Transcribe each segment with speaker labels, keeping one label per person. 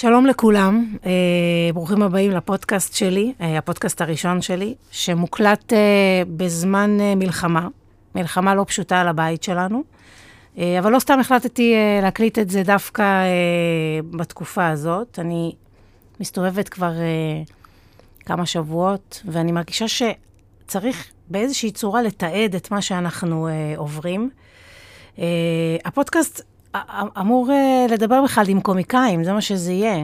Speaker 1: שלום לכולם, אה, ברוכים הבאים לפודקאסט שלי, אה, הפודקאסט הראשון שלי, שמוקלט אה, בזמן אה, מלחמה, מלחמה לא פשוטה על הבית שלנו, אה, אבל לא סתם החלטתי אה, להקליט את זה דווקא אה, בתקופה הזאת. אני מסתובבת כבר אה, כמה שבועות, ואני מרגישה שצריך באיזושהי צורה לתעד את מה שאנחנו אה, עוברים. אה, הפודקאסט א- אמור אה, לדבר בכלל עם קומיקאים, זה מה שזה יהיה. אה,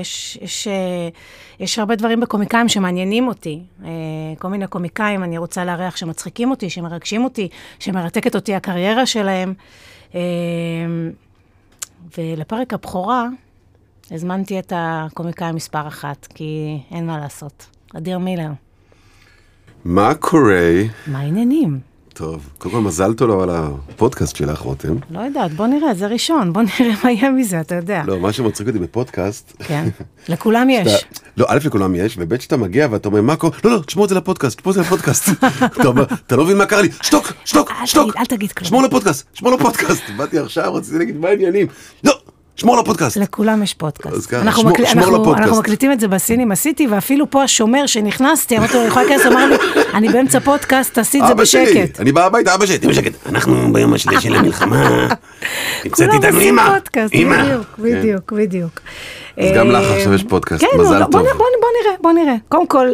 Speaker 1: יש, יש, אה, יש הרבה דברים בקומיקאים שמעניינים אותי. אה, כל מיני קומיקאים אני רוצה לארח שמצחיקים אותי, שמרגשים אותי, שמרתקת אותי הקריירה שלהם. אה, ולפרק הבכורה הזמנתי את הקומיקאי מספר אחת, כי אין מה לעשות. אדיר מילר,
Speaker 2: מה קורה?
Speaker 1: מה העניינים?
Speaker 2: טוב, קודם כל מזל טוב לו על הפודקאסט שלך, רותם.
Speaker 1: לא יודעת, בוא נראה, זה ראשון, בוא נראה מה יהיה מזה, אתה יודע.
Speaker 2: לא, מה שמצחיק אותי בפודקאסט,
Speaker 1: כן, לכולם יש.
Speaker 2: אתה- לא, א' לכולם יש, וב' שאתה מגיע ואתה אומר, מה קורה? לא, לא, תשמעו את זה לפודקאסט, תשמעו את זה לפודקאסט. אתה אומר, אתה לא מבין מה קרה לי, שתוק, שתוק,
Speaker 1: אל
Speaker 2: שתוק.
Speaker 1: תגיד- אל תגיד כלום.
Speaker 2: שמור לפודקאסט, שמור לפודקאסט. באתי עכשיו, רציתי להגיד, מה העניינים? לא, שמור לפודקאסט.
Speaker 1: לכולם יש
Speaker 2: אז
Speaker 1: פודקאסט.
Speaker 2: ככה,
Speaker 1: אנחנו
Speaker 2: שמור-
Speaker 1: מקל-
Speaker 2: שמור
Speaker 1: אנחנו-
Speaker 2: לפודקאסט.
Speaker 1: אנחנו מקליטים את זה בסינים עשיתי, ואפילו פה השומר שנכנסתי, אמרתי לו, אני יכולה להיכנס, אמר לי, אני באמצע פודקאסט, תעשי את זה
Speaker 2: אבא שלי,
Speaker 1: בשקט.
Speaker 2: אני בא הביתה, אבא שלי, תהיו בשקט. אנחנו ביום השני של המלחמה. נמצאת
Speaker 1: כולם
Speaker 2: איתנו
Speaker 1: עושים
Speaker 2: אמא.
Speaker 1: פודקאסט,
Speaker 2: אמא. כן.
Speaker 1: בדיוק, בדיוק, בדיוק.
Speaker 2: אז גם
Speaker 1: אה,
Speaker 2: לך עכשיו יש פודקאסט,
Speaker 1: כן,
Speaker 2: מזל
Speaker 1: לא, בוא
Speaker 2: טוב.
Speaker 1: נ- בוא נ- בוא נראה, בוא נראה. קודם כל,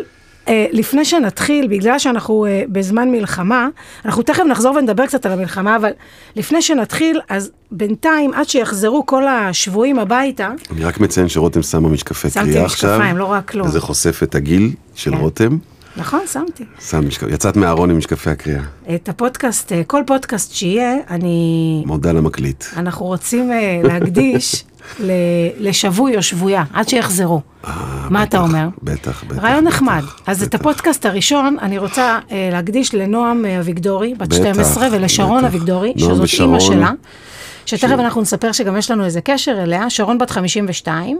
Speaker 1: אה, לפני שנתחיל, בגלל שאנחנו אה, בזמן מלחמה, אנחנו תכף נחזור ונדבר קצת על המלחמה, אבל לפני שנתחיל, אז בינתיים, עד שיחזרו כל השבויים הביתה,
Speaker 2: אני רק מציין שרותם שמה משקפי
Speaker 1: שמתי
Speaker 2: קריאה עכשיו.
Speaker 1: משקפיים, לא רואה כלום.
Speaker 2: וזה חושף את הגיל של
Speaker 1: כן.
Speaker 2: רותם.
Speaker 1: נכון, שמתי.
Speaker 2: שם משקפ... יצאת מהארון עם משקפי הקריאה.
Speaker 1: את הפודקאסט, אה, כל פודקאסט שיהיה, אני...
Speaker 2: מודה למקליט.
Speaker 1: אנחנו רוצים אה, להקדיש ל... לשבוי או שבויה, עד שיחזרו.
Speaker 2: אה,
Speaker 1: מה
Speaker 2: בטח,
Speaker 1: אתה אומר?
Speaker 2: בטח, בטח.
Speaker 1: רעיון
Speaker 2: בטח,
Speaker 1: נחמד. אז את
Speaker 2: בטח.
Speaker 1: הפודקאסט הראשון אני רוצה אה, להקדיש לנועם אה, אביגדורי, בת
Speaker 2: בטח,
Speaker 1: 12, ולשרון
Speaker 2: בטח.
Speaker 1: אביגדורי,
Speaker 2: נועם
Speaker 1: שזאת אימא
Speaker 2: ושרון.
Speaker 1: שלה. שתכף אנחנו נספר שגם יש לנו איזה קשר אליה, שרון בת 52.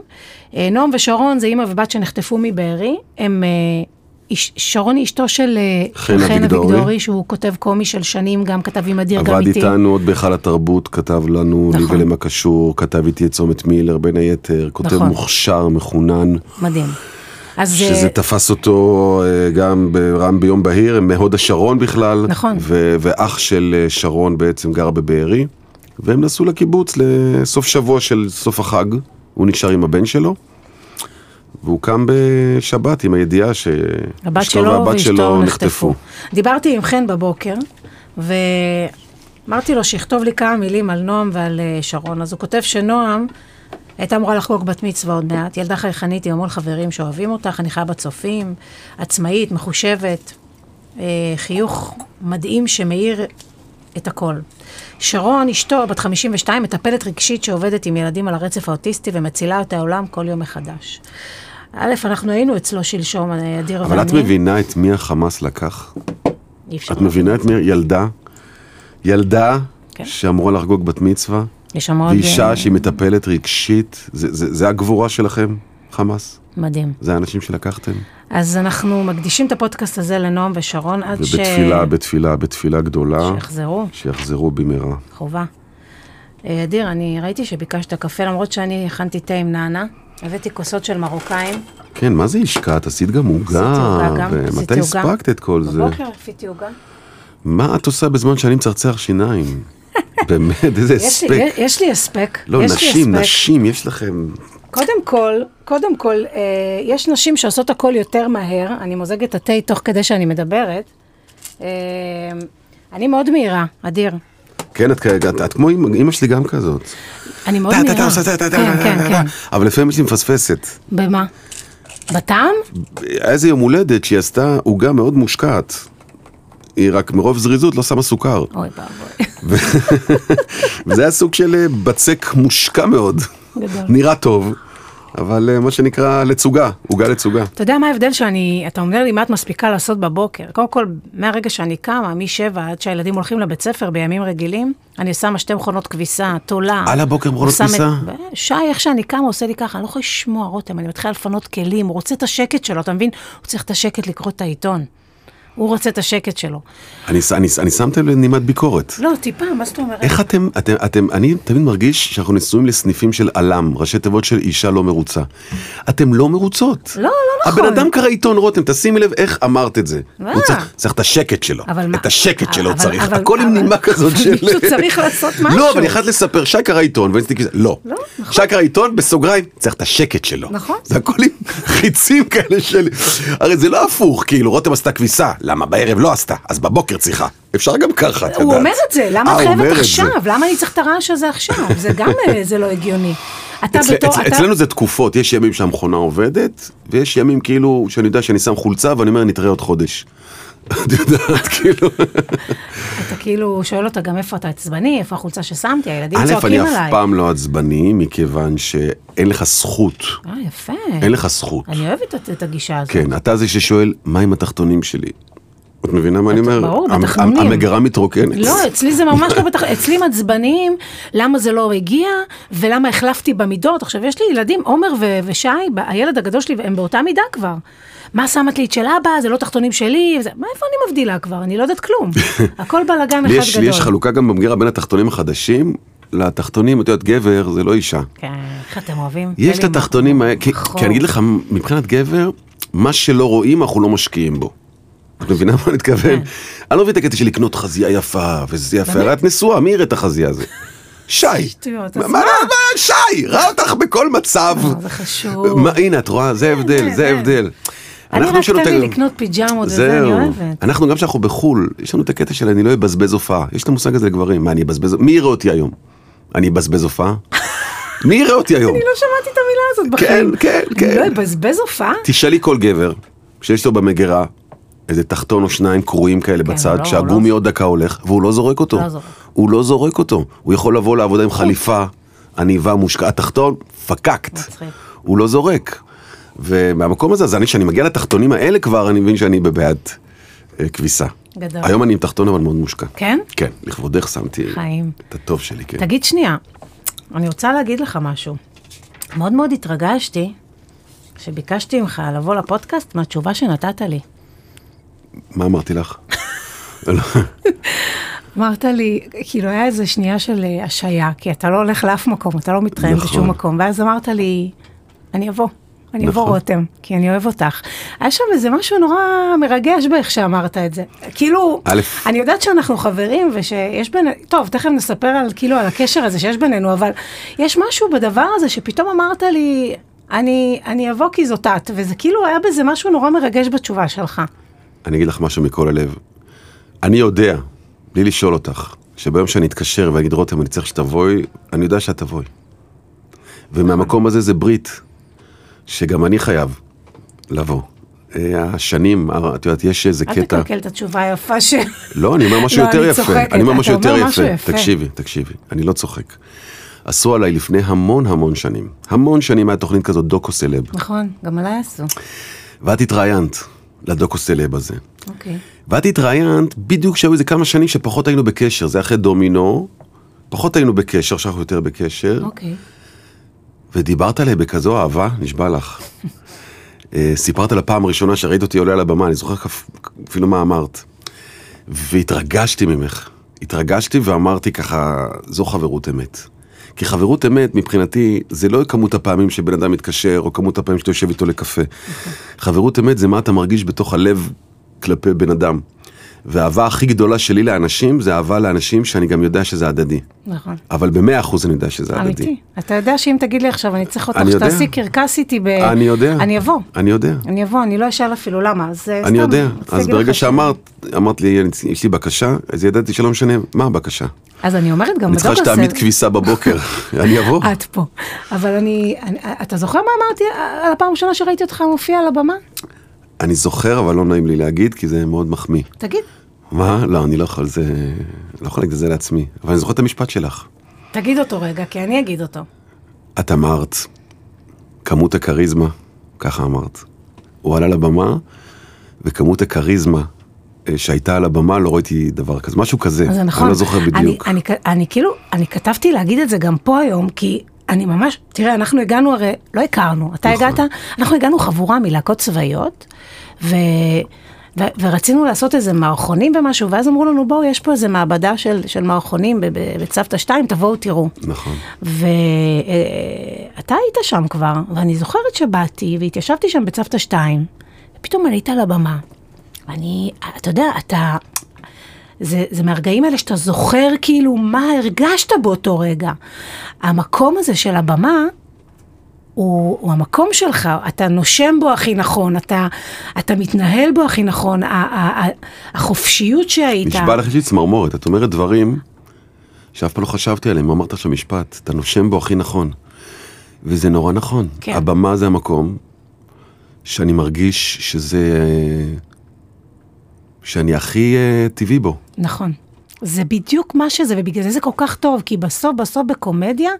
Speaker 1: אה, נועם ושרון זה אימא ובת שנחטפו מבארי. הם, אה, איש- שרון היא אשתו של אה,
Speaker 2: חן
Speaker 1: חן
Speaker 2: אביגדורי.
Speaker 1: אביגדורי, שהוא כותב קומי של שנים, גם כתב עם אדיר, גם
Speaker 2: עבד
Speaker 1: איתי.
Speaker 2: איתנו עוד בהיכל התרבות, כתב לנו לי
Speaker 1: נכון.
Speaker 2: ולמה קשור, כתב איתי את צומת מילר בין היתר, כותב
Speaker 1: נכון.
Speaker 2: מוכשר, מחונן,
Speaker 1: מדהים. אז
Speaker 2: שזה
Speaker 1: אה,
Speaker 2: תפס אותו אה, גם ברם ביום בהיר, הם מהוד השרון בכלל,
Speaker 1: נכון.
Speaker 2: ו- ואח של אה, שרון בעצם גר בבארי, והם נסעו לקיבוץ לסוף שבוע של סוף החג, הוא נשאר עם הבן שלו, והוא קם בשבת עם הידיעה
Speaker 1: הבת
Speaker 2: שאשתו
Speaker 1: שלו
Speaker 2: והבת
Speaker 1: ואשתו
Speaker 2: שלו
Speaker 1: נחטפו.
Speaker 2: נחטפו.
Speaker 1: דיברתי עם חן בבוקר, ואמרתי לו שיכתוב לי כמה מילים על נועם ועל אה, שרון. אז הוא כותב שנועם הייתה אמורה לחגוג בת מצווה עוד מעט, ילדה חייכנית עם המון חברים שאוהבים אותך, אני חיה בצופים, עצמאית, מחושבת, אה, חיוך מדהים שמאיר את הכל. שרון, אשתו, בת 52, מטפלת רגשית שעובדת עם ילדים על הרצף האוטיסטי ומצילה את העולם כל יום מחדש. א', אנחנו היינו אצלו שלשום, אה, אדיר ואני.
Speaker 2: אבל את מבינה את מי החמאס לקח?
Speaker 1: אי אפשר.
Speaker 2: את מבינה את מי? ילדה, ילדה
Speaker 1: כן.
Speaker 2: שאמורה לחגוג בת מצווה,
Speaker 1: יש שם עוד...
Speaker 2: ואישה
Speaker 1: אה,
Speaker 2: שהיא מטפלת רגשית, זה- זה זה הגבורה שלכם, חמאס?
Speaker 1: מדהים.
Speaker 2: זה האנשים שלקחתם?
Speaker 1: אז אנחנו מקדישים את הפודקאסט הזה לנועם ושרון עד ש...
Speaker 2: ובתפילה, בתפילה, בתפילה גדולה,
Speaker 1: שיחזרו,
Speaker 2: שיחזרו במהרה.
Speaker 1: חובה. אה, אדיר, אני ראיתי שביקשת קפה, למרות שאני הכנתי תה עם נענה. הבאתי כוסות של מרוקאים.
Speaker 2: כן, מה זה השקעת? עשית גם
Speaker 1: עוגה
Speaker 2: עוגה,
Speaker 1: גם,
Speaker 2: ומתי
Speaker 1: עשיתי עוגה.
Speaker 2: הספקת את כל זה?
Speaker 1: בבוקר עשיתי עוגה.
Speaker 2: מה את עושה בזמן שאני מצרצר שיניים? באמת, איזה
Speaker 1: יש לי-
Speaker 2: הספק.
Speaker 1: יש לי הספק.
Speaker 2: לא,
Speaker 1: יש לי
Speaker 2: נשים,
Speaker 1: הספק.
Speaker 2: נשים, יש לכם...
Speaker 1: קודם כל, קודם כל, אה, יש נשים שעושות הכל יותר מהר, אני מוזגת את התה תוך כדי שאני מדברת. אה, אני מאוד מהירה, אדיר.
Speaker 2: כן, את כ- את- את כמו אמא אמא שלי גם כזאת.
Speaker 1: אני מאוד
Speaker 2: טה, טה,
Speaker 1: מהירה.
Speaker 2: טה, עושה טה, טה, טה,
Speaker 1: כן,
Speaker 2: טה,
Speaker 1: כן,
Speaker 2: טה,
Speaker 1: כן.
Speaker 2: טה. אבל לפעמים יש לי מפספסת.
Speaker 1: במה? בטעם?
Speaker 2: היה איזה יום הולדת שהיא עשתה עוגה מאוד מושקעת. היא רק מרוב זריזות לא שמה סוכר.
Speaker 1: אוי ואבוי.
Speaker 2: וזה היה סוג של אה, בצק מושקע מאוד.
Speaker 1: גדול.
Speaker 2: נראה טוב, אבל אה, מה שנקרא לתסוגה, עוגה לתסוגה.
Speaker 1: אתה יודע מה ההבדל שאני, אתה אומר לי מה את מספיקה לעשות בבוקר. קודם כל, מהרגע שאני קמה, משבע עד שהילדים הולכים לבית ספר בימים רגילים, אני שמה שתי מכונות כביסה, תולה.
Speaker 2: על הבוקר מכונות
Speaker 1: עושה מ-
Speaker 2: כביסה?
Speaker 1: ב- שי, איך שאני קמה, עושה לי ככה, אני לא יכולה לשמוע רותם, אני מתחילה לפנות כלים, הוא רוצה את השקט שלו, אתה מבין? הוא צריך את השקט לקרוא את העיתון. הוא רוצה את השקט שלו.
Speaker 2: אני, ש- אני, ש- אני שמתם לנימת ביקורת.
Speaker 1: לא, טיפה, מה זאת אומרת?
Speaker 2: איך אתם, אתם, אתם, אני תמיד מרגיש שאנחנו נשואים לסניפים של עלם, ראשי תיבות של אישה לא מרוצה. אתם לא מרוצות.
Speaker 1: לא, לא נכון.
Speaker 2: הבן אדם קרא עיתון רותם, תשימי לב איך אמרת את זה.
Speaker 1: מה?
Speaker 2: הוא צריך, צריך את השקט שלו.
Speaker 1: אבל
Speaker 2: את
Speaker 1: מה-
Speaker 2: השקט שלו
Speaker 1: אבל-
Speaker 2: צריך.
Speaker 1: אבל-
Speaker 2: הכל עם
Speaker 1: אבל-
Speaker 2: נימה כזאת
Speaker 1: אבל
Speaker 2: של...
Speaker 1: מישהו צריך לעשות
Speaker 2: לא,
Speaker 1: משהו.
Speaker 2: אבל אני חייב לספר, שי קרא עיתון, ואני ניסיתי כזה, לא.
Speaker 1: לא, נכון.
Speaker 2: שי קרא עיתון, בסוגריים, צריך את השקט שלו.
Speaker 1: נכון.
Speaker 2: זה הכל עם חיצים כאלה של... הרי זה לא הפוך, כאילו, רותם עשתה כביסה, למה בערב לא עשתה? אז בבוקר צריכה. אפשר גם ככה, את יודעת.
Speaker 1: הוא אומר את זה, למה
Speaker 2: אה,
Speaker 1: את
Speaker 2: הוא אומר
Speaker 1: חייבת
Speaker 2: זה.
Speaker 1: עכשיו? למה אני צריך את הרעש הזה עכשיו? זה גם, אה, זה לא הגיוני. אתה
Speaker 2: אצל,
Speaker 1: בתור,
Speaker 2: אצל,
Speaker 1: אתה...
Speaker 2: אצלנו זה תקופות, יש ימים שהמכונה עובדת, ויש ימים כאילו שאני יודע שאני שם חולצה ואני אומר נתראה עוד חודש. את יודעת, כאילו,
Speaker 1: אתה כאילו שואל אותה גם איפה אתה עצבני, איפה החולצה ששמתי, הילדים
Speaker 2: א', אני
Speaker 1: צועקים
Speaker 2: אף
Speaker 1: עליי.
Speaker 2: פעם לא עצבני, מכיוון שאין לך זכות,
Speaker 1: אה, יפה.
Speaker 2: אין לך זכות.
Speaker 1: אני אוהבת את, את הגישה הזאת.
Speaker 2: כן, אתה זה ששואל, מה עם התחתונים שלי? את מבינה מה אני אומר?
Speaker 1: ברור,
Speaker 2: המ-
Speaker 1: בתחתונים.
Speaker 2: המגרה מתרוקנת.
Speaker 1: לא, אצלי זה ממש לא בטח, אצלי מעצבנים, למה זה לא הגיע, ולמה החלפתי במידות. עכשיו, יש לי ילדים, עומר ו- ושי, ב- הילד הגדול שלי, הם באותה מידה כבר. מה שמת לי את של אבא, זה לא תחתונים שלי, זה, מה, איפה אני מבדילה כבר? אני לא יודעת כלום. הכל בלאגן
Speaker 2: לי
Speaker 1: אחד
Speaker 2: יש- לי
Speaker 1: גדול.
Speaker 2: יש חלוקה גם במגירה בין התחתונים החדשים לתחתונים, את יודעת, גבר זה לא אישה.
Speaker 1: כן, איך אתם אוהבים?
Speaker 2: יש
Speaker 1: תן
Speaker 2: את
Speaker 1: לי
Speaker 2: התחתונים האלה, כי
Speaker 1: נכון.
Speaker 2: כי אני אגיד לך, מבחינת גבר, מה שלא רואים אנחנו לא משקיעים בו. את מבינה מה אני
Speaker 1: כן.
Speaker 2: מתכוון? אני לא מבין את הקטע של לקנות חזייה יפה, וזה יפה, הרי את נשואה, מי יראה את החזייה הזו? שי.
Speaker 1: שטויות, אז
Speaker 2: מה,
Speaker 1: מה?
Speaker 2: מה, מה, שי, ראה אותך בכל מצב.
Speaker 1: לא, זה חשוב.
Speaker 2: מה, הנה, את רואה, זה הבדל,
Speaker 1: זה,
Speaker 2: זה
Speaker 1: זה.
Speaker 2: הבדל.
Speaker 1: אני
Speaker 2: אנחנו לא
Speaker 1: רק
Speaker 2: שלא
Speaker 1: תן לי
Speaker 2: ת-
Speaker 1: לקנות פיג'מות, וזה אני
Speaker 2: זהו.
Speaker 1: אוהבת.
Speaker 2: אנחנו, גם כשאנחנו בחו"ל, יש לנו את הקטע של אני לא אבזבז הופעה. יש את המושג הזה לגברים, מה, אני אבזבז... מי יראה אותי היום? אני אבזבז הופעה? מי יראה אותי היום?
Speaker 1: אני לא שמעתי את המילה הזאת בחיים.
Speaker 2: כן, כן.
Speaker 1: אני לא אבזבז הופעה?
Speaker 2: תשאלי כל גבר שיש לו במגירה איזה תחתון או שניים קרועים כאלה
Speaker 1: כן,
Speaker 2: בצד,
Speaker 1: לא,
Speaker 2: שהגומי
Speaker 1: לא.
Speaker 2: עוד דקה הולך, והוא לא זורק אותו.
Speaker 1: לא זורק.
Speaker 2: הוא לא זורק אותו. הוא יכול לבוא לעבודה עם חליפה, עניבה מושקעת, תחתון, פקקט.
Speaker 1: מצחיק.
Speaker 2: הוא לא זורק. ומהמקום הזה, אז אני, כשאני מגיע לתחתונים האלה כבר, אני מבין שאני בבעד אה, כביסה.
Speaker 1: גדול.
Speaker 2: היום אני עם תחתון אבל מאוד מושקע.
Speaker 1: כן?
Speaker 2: כן, לכבודך שמתי
Speaker 1: חיים.
Speaker 2: את הטוב שלי, כן.
Speaker 1: תגיד שנייה, אני רוצה להגיד לך משהו. מאוד מאוד התרגשתי שביקשתי ממך לבוא לפודקאסט מהתשובה שנתת לי.
Speaker 2: מה אמרתי לך? לא,
Speaker 1: אמרת לי, כאילו היה איזה שנייה של אה, השעיה, כי אתה לא הולך לאף מקום, אתה לא מתראיין
Speaker 2: נכון.
Speaker 1: בשום מקום, ואז אמרת לי, אני אבוא, אני אבוא
Speaker 2: נכון.
Speaker 1: רותם, כי אני אוהב אותך. היה שם איזה משהו נורא מרגש באיך שאמרת את זה. כאילו,
Speaker 2: א',
Speaker 1: אני יודעת שאנחנו חברים ושיש בינינו, טוב, תכף נספר על, כאילו, על הקשר הזה שיש בינינו, אבל יש משהו בדבר הזה שפתאום אמרת לי, אני, אני אבוא כי זאת את, וזה כאילו היה בזה משהו נורא מרגש בתשובה שלך.
Speaker 2: אני אגיד לך משהו מכל הלב. אני יודע, בלי לשאול אותך, שביום שאני אתקשר ואגיד, רותם, אני צריך שתבואי, אני יודע שאת תבואי. ומהמקום הזה זה ברית, שגם אני חייב לבוא. אה, השנים, אה, את יודעת, יש איזה
Speaker 1: אל
Speaker 2: קטע...
Speaker 1: תקלקל את התשובה היפה ש...
Speaker 2: לא, אני אומר משהו
Speaker 1: לא,
Speaker 2: יותר
Speaker 1: אני
Speaker 2: יפה.
Speaker 1: צוחקת,
Speaker 2: אני אומר
Speaker 1: אתה
Speaker 2: משהו
Speaker 1: אומר
Speaker 2: יותר
Speaker 1: משהו
Speaker 2: יפה.
Speaker 1: יפה.
Speaker 2: תקשיבי, תקשיבי, אני לא צוחק. עשו עליי לפני המון המון שנים, המון שנים היה תוכנית כזאת דוקו סלב,
Speaker 1: נכון, גם עליי עשו.
Speaker 2: ואת התראיינת לדוקו סלב הזה.
Speaker 1: אוקיי.
Speaker 2: ואת התראיינת בדיוק כשהיו איזה כמה שנים שפחות היינו בקשר, זה אחרי דומינו, פחות היינו בקשר, עכשיו אנחנו יותר בקשר,
Speaker 1: אוקיי.
Speaker 2: ודיברת עליי בכזו אהבה, נשבע לך. אה, סיפרת על הפעם הראשונה שראית אותי עולה על הבמה, אני זוכר כף- אפילו מה אמרת. והתרגשתי ממך, התרגשתי ואמרתי ככה, זו חברות אמת. כי חברות אמת מבחינתי זה לא כמות הפעמים שבן אדם מתקשר או כמות הפעמים שאתה יושב איתו לקפה. חברות אמת זה מה אתה מרגיש בתוך הלב כלפי בן אדם. והאהבה הכי גדולה שלי לאנשים זה אהבה לאנשים שאני גם יודע שזה הדדי.
Speaker 1: נכון.
Speaker 2: אבל במאה אחוז אני יודע שזה הדדי.
Speaker 1: אמיתי. אתה יודע שאם תגיד לי עכשיו, אני צריך אותך
Speaker 2: אני יודע.
Speaker 1: שתעשי קרקס איתי ב...
Speaker 2: אני יודע.
Speaker 1: אה, אני אבוא.
Speaker 2: אני יודע.
Speaker 1: אני אבוא, אני לא אשאל אפילו למה, אז אה, סתם.
Speaker 2: אני יודע.
Speaker 1: רציתי
Speaker 2: אז
Speaker 1: להגיד
Speaker 2: ברגע
Speaker 1: לך ש-
Speaker 2: שאמרת, אמרת לי, "אני- יש לי בקשה, אז ידעתי שלא משנה, מה הבקשה?
Speaker 1: אז אני אומרת גם,
Speaker 2: אני צריכה
Speaker 1: בדוקו
Speaker 2: שתעמיד
Speaker 1: סלב-
Speaker 2: כביסה בבוקר, אני אבוא.
Speaker 1: את פה. אבל אני, אני, אתה זוכר מה אמרתי אה, על הפעם הראשונה שראיתי אותך מופיע על הבמה?
Speaker 2: אני זוכר, אבל לא נעים לי להגיד, כי זה מאוד מחמיא.
Speaker 1: תגיד,
Speaker 2: מה? לא, אני לא יכול, זה... לא יכול להגיד את זה לעצמי. אבל אני זוכר את המשפט שלך.
Speaker 1: תגיד אותו רגע, כי אני אגיד אותו.
Speaker 2: את אמרת, כמות הכריזמה, ככה אמרת. הוא עלה לבמה, וכמות הכריזמה אה, שהייתה על הבמה, לא ראיתי דבר כזה. משהו כזה.
Speaker 1: אז זה נכון.
Speaker 2: אני לא זוכר בדיוק.
Speaker 1: אני, אני, אני כאילו, אני כתבתי להגיד את זה גם פה היום, כי אני ממש, תראה, אנחנו הגענו הרי, לא הכרנו, אתה
Speaker 2: נכון.
Speaker 1: הגעת, אנחנו הגענו חבורה מלהקות צבאיות, ו... ו- ורצינו לעשות איזה מערכונים ומשהו, ואז אמרו לנו, בואו, יש פה איזה מעבדה של, של מערכונים בב- בבית סבתא 2, תבואו תראו.
Speaker 2: נכון.
Speaker 1: ואתה היית שם כבר, ואני זוכרת שבאתי והתיישבתי שם בצוותא 2, ופתאום עלית על הבמה. ואני, אתה יודע, אתה... זה, זה מהרגעים האלה שאתה זוכר כאילו מה הרגשת באותו רגע. המקום הזה של הבמה הוא, הוא המקום שלך, אתה נושם בו הכי נכון, אתה, אתה מתנהל בו הכי נכון, ה, ה, ה, החופשיות שהיית.
Speaker 2: נשבע לך יש לי צמרמורת, את אומרת דברים שאף פעם לא חשבתי עליהם, אמרת עכשיו משפט, אתה נושם בו הכי נכון. וזה נורא נכון.
Speaker 1: כן.
Speaker 2: הבמה זה המקום שאני מרגיש שזה... אה, שאני הכי אה, טבעי בו.
Speaker 1: נכון. זה בדיוק מה שזה, ובגלל זה זה כל כך טוב, כי בסוף, בסוף בקומדיה,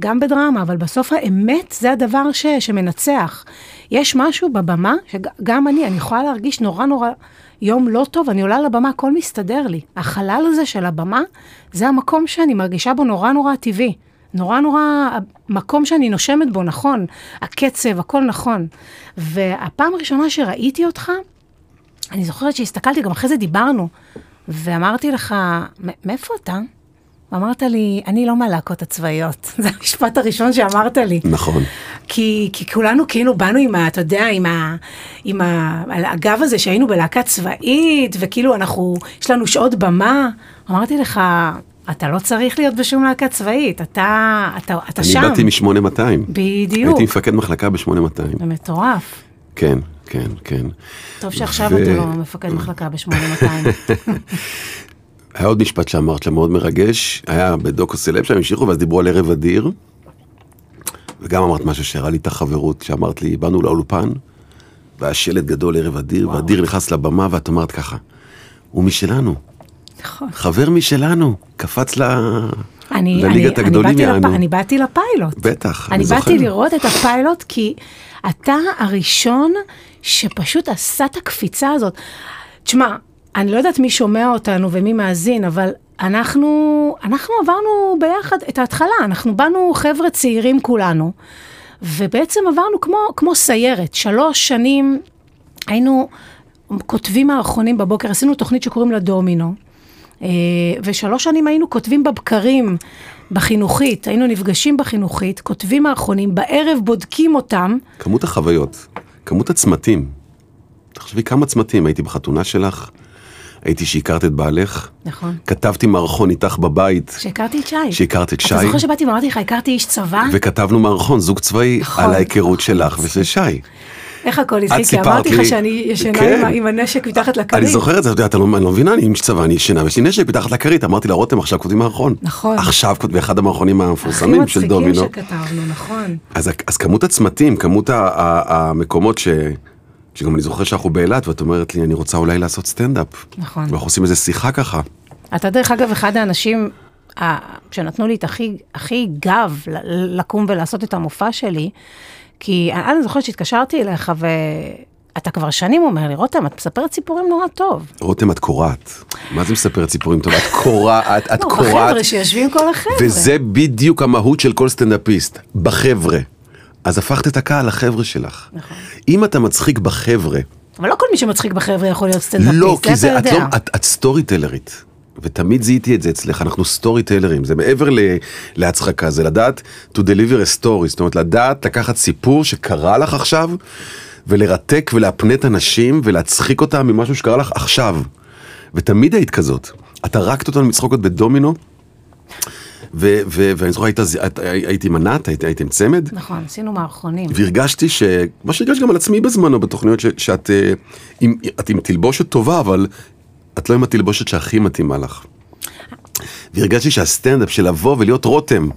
Speaker 1: גם בדרמה, אבל בסוף האמת זה הדבר ש, שמנצח. יש משהו בבמה, שגם אני, אני יכולה להרגיש נורא נורא יום לא טוב, אני עולה לבמה, הכל מסתדר לי. החלל הזה של הבמה, זה המקום שאני מרגישה בו נורא נורא טבעי. נורא נורא, המקום שאני נושמת בו נכון, הקצב, הכל נכון. והפעם הראשונה שראיתי אותך, אני זוכרת שהסתכלתי, גם אחרי זה דיברנו, ואמרתי לך, "מ- מאיפה אתה? אמרת לי, אני לא מהלהקות הצבאיות. זה המשפט הראשון שאמרת לי.
Speaker 2: נכון.
Speaker 1: כי, כי כולנו כאילו באנו עם ה... אתה יודע, עם ה... עם ה... על הגב הזה שהיינו בלהקה צבאית, וכאילו אנחנו... יש לנו שעות במה. אמרתי לך, אתה לא צריך להיות בשום להקה צבאית, אתה, אתה, אתה שם.
Speaker 2: אני באתי מ-8200.
Speaker 1: בדיוק.
Speaker 2: הייתי מפקד מחלקה ב-8200.
Speaker 1: זה מטורף.
Speaker 2: כן, כן, כן.
Speaker 1: טוב שעכשיו
Speaker 2: ו-
Speaker 1: אתה לא מפקד מחלקה ב-8200.
Speaker 2: היה עוד משפט שאמרת שם מאוד מרגש, היה בדוקו סלב שהם המשיכו ואז דיברו על ערב אדיר. וגם אמרת משהו שהראה לי את החברות, שאמרת לי, באנו לאולפן, והיה שלט גדול ערב אדיר, ואדיר נכנס לבמה ואת אמרת ככה, הוא משלנו,
Speaker 1: נכון.
Speaker 2: חבר משלנו, קפץ ל...
Speaker 1: אני,
Speaker 2: לליגת
Speaker 1: אני,
Speaker 2: הגדולים
Speaker 1: אני באתי, לפ...
Speaker 2: יענו.
Speaker 1: אני באתי לפיילוט.
Speaker 2: בטח,
Speaker 1: אני
Speaker 2: אני זוכר.
Speaker 1: באתי לראות את הפיילוט כי אתה הראשון שפשוט עשה את הקפיצה הזאת. תשמע, אני לא יודעת מי שומע אותנו ומי מאזין, אבל אנחנו, אנחנו עברנו ביחד את ההתחלה, אנחנו באנו חבר'ה צעירים כולנו, ובעצם עברנו כמו, כמו סיירת, שלוש שנים היינו כותבים מערכונים בבוקר, עשינו תוכנית שקוראים לה דומינו. אה, ושלוש שנים היינו כותבים בבקרים, בחינוכית, היינו נפגשים בחינוכית, כותבים מערכונים, בערב בודקים אותם,
Speaker 2: כמות החוויות, כמות הצמתים. תחשבי כמה צמתים, הייתי בחתונה שלך, הייתי שהכרת את בעלך,
Speaker 1: נכון,
Speaker 2: כתבתי מערכון איתך בבית,
Speaker 1: כשהכרתי את שי.
Speaker 2: שהכרת את שי.
Speaker 1: אתה זוכר שבאתי ואמרתי לך, הכרתי איש צבא?
Speaker 2: וכתבנו מערכון, זוג צבאי,
Speaker 1: אה? נכון. אוקיי.
Speaker 2: על ההיכרות שלך, וזה שי.
Speaker 1: איך הכל
Speaker 2: את
Speaker 1: התחיל? כי
Speaker 2: סיפרת
Speaker 1: אמרתי לך
Speaker 2: לי-
Speaker 1: שאני ישנה
Speaker 2: כן.
Speaker 1: עם ה- עם הנשק מתחת לכרית.
Speaker 2: אני זוכר את זה, אתה יודע, אתה לא אני לא מבינה, אני עם צבא, אני ישנה, ויש לי נשק מתחת לכרית, אמרתי לה, רותם, עכשיו כותבים מערכון.
Speaker 1: נכון.
Speaker 2: עכשיו כותבים אחד המערכונים
Speaker 1: הכי
Speaker 2: המפורסמים של
Speaker 1: מצחיקים
Speaker 2: דומינו.
Speaker 1: שכתבנו, נכון.
Speaker 2: אז אז כמות הצמתים, כמות ה- ה- המקומות ש... שגם אני זוכר שאנחנו באילת, ואת אומרת לי, אני רוצה אולי לעשות סטנדאפ.
Speaker 1: נכון.
Speaker 2: ואנחנו עושים איזה שיחה ככה.
Speaker 1: אתה דרך אגב אחד האנשים ה- שנתנו לי את הכי, הכי גב ל- לקום ולעשות את המופע שלי, כי אני אני זוכרת שהתקשרתי אליך ואתה כבר שנים אומר לי, רותם, את מספרת סיפורים נורא טוב.
Speaker 2: רותם, את קורעת. מה זה מספרת סיפורים טוב? את קורעת, את
Speaker 1: נו,
Speaker 2: קורעת.
Speaker 1: לא, בחבר'ה שיושבים כל החבר'ה.
Speaker 2: וזה בדיוק המהות של כל סטנדאפיסט, בחבר'ה. אז הפכת את הקהל לחבר'ה שלך.
Speaker 1: נכון.
Speaker 2: אם אתה מצחיק בחבר'ה,
Speaker 1: אבל לא כל מי שמצחיק בחבר'ה יכול להיות סטנדאפיסט,
Speaker 2: לא, כי
Speaker 1: אתה
Speaker 2: זה, את,
Speaker 1: יודע.
Speaker 2: לא, את, את סטורי טלרית. ותמיד זיהיתי את זה אצלך, אנחנו סטורי טלרים, זה מעבר ל, להצחקה, זה לדעת to deliver a story, זאת אומרת לדעת לקחת סיפור שקרה לך עכשיו, ולרתק ולהפנט אנשים ולהצחיק אותם ממשהו שקרה לך עכשיו. ותמיד היית כזאת, את הרגת אותנו מצחוקות בדומינו, ו, ו, ואני זוכר, היית, היית, היית עם ענת, היית, היית עם צמד,
Speaker 1: נכון, עשינו מערכונים.
Speaker 2: והרגשתי ש... מה שהרגשתי גם על עצמי בזמנו בתוכניות ש... שאת אה, עם... את עם תלבושת טובה, אבל את לא עם התלבושת שהכי מתאימה לך. והרגשתי שהסטנדאפ של לבוא ולהיות רותם,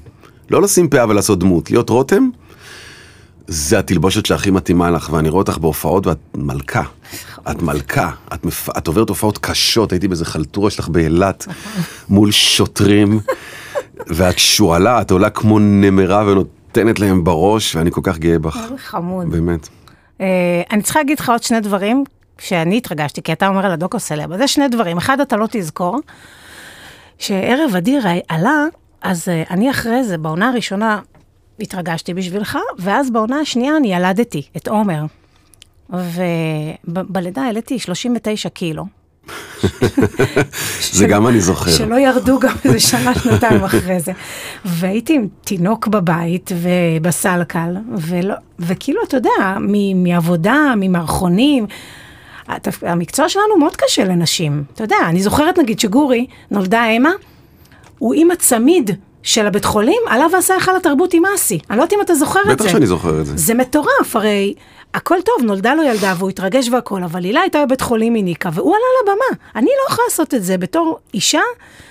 Speaker 2: לא לשים פאה ולעשות דמות, להיות רותם, זה התלבושת שהכי מתאימה לך, ואני רואה אותך בהופעות ואת מלכה. את מלכה, את, מפ... את עוברת הופעות קשות, הייתי באיזה חלטורה שלך באילת, מול שוטרים, ואת שועלה, את עולה כמו נמרה ונותנת להם בראש, ואני כל כך גאה בך,
Speaker 1: חמוד.
Speaker 2: באמת.
Speaker 1: אה, אני צריכה להגיד לך עוד שני דברים שאני התרגשתי, כי אתה אומר על הדוקו סלב, אז זה שני דברים. אחד, אתה לא תזכור, שערב אדיר עלה, אז אה, אני אחרי זה, בעונה הראשונה התרגשתי בשבילך, ואז בעונה השנייה אני ילדתי את עומר. ובלידה העליתי 39 קילו.
Speaker 2: זה גם אני זוכר.
Speaker 1: שלא ירדו גם איזה שנה, שנתיים אחרי זה. והייתי עם תינוק בבית ובסלקל, ולא, וכאילו, אתה יודע, מ, מעבודה, ממערכונים, התפ... המקצוע שלנו מאוד קשה לנשים. אתה יודע, אני זוכרת נגיד שגורי, נולדה אמה, הוא עם הצמיד. של הבית חולים, עליו עשה היכל התרבות עם אסי. אני לא יודעת אם אתה זוכר את זה.
Speaker 2: בטח שאני זוכר את זה.
Speaker 1: זה מטורף, הרי הכל טוב, נולדה לו ילדה והוא התרגש והכל, אבל הילה הייתה בבית חולים מניקה, והוא עלה לבמה. אני לא יכולה לעשות את זה בתור אישה,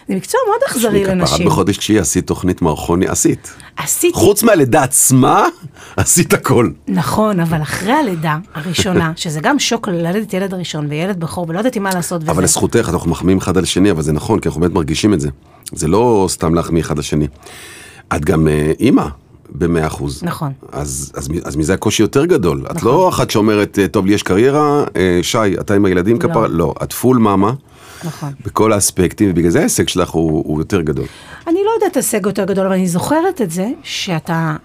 Speaker 1: זה מקצוע מאוד אכזרי לנשים.
Speaker 2: בחודש כשהיא עשית תוכנית מערכוני, עשית.
Speaker 1: עשיתי,
Speaker 2: חוץ מהלידה עצמה, עשית הכל.
Speaker 1: נכון, אבל אחרי הלידה הראשונה, שזה גם שוק ללדת ילד ראשון וילד בכור, ולא ידעתי מה לעשות וזה.
Speaker 2: אבל לזכותך, אנחנו מחמיאים אחד על שני, אבל זה נכון, כי אנחנו באמת מרגישים את זה. זה לא סתם להחמיא אחד לשני. את גם אה, אימא. במאה אחוז.
Speaker 1: נכון.
Speaker 2: אז, אז, מ- אז מזה הקושי יותר גדול. נכון. את לא אחת שאומרת, אה, טוב, לי יש קריירה, אה, שי, אתה עם הילדים
Speaker 1: לא.
Speaker 2: כפר? לא. את פול מאמה
Speaker 1: נכון.
Speaker 2: בכל האספקטים, ובגלל זה ההישג שלך הוא, הוא יותר גדול.
Speaker 1: אני לא יודעת הישג יותר גדול, אבל אני זוכרת את זה שאתה...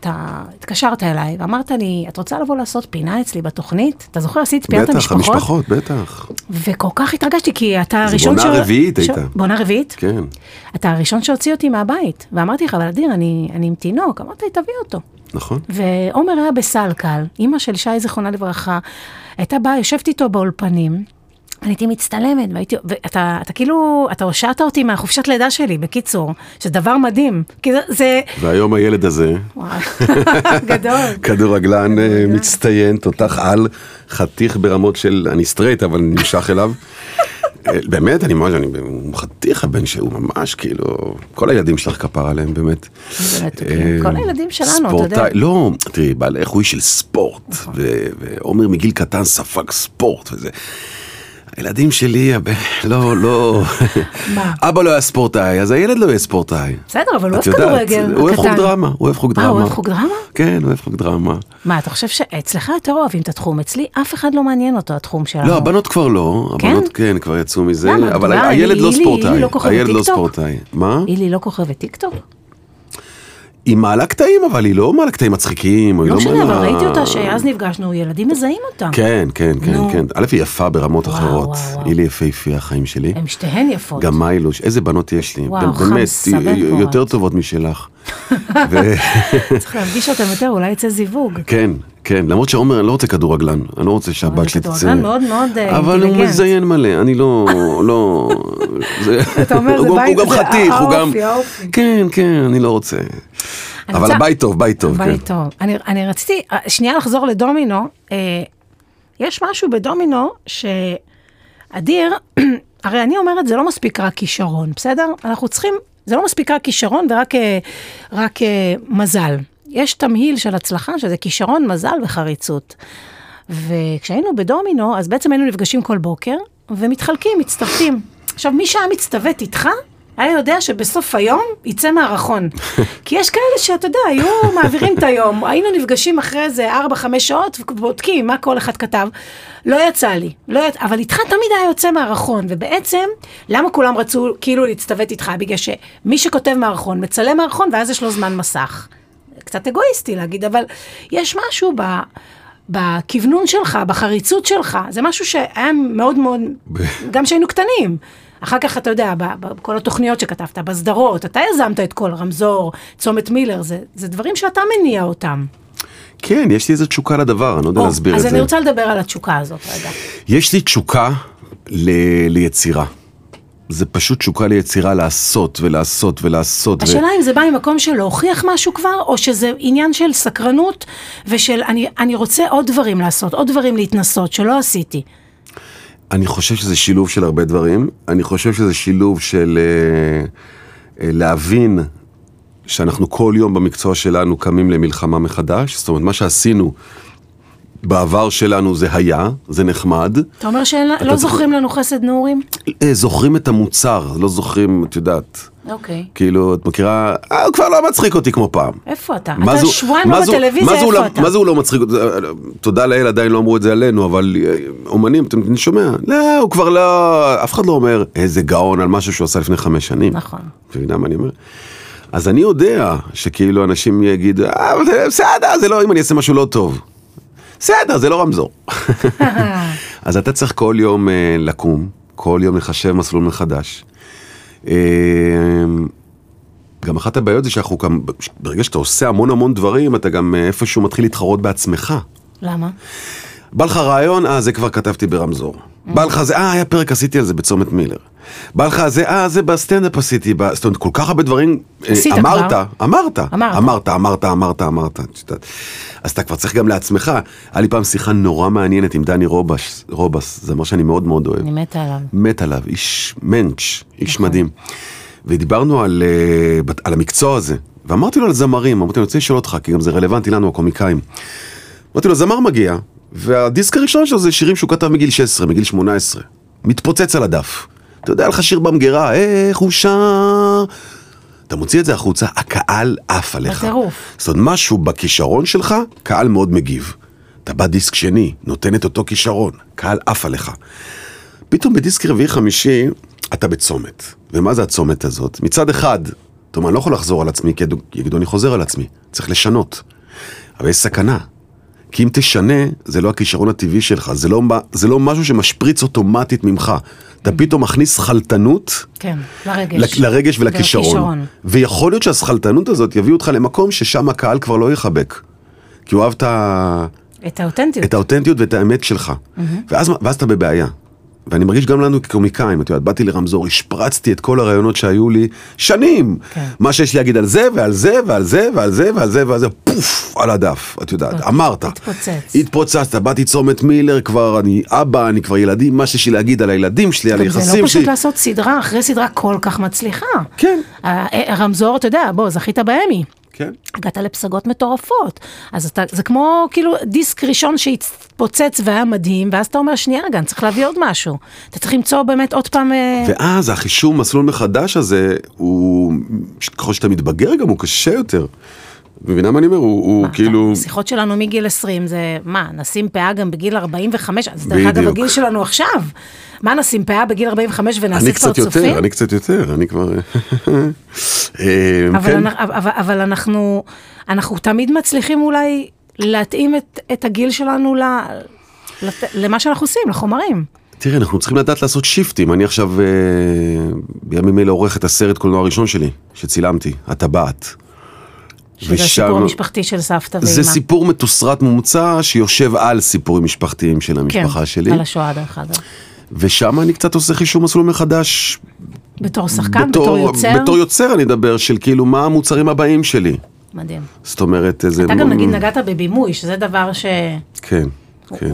Speaker 1: אתה התקשרת אליי ואמרת לי, את רוצה לבוא לעשות פינה אצלי בתוכנית? אתה זוכר, עשית פינת
Speaker 2: בטח,
Speaker 1: המשפחות?
Speaker 2: המשפחות, בטח.
Speaker 1: וכל כך התרגשתי, כי אתה הראשון
Speaker 2: בעונה רביעית הייתה.
Speaker 1: בעונה רביעית?
Speaker 2: כן.
Speaker 1: אתה הראשון שהוציא אותי מהבית. ואמרתי לך, אבל אדיר, אני, אני עם תינוק. אמרת לי, תביא אותו.
Speaker 2: נכון.
Speaker 1: ועומר היה בסלקל, אימא של שי, זיכרונה לברכה, הייתה באה, יושבת איתו באולפנים. אני הייתי מצטלמת, והייתי, ואתה אתה כאילו, אתה הושעת אותי מהחופשת לידה שלי, בקיצור, שזה דבר מדהים. כי זה, זה,
Speaker 2: והיום הילד הזה,
Speaker 1: וואי, גדול.
Speaker 2: כדורגלן אה, מצטיין, תותח על, חתיך ברמות של, אני סטרייט, אבל אני נמשך אליו. אה, באמת, אני ממש, אני, הוא חתיך הבן שהוא ממש, כאילו, כל הילדים שלך כפר עליהם, באמת.
Speaker 1: באמת, כן, כל הילדים שלנו, אתה יודע. נכון.
Speaker 2: אה, ספורטאי, לא, תראי, בעל איך הוא איש של ספורט, ו- ועומר מגיל קטן ספג ספורט וזה. הילדים שלי, הב- לא, לא,
Speaker 1: מה?
Speaker 2: אבא לא היה ספורטאי, אז הילד לא יהיה ספורטאי.
Speaker 1: בסדר, אבל הוא
Speaker 2: את
Speaker 1: אוהב
Speaker 2: יודעת,
Speaker 1: כדורגל.
Speaker 2: הוא אוהב
Speaker 1: הקטן.
Speaker 2: חוג דרמה, הוא אוהב חוג
Speaker 1: אה,
Speaker 2: דרמה.
Speaker 1: הוא אוהב חוג דרמה? אה.
Speaker 2: כן, הוא אוהב חוג דרמה.
Speaker 1: מה, אתה חושב שאצלך יותר אוהבים את התחום? אצלי אף אחד לא מעניין אותו התחום שלנו.
Speaker 2: לא, הבנות כבר לא,
Speaker 1: כן?
Speaker 2: הבנות כן, כבר יצאו מזה,
Speaker 1: למה?
Speaker 2: אבל
Speaker 1: מה,
Speaker 2: הילד
Speaker 1: היא-
Speaker 2: לא
Speaker 1: היא- היא
Speaker 2: ספורטאי,
Speaker 1: לא כוכבת
Speaker 2: הילד לא
Speaker 1: טיקטוק?
Speaker 2: ספורטאי. מה?
Speaker 1: אילי לא כוכבת טיקטוק?
Speaker 2: היא מעלה קטעים, אבל היא לא מעלה קטעים מצחיקים, או היא
Speaker 1: לא
Speaker 2: לא
Speaker 1: משנה, אבל
Speaker 2: מעלה...
Speaker 1: ראיתי אותה שאז נפגשנו, ילדים מזהים אותה.
Speaker 2: כן, כן,
Speaker 1: נו.
Speaker 2: כן, כן. א', היא יפה ברמות
Speaker 1: וואו,
Speaker 2: אחרות.
Speaker 1: וואו, וואו.
Speaker 2: היא לי יפהפייה, החיים שלי.
Speaker 1: הן שתיהן יפות.
Speaker 2: גם מיילוש, איזה בנות יש לי.
Speaker 1: וואו,
Speaker 2: באמת,
Speaker 1: חמסה
Speaker 2: היא- היא-
Speaker 1: בפורט.
Speaker 2: יותר טובות משלך. ו-
Speaker 1: צריך להפגיש אותם יותר, אולי יצא זיווג.
Speaker 2: כן, כן, למרות שעומר, אני לא רוצה כדורגלן, אני לא רוצה
Speaker 1: אבל
Speaker 2: שהבת שלי תצא.
Speaker 1: אה, כדורגלן מאוד מאוד, אה,
Speaker 2: אבל הוא
Speaker 1: אינטליגנט.
Speaker 2: מזיין מלא, אני לא, לא... זה-
Speaker 1: אתה אומר,
Speaker 2: הוא
Speaker 1: זה
Speaker 2: גם-
Speaker 1: בית-
Speaker 2: הוא גם
Speaker 1: זה
Speaker 2: חתיך, הוא גם...
Speaker 1: האופי, האופי.
Speaker 2: כן, כן, אני לא רוצה.
Speaker 1: אני
Speaker 2: אבל
Speaker 1: רוצה-
Speaker 2: הבית טוב, בית טוב, כן.
Speaker 1: בית טוב. אני- אני רציתי, אה, שנייה לחזור לדומינו. אה, יש משהו בדומינו שאדיר, הרי אני אומרת, זה לא מספיק רק כישרון, בסדר? אנחנו צריכים, זה לא מספיק רק כישרון ורק אה, רק, אה, מזל. יש תמהיל של הצלחה, שזה כישרון, מזל וחריצות. וכשהיינו בדומינו, אז בעצם היינו נפגשים כל בוקר, ומתחלקים, מצטוותים. עכשיו, מי שהיה מצטוות איתך, היה יודע שבסוף היום יצא מהרחון. כי יש כאלה שאתה יודע, היו מעבירים את היום, היינו נפגשים אחרי איזה 4-5 שעות, ובודקים מה כל אחד כתב. לא יצא לי, לא יצא, אבל איתך תמיד היה יוצא מהרחון, ובעצם, למה כולם רצו כאילו להצטוות איתך? בגלל שמי שכותב מערכון, מצלם מערכון, ואז יש לו זמן מסך. קצת אגואיסטי להגיד, אבל יש משהו ב... בכוונון שלך, בחריצות שלך, זה משהו שהיה מאוד מאוד, גם כשהיינו קטנים. אחר כך, אתה יודע, ב- ב- בכל התוכניות שכתבת, בסדרות, אתה יזמת את כל רמזור, צומת מילר, זה, זה דברים שאתה מניע אותם.
Speaker 2: כן, יש לי איזו תשוקה לדבר, אני לא יודע
Speaker 1: או,
Speaker 2: להסביר את
Speaker 1: אז
Speaker 2: זה.
Speaker 1: אני רוצה לדבר על התשוקה הזאת רגע.
Speaker 2: יש לי תשוקה ל... ליצירה. זה פשוט תשוקה ליצירה לעשות ולעשות ולעשות. ו-
Speaker 1: השאלה אם זה בא ממקום של להוכיח משהו כבר, או שזה עניין של סקרנות ושל אני, אני רוצה עוד דברים לעשות, עוד דברים להתנסות שלא עשיתי.
Speaker 2: אני חושב שזה שילוב של הרבה דברים. אני חושב שזה שילוב של אה, אה, להבין שאנחנו כל יום במקצוע שלנו קמים למלחמה מחדש. זאת אומרת, מה שעשינו בעבר שלנו זה היה, זה נחמד.
Speaker 1: אתה אומר שלא
Speaker 2: אתה
Speaker 1: לא
Speaker 2: זוכר-
Speaker 1: זוכרים לנו חסד נעורים?
Speaker 2: אה, זוכרים את המוצר, לא זוכרים, את יודעת.
Speaker 1: אוקיי.
Speaker 2: כאילו, את מכירה, אה, הוא כבר לא מצחיק אותי כמו פעם.
Speaker 1: איפה אתה?
Speaker 2: מה
Speaker 1: אתה
Speaker 2: זה-
Speaker 1: שבועיים
Speaker 2: מה
Speaker 1: לא
Speaker 2: זה-
Speaker 1: בטלוויזיה,
Speaker 2: מה זה הוא
Speaker 1: איפה
Speaker 2: לא-
Speaker 1: אתה?
Speaker 2: מה זה הוא לא מצחיק? אותי? תודה לאל, עדיין לא אמרו את זה עלינו, אבל אה, אומנים, אתם- אני שומע, לא, הוא כבר לא, אף אחד לא אומר איזה גאון על משהו שהוא עשה לפני חמש שנים.
Speaker 1: נכון.
Speaker 2: אתה יודע מה אני אומר? אז אני יודע שכאילו אנשים יגידו, "אה, אבל זה בסדר, זה לא, אם אני אעשה משהו לא טוב. בסדר, זה לא רמזור. אז אתה צריך כל יום אה, לקום, כל יום לחשב מסלול מחדש. אה, גם אחת הבעיות זה שאנחנו גם, ברגע שאתה עושה המון המון דברים, אתה גם אה, איפשהו מתחיל להתחרות בעצמך.
Speaker 1: למה?
Speaker 2: בא לך רעיון, אה, זה כבר כתבתי ברמזור. בא לך זה, אה, היה פרק עשיתי על זה בצומת מילר. בא לך זה, אה, זה בסטנדאפ עשיתי, ב- זאת אומרת, כל כך הרבה דברים, אה,
Speaker 1: עשית
Speaker 2: אמרת,
Speaker 1: כבר. אמרת.
Speaker 2: אמרת, אמרת, אמרת, אמרת, אמרת, את יודעת. אז אתה כבר צריך גם לעצמך. היה לי פעם שיחה נורא מעניינת עם דני רובס, רובס, זמר שאני מאוד מאוד אוהב.
Speaker 1: אני מתה עליו.
Speaker 2: מת עליו, איש מענץ', איש
Speaker 1: נכון.
Speaker 2: מדהים. ודיברנו על, אה, בת- על המקצוע הזה, ואמרתי לו על זמרים, אמרתי לו, אני רוצה לשאול אותך, כי גם זה רלוונטי לנו, הקומיקאים. אמרתי לו, זמר מגיע, והדיסק הראשון שלו זה שירים שהוא כתב מגיל 16, מגיל 18. מתפוצץ על הדף. אתה יודע, היה לך שיר במגירה, איך הוא שר... אתה מוציא את זה החוצה, הקהל עף עליך.
Speaker 1: בטירוף.
Speaker 2: זאת אומרת, משהו בכישרון שלך, קהל מאוד מגיב. אתה בא דיסק שני, נותן את אותו כישרון, קהל עף עליך. פתאום בדיסק רביעי-חמישי, אתה בצומת. ומה זה הצומת הזאת? מצד אחד, אתה אומר, אני לא יכול לחזור על עצמי, כי יגידו, אני חוזר על עצמי, צריך לשנות. אבל יש סכנה. כי אם תשנה, זה לא הכישרון הטבעי שלך, זה לא, מה- זה לא משהו שמשפריץ אוטומטית ממך. אתה פתאום מכניס חלטנות
Speaker 1: כן, לרגש.
Speaker 2: ל- לרגש ולכישרון.
Speaker 1: ולכישרון.
Speaker 2: ויכול להיות שהסכלתנות הזאת יביאו אותך למקום ששם הקהל כבר לא יחבק. כי הוא אהב את ה-
Speaker 1: את האותנטיות.
Speaker 2: את האותנטיות ואת האמת שלך.
Speaker 1: Mm-hmm.
Speaker 2: ואז, מה- ואז אתה בבעיה. ואני מרגיש גם לנו כקומיקאים, את יודעת, באתי לרמזור, השפרצתי את כל הרעיונות שהיו לי שנים.
Speaker 1: כן.
Speaker 2: מה שיש לי להגיד על זה, ועל זה, ועל זה, ועל זה, ועל זה, ועל זה, פוף, על הדף, את יודעת, אמרת.
Speaker 1: התפוצץ.
Speaker 2: התפוצצת, באתי צומת מילר, כבר אני אבא, אני כבר ילדים, מה שיש לי להגיד על הילדים שלי, על
Speaker 1: גם
Speaker 2: היחסים שלי.
Speaker 1: זה לא פשוט לעשות סדרה אחרי סדרה כל כך מצליחה.
Speaker 2: כן.
Speaker 1: ה- הרמזור, אתה יודע, בוא, זכית באמי.
Speaker 2: כן.
Speaker 1: הגעת לפסגות מטורפות. אז אתה, זה כמו כאילו דיסק ראשון שהתפוצץ והיה מדהים, ואז אתה אומר, שנייה רגע, אני צריך להביא עוד משהו. אתה צריך למצוא באמת עוד פעם... אה,
Speaker 2: ואז החישוב מסלול מחדש הזה, הוא, ככל שאתה מתבגר גם הוא קשה יותר. מבינה מה אני אומר? הוא, הוא
Speaker 1: אתה-
Speaker 2: כאילו...
Speaker 1: השיחות שלנו מגיל 20 זה, מה, נשים פאה גם בגיל 45? אז דרך אגב,
Speaker 2: בדיוק.
Speaker 1: הגיל שלנו עכשיו. מה, נשים פאה בגיל 45
Speaker 2: אני
Speaker 1: ונעסיק
Speaker 2: קצת
Speaker 1: פרצופים?
Speaker 2: יותר, אני קצת יותר, אני כבר... אה,
Speaker 1: אבל,
Speaker 2: כן.
Speaker 1: כן. אנחנו, אבל, אבל אנחנו, אנחנו תמיד מצליחים אולי להתאים את, את הגיל שלנו ל, לת, למה שאנחנו עושים, לחומרים.
Speaker 2: תראה, אנחנו צריכים לדעת לעשות שיפטים. אני עכשיו אה, בימים אלה עורך את הסרט קולנוע הראשון שלי, שצילמתי, הטבעת.
Speaker 1: שזה הסיפור המשפחתי של סבתא ואימא.
Speaker 2: זה סיפור מתוסרט מומצא שיושב על סיפורים משפחתיים של המשפחה
Speaker 1: כן,
Speaker 2: שלי,
Speaker 1: על השואה דרך אגב.
Speaker 2: ושם אני קצת עושה חישוב מסלול מחדש
Speaker 1: בתור שחקן, בתור, יוצר.
Speaker 2: בתור יוצר אני אדבר של כאילו מה המוצרים הבאים שלי.
Speaker 1: מדהים.
Speaker 2: זאת אומרת איזה...
Speaker 1: אתה גם נגיד נגעת בבימוי, שזה דבר ש...
Speaker 2: כן, כן.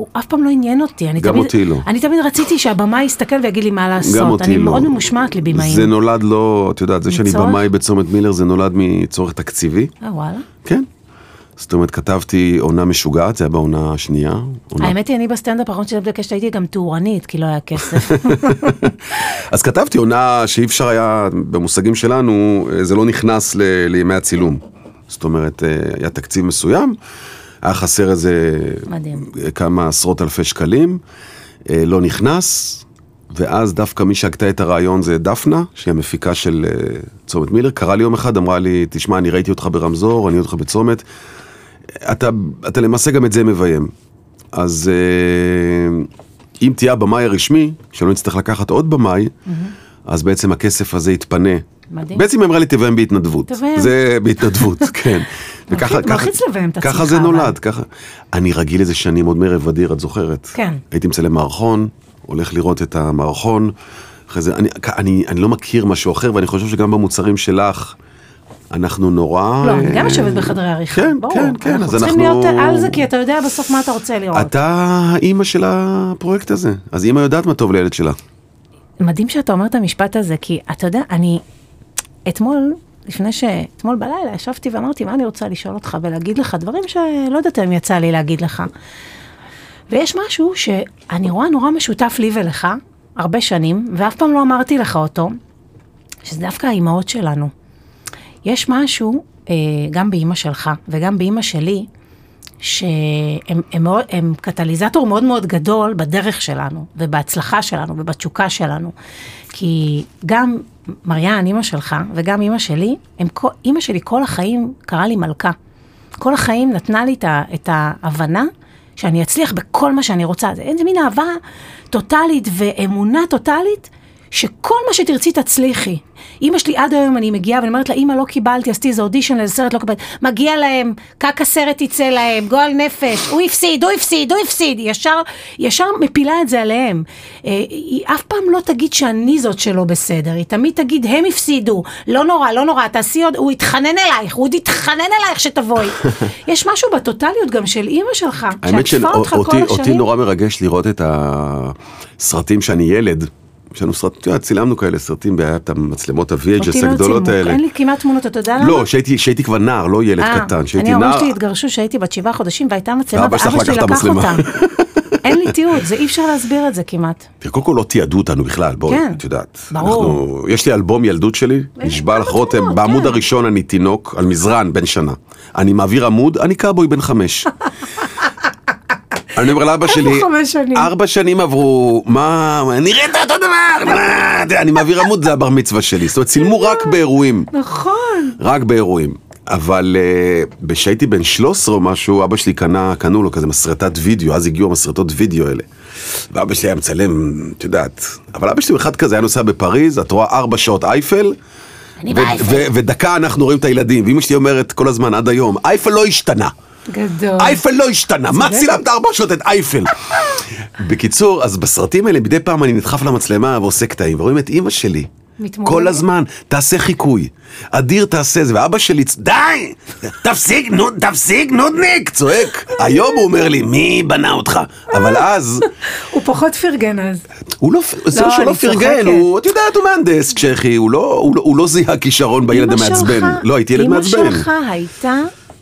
Speaker 1: הוא אף פעם לא עניין אותי. אני
Speaker 2: גם
Speaker 1: תמיד,
Speaker 2: אותי לא.
Speaker 1: אני תמיד רציתי שהבמאי יסתכל ויגיד לי מה לעשות.
Speaker 2: גם אותי
Speaker 1: אני
Speaker 2: לא.
Speaker 1: מאוד ממושמעת לבימאים.
Speaker 2: זה נולד לא, את יודעת, זה שאני
Speaker 1: מצורך?
Speaker 2: במאי בצומת מילר זה נולד מצורך תקציבי,
Speaker 1: אה, וואלה.
Speaker 2: כן. זאת אומרת כתבתי עונה משוגעת, זה היה בעונה השנייה. עונה-
Speaker 1: האמת היא, אני בסטנדאפ האחרון שלי בקשת הייתי גם טורנית, כי לא היה כסף.
Speaker 2: אז כתבתי עונה שאי אפשר היה, במושגים שלנו, אה, זה לא נכנס ל- לימי הצילום. זאת אומרת, אה, היה תקציב מסוים, היה חסר איזה
Speaker 1: מדהים.
Speaker 2: כמה עשרות אלפי שקלים, אה, לא נכנס, ואז דווקא מי שהגתה את הרעיון זה דפנה, שהיא המפיקה של אה, צומת מילר, קרא לי יום אחד, אמרה לי, תשמע, אני ראיתי אותך ברמזור, אני רואה אותך בצומת, אתה, אתה למעשה גם את זה מביים. אז אה, אם תהיה הבמאי הרשמי, שלא נצטרך לקחת עוד במאי, אז בעצם הכסף הזה יתפנה.
Speaker 1: Mm-hmm. מדהים.
Speaker 2: בעצם היא אמרה לי, תביים בהתנדבות.
Speaker 1: תביים.
Speaker 2: זה בהתנדבות, כן. וככה- ככה-
Speaker 1: מלחיץ לביים את
Speaker 2: ככה
Speaker 1: עצמך,
Speaker 2: זה
Speaker 1: אבל.
Speaker 2: נולד, ככה. אני רגיל לזה שנים, עוד מערב אדיר, את זוכרת?
Speaker 1: כן.
Speaker 2: הייתי מצלם מערכון, הולך לראות את המערכון, אחרי זה, אני, אני, אני לא מכיר משהו אחר, ואני חושב שגם במוצרים שלך, אנחנו נורא...
Speaker 1: לא, אני גם
Speaker 2: אה,
Speaker 1: יושבת בחדרי עריכה,
Speaker 2: כן,
Speaker 1: ברור.
Speaker 2: כן, כן, אז
Speaker 1: אנחנו צריכים
Speaker 2: אנחנו-
Speaker 1: להיות אה, על זה, כי אתה יודע בסוף מה אתה רוצה לראות.
Speaker 2: אתה אימא של הפרויקט הזה, אז אימא יודעת מה טוב לילד שלה.
Speaker 1: מדהים שאתה אומר את המשפט הזה, כי אתה יודע, אני אתמול, לפני ש... אתמול בלילה ישבתי ואמרתי, מה אני רוצה לשאול אותך ולהגיד לך דברים שלא יודעת אם יצא לי להגיד לך. ויש משהו שאני רואה נורא משותף לי ולך, הרבה שנים, ואף פעם לא אמרתי לך אותו, שזה דווקא האימהות שלנו. יש משהו, אה, גם באימא שלך וגם באימא שלי, שהם הם, מאוד- הם קטליזטור מאוד מאוד גדול בדרך שלנו, ובהצלחה שלנו, ובתשוקה שלנו. כי גם מריאן, אימא שלך, וגם אימא שלי, הם, כל- אימא שלי כל החיים קראה לי מלכה. כל החיים נתנה לי את, ה, את ההבנה שאני אצליח בכל מה שאני רוצה. זה איזה מין אהבה טוטאלית ואמונה טוטאלית. שכל מה שתרצי תצליחי. אימא שלי עד היום אני מגיעה ואני אומרת לה, אימא לא קיבלתי, עשיתי איזה אודישן לאיזה סרט, לא קיבלתי, מגיע להם, קק הסרט יצא להם, אה, גועל נפש, הוא הפסיד, הוא הפסיד, הוא הפסיד, ישר, ישר מפילה את זה עליהם. אה, היא אף פעם לא תגיד שאני זאת שלא בסדר, היא תמיד תגיד, הם הפסידו, לא נורא, לא נורא, תעשי עוד, הוא יתחנן אלייך, הוא עוד יתחנן אלייך שתבואי. יש משהו בטוטליות גם של אימא שלך,
Speaker 2: האמת
Speaker 1: שעטפה אותך כל
Speaker 2: שאותי
Speaker 1: השנים.
Speaker 2: אותי נורא מרגש לראות את הסרטים שאני ילד. יש לנו סרט, אתה יודע, צילמנו כאלה סרטים, והיה את המצלמות
Speaker 1: אותי
Speaker 2: ה-VHS
Speaker 1: לא
Speaker 2: הגדולות
Speaker 1: צילמו,
Speaker 2: האלה.
Speaker 1: אין לי כמעט תמונות, אתה יודע למה?
Speaker 2: לא, שהייתי שהייתי כבר נער, לא ילד
Speaker 1: אה,
Speaker 2: קטן, שהייתי
Speaker 1: אני,
Speaker 2: נער.
Speaker 1: ההורים שלי התגרשו כשהייתי בת שבעה חודשים והייתה מצלמה,
Speaker 2: ואבא שלך
Speaker 1: ואבא שלי
Speaker 2: לקח את
Speaker 1: לקח
Speaker 2: המצלמה.
Speaker 1: אותה. אין לי תיעוד, זה אי אפשר להסביר את זה כמעט.
Speaker 2: תראה, קודם כל לא תיעדו אותנו בכלל, בואי,
Speaker 1: כן.
Speaker 2: את יודעת.
Speaker 1: ברור.
Speaker 2: אנחנו- יש לי אלבום ילדות שלי, נשבע
Speaker 1: כמה
Speaker 2: לך רותם,
Speaker 1: תמונות,
Speaker 2: בעמוד
Speaker 1: כן.
Speaker 2: הראשון אני תינוק, על מזרן, בן שנה. אני מעביר עמוד, אני קאבוי בן חמש. אני אומר לאבא שלי,
Speaker 1: חמש שנים?
Speaker 2: ארבע שנים עברו, מה, נראית אותו דבר, מה, אתה יודע, אני מעביר עמוד, זה הבר מצווה שלי. זאת אומרת, צילמו רק באירועים.
Speaker 1: נכון.
Speaker 2: רק באירועים. אבל אה, כשהייתי בן 13 או משהו, אבא שלי קנה, קנו לו כזה מסרטת וידאו, אז הגיעו המסרטות וידאו האלה. ואבא שלי היה מצלם, את יודעת. אבל אבא שלי הוא אחד כזה היה נוסע בפריז, את רואה ארבע שעות אייפל.
Speaker 1: אני
Speaker 2: ו-
Speaker 1: באייפל.
Speaker 2: ו- ודקה אנחנו רואים את הילדים, ואמא שלי אומרת כל הזמן, עד היום, אייפל לא השתנה.
Speaker 1: גדול.
Speaker 2: אייפל לא השתנה, מה
Speaker 1: צודקת.
Speaker 2: צילמת ארבע שעות את אייפל? בקיצור, אז בסרטים האלה מדי פעם אני נדחף למצלמה ועושה קטעים, ורואים את אימא שלי.
Speaker 1: מתמודדת.
Speaker 2: כל הזמן, תעשה חיקוי. אדיר תעשה זה, ואבא שלי, צ- די! תפסיק, נו, תפסיק, נודניק! צועק. היום הוא אומר לי, מי בנה אותך? אבל אז,
Speaker 1: הוא פחות פרגן אז.
Speaker 2: הוא לא, פ- זה
Speaker 1: לא,
Speaker 2: לא שהוא לא
Speaker 1: אני צוחקת.
Speaker 2: פרגן, הוא, את יודעת, הוא מהנדס צ'כי, הוא לא, הוא לא- הוא לא זיהה כישרון בילד
Speaker 1: אמא שלך-
Speaker 2: המעצבן. לא, הייתי ילד מעצבן.
Speaker 1: אמא שלך הייתה...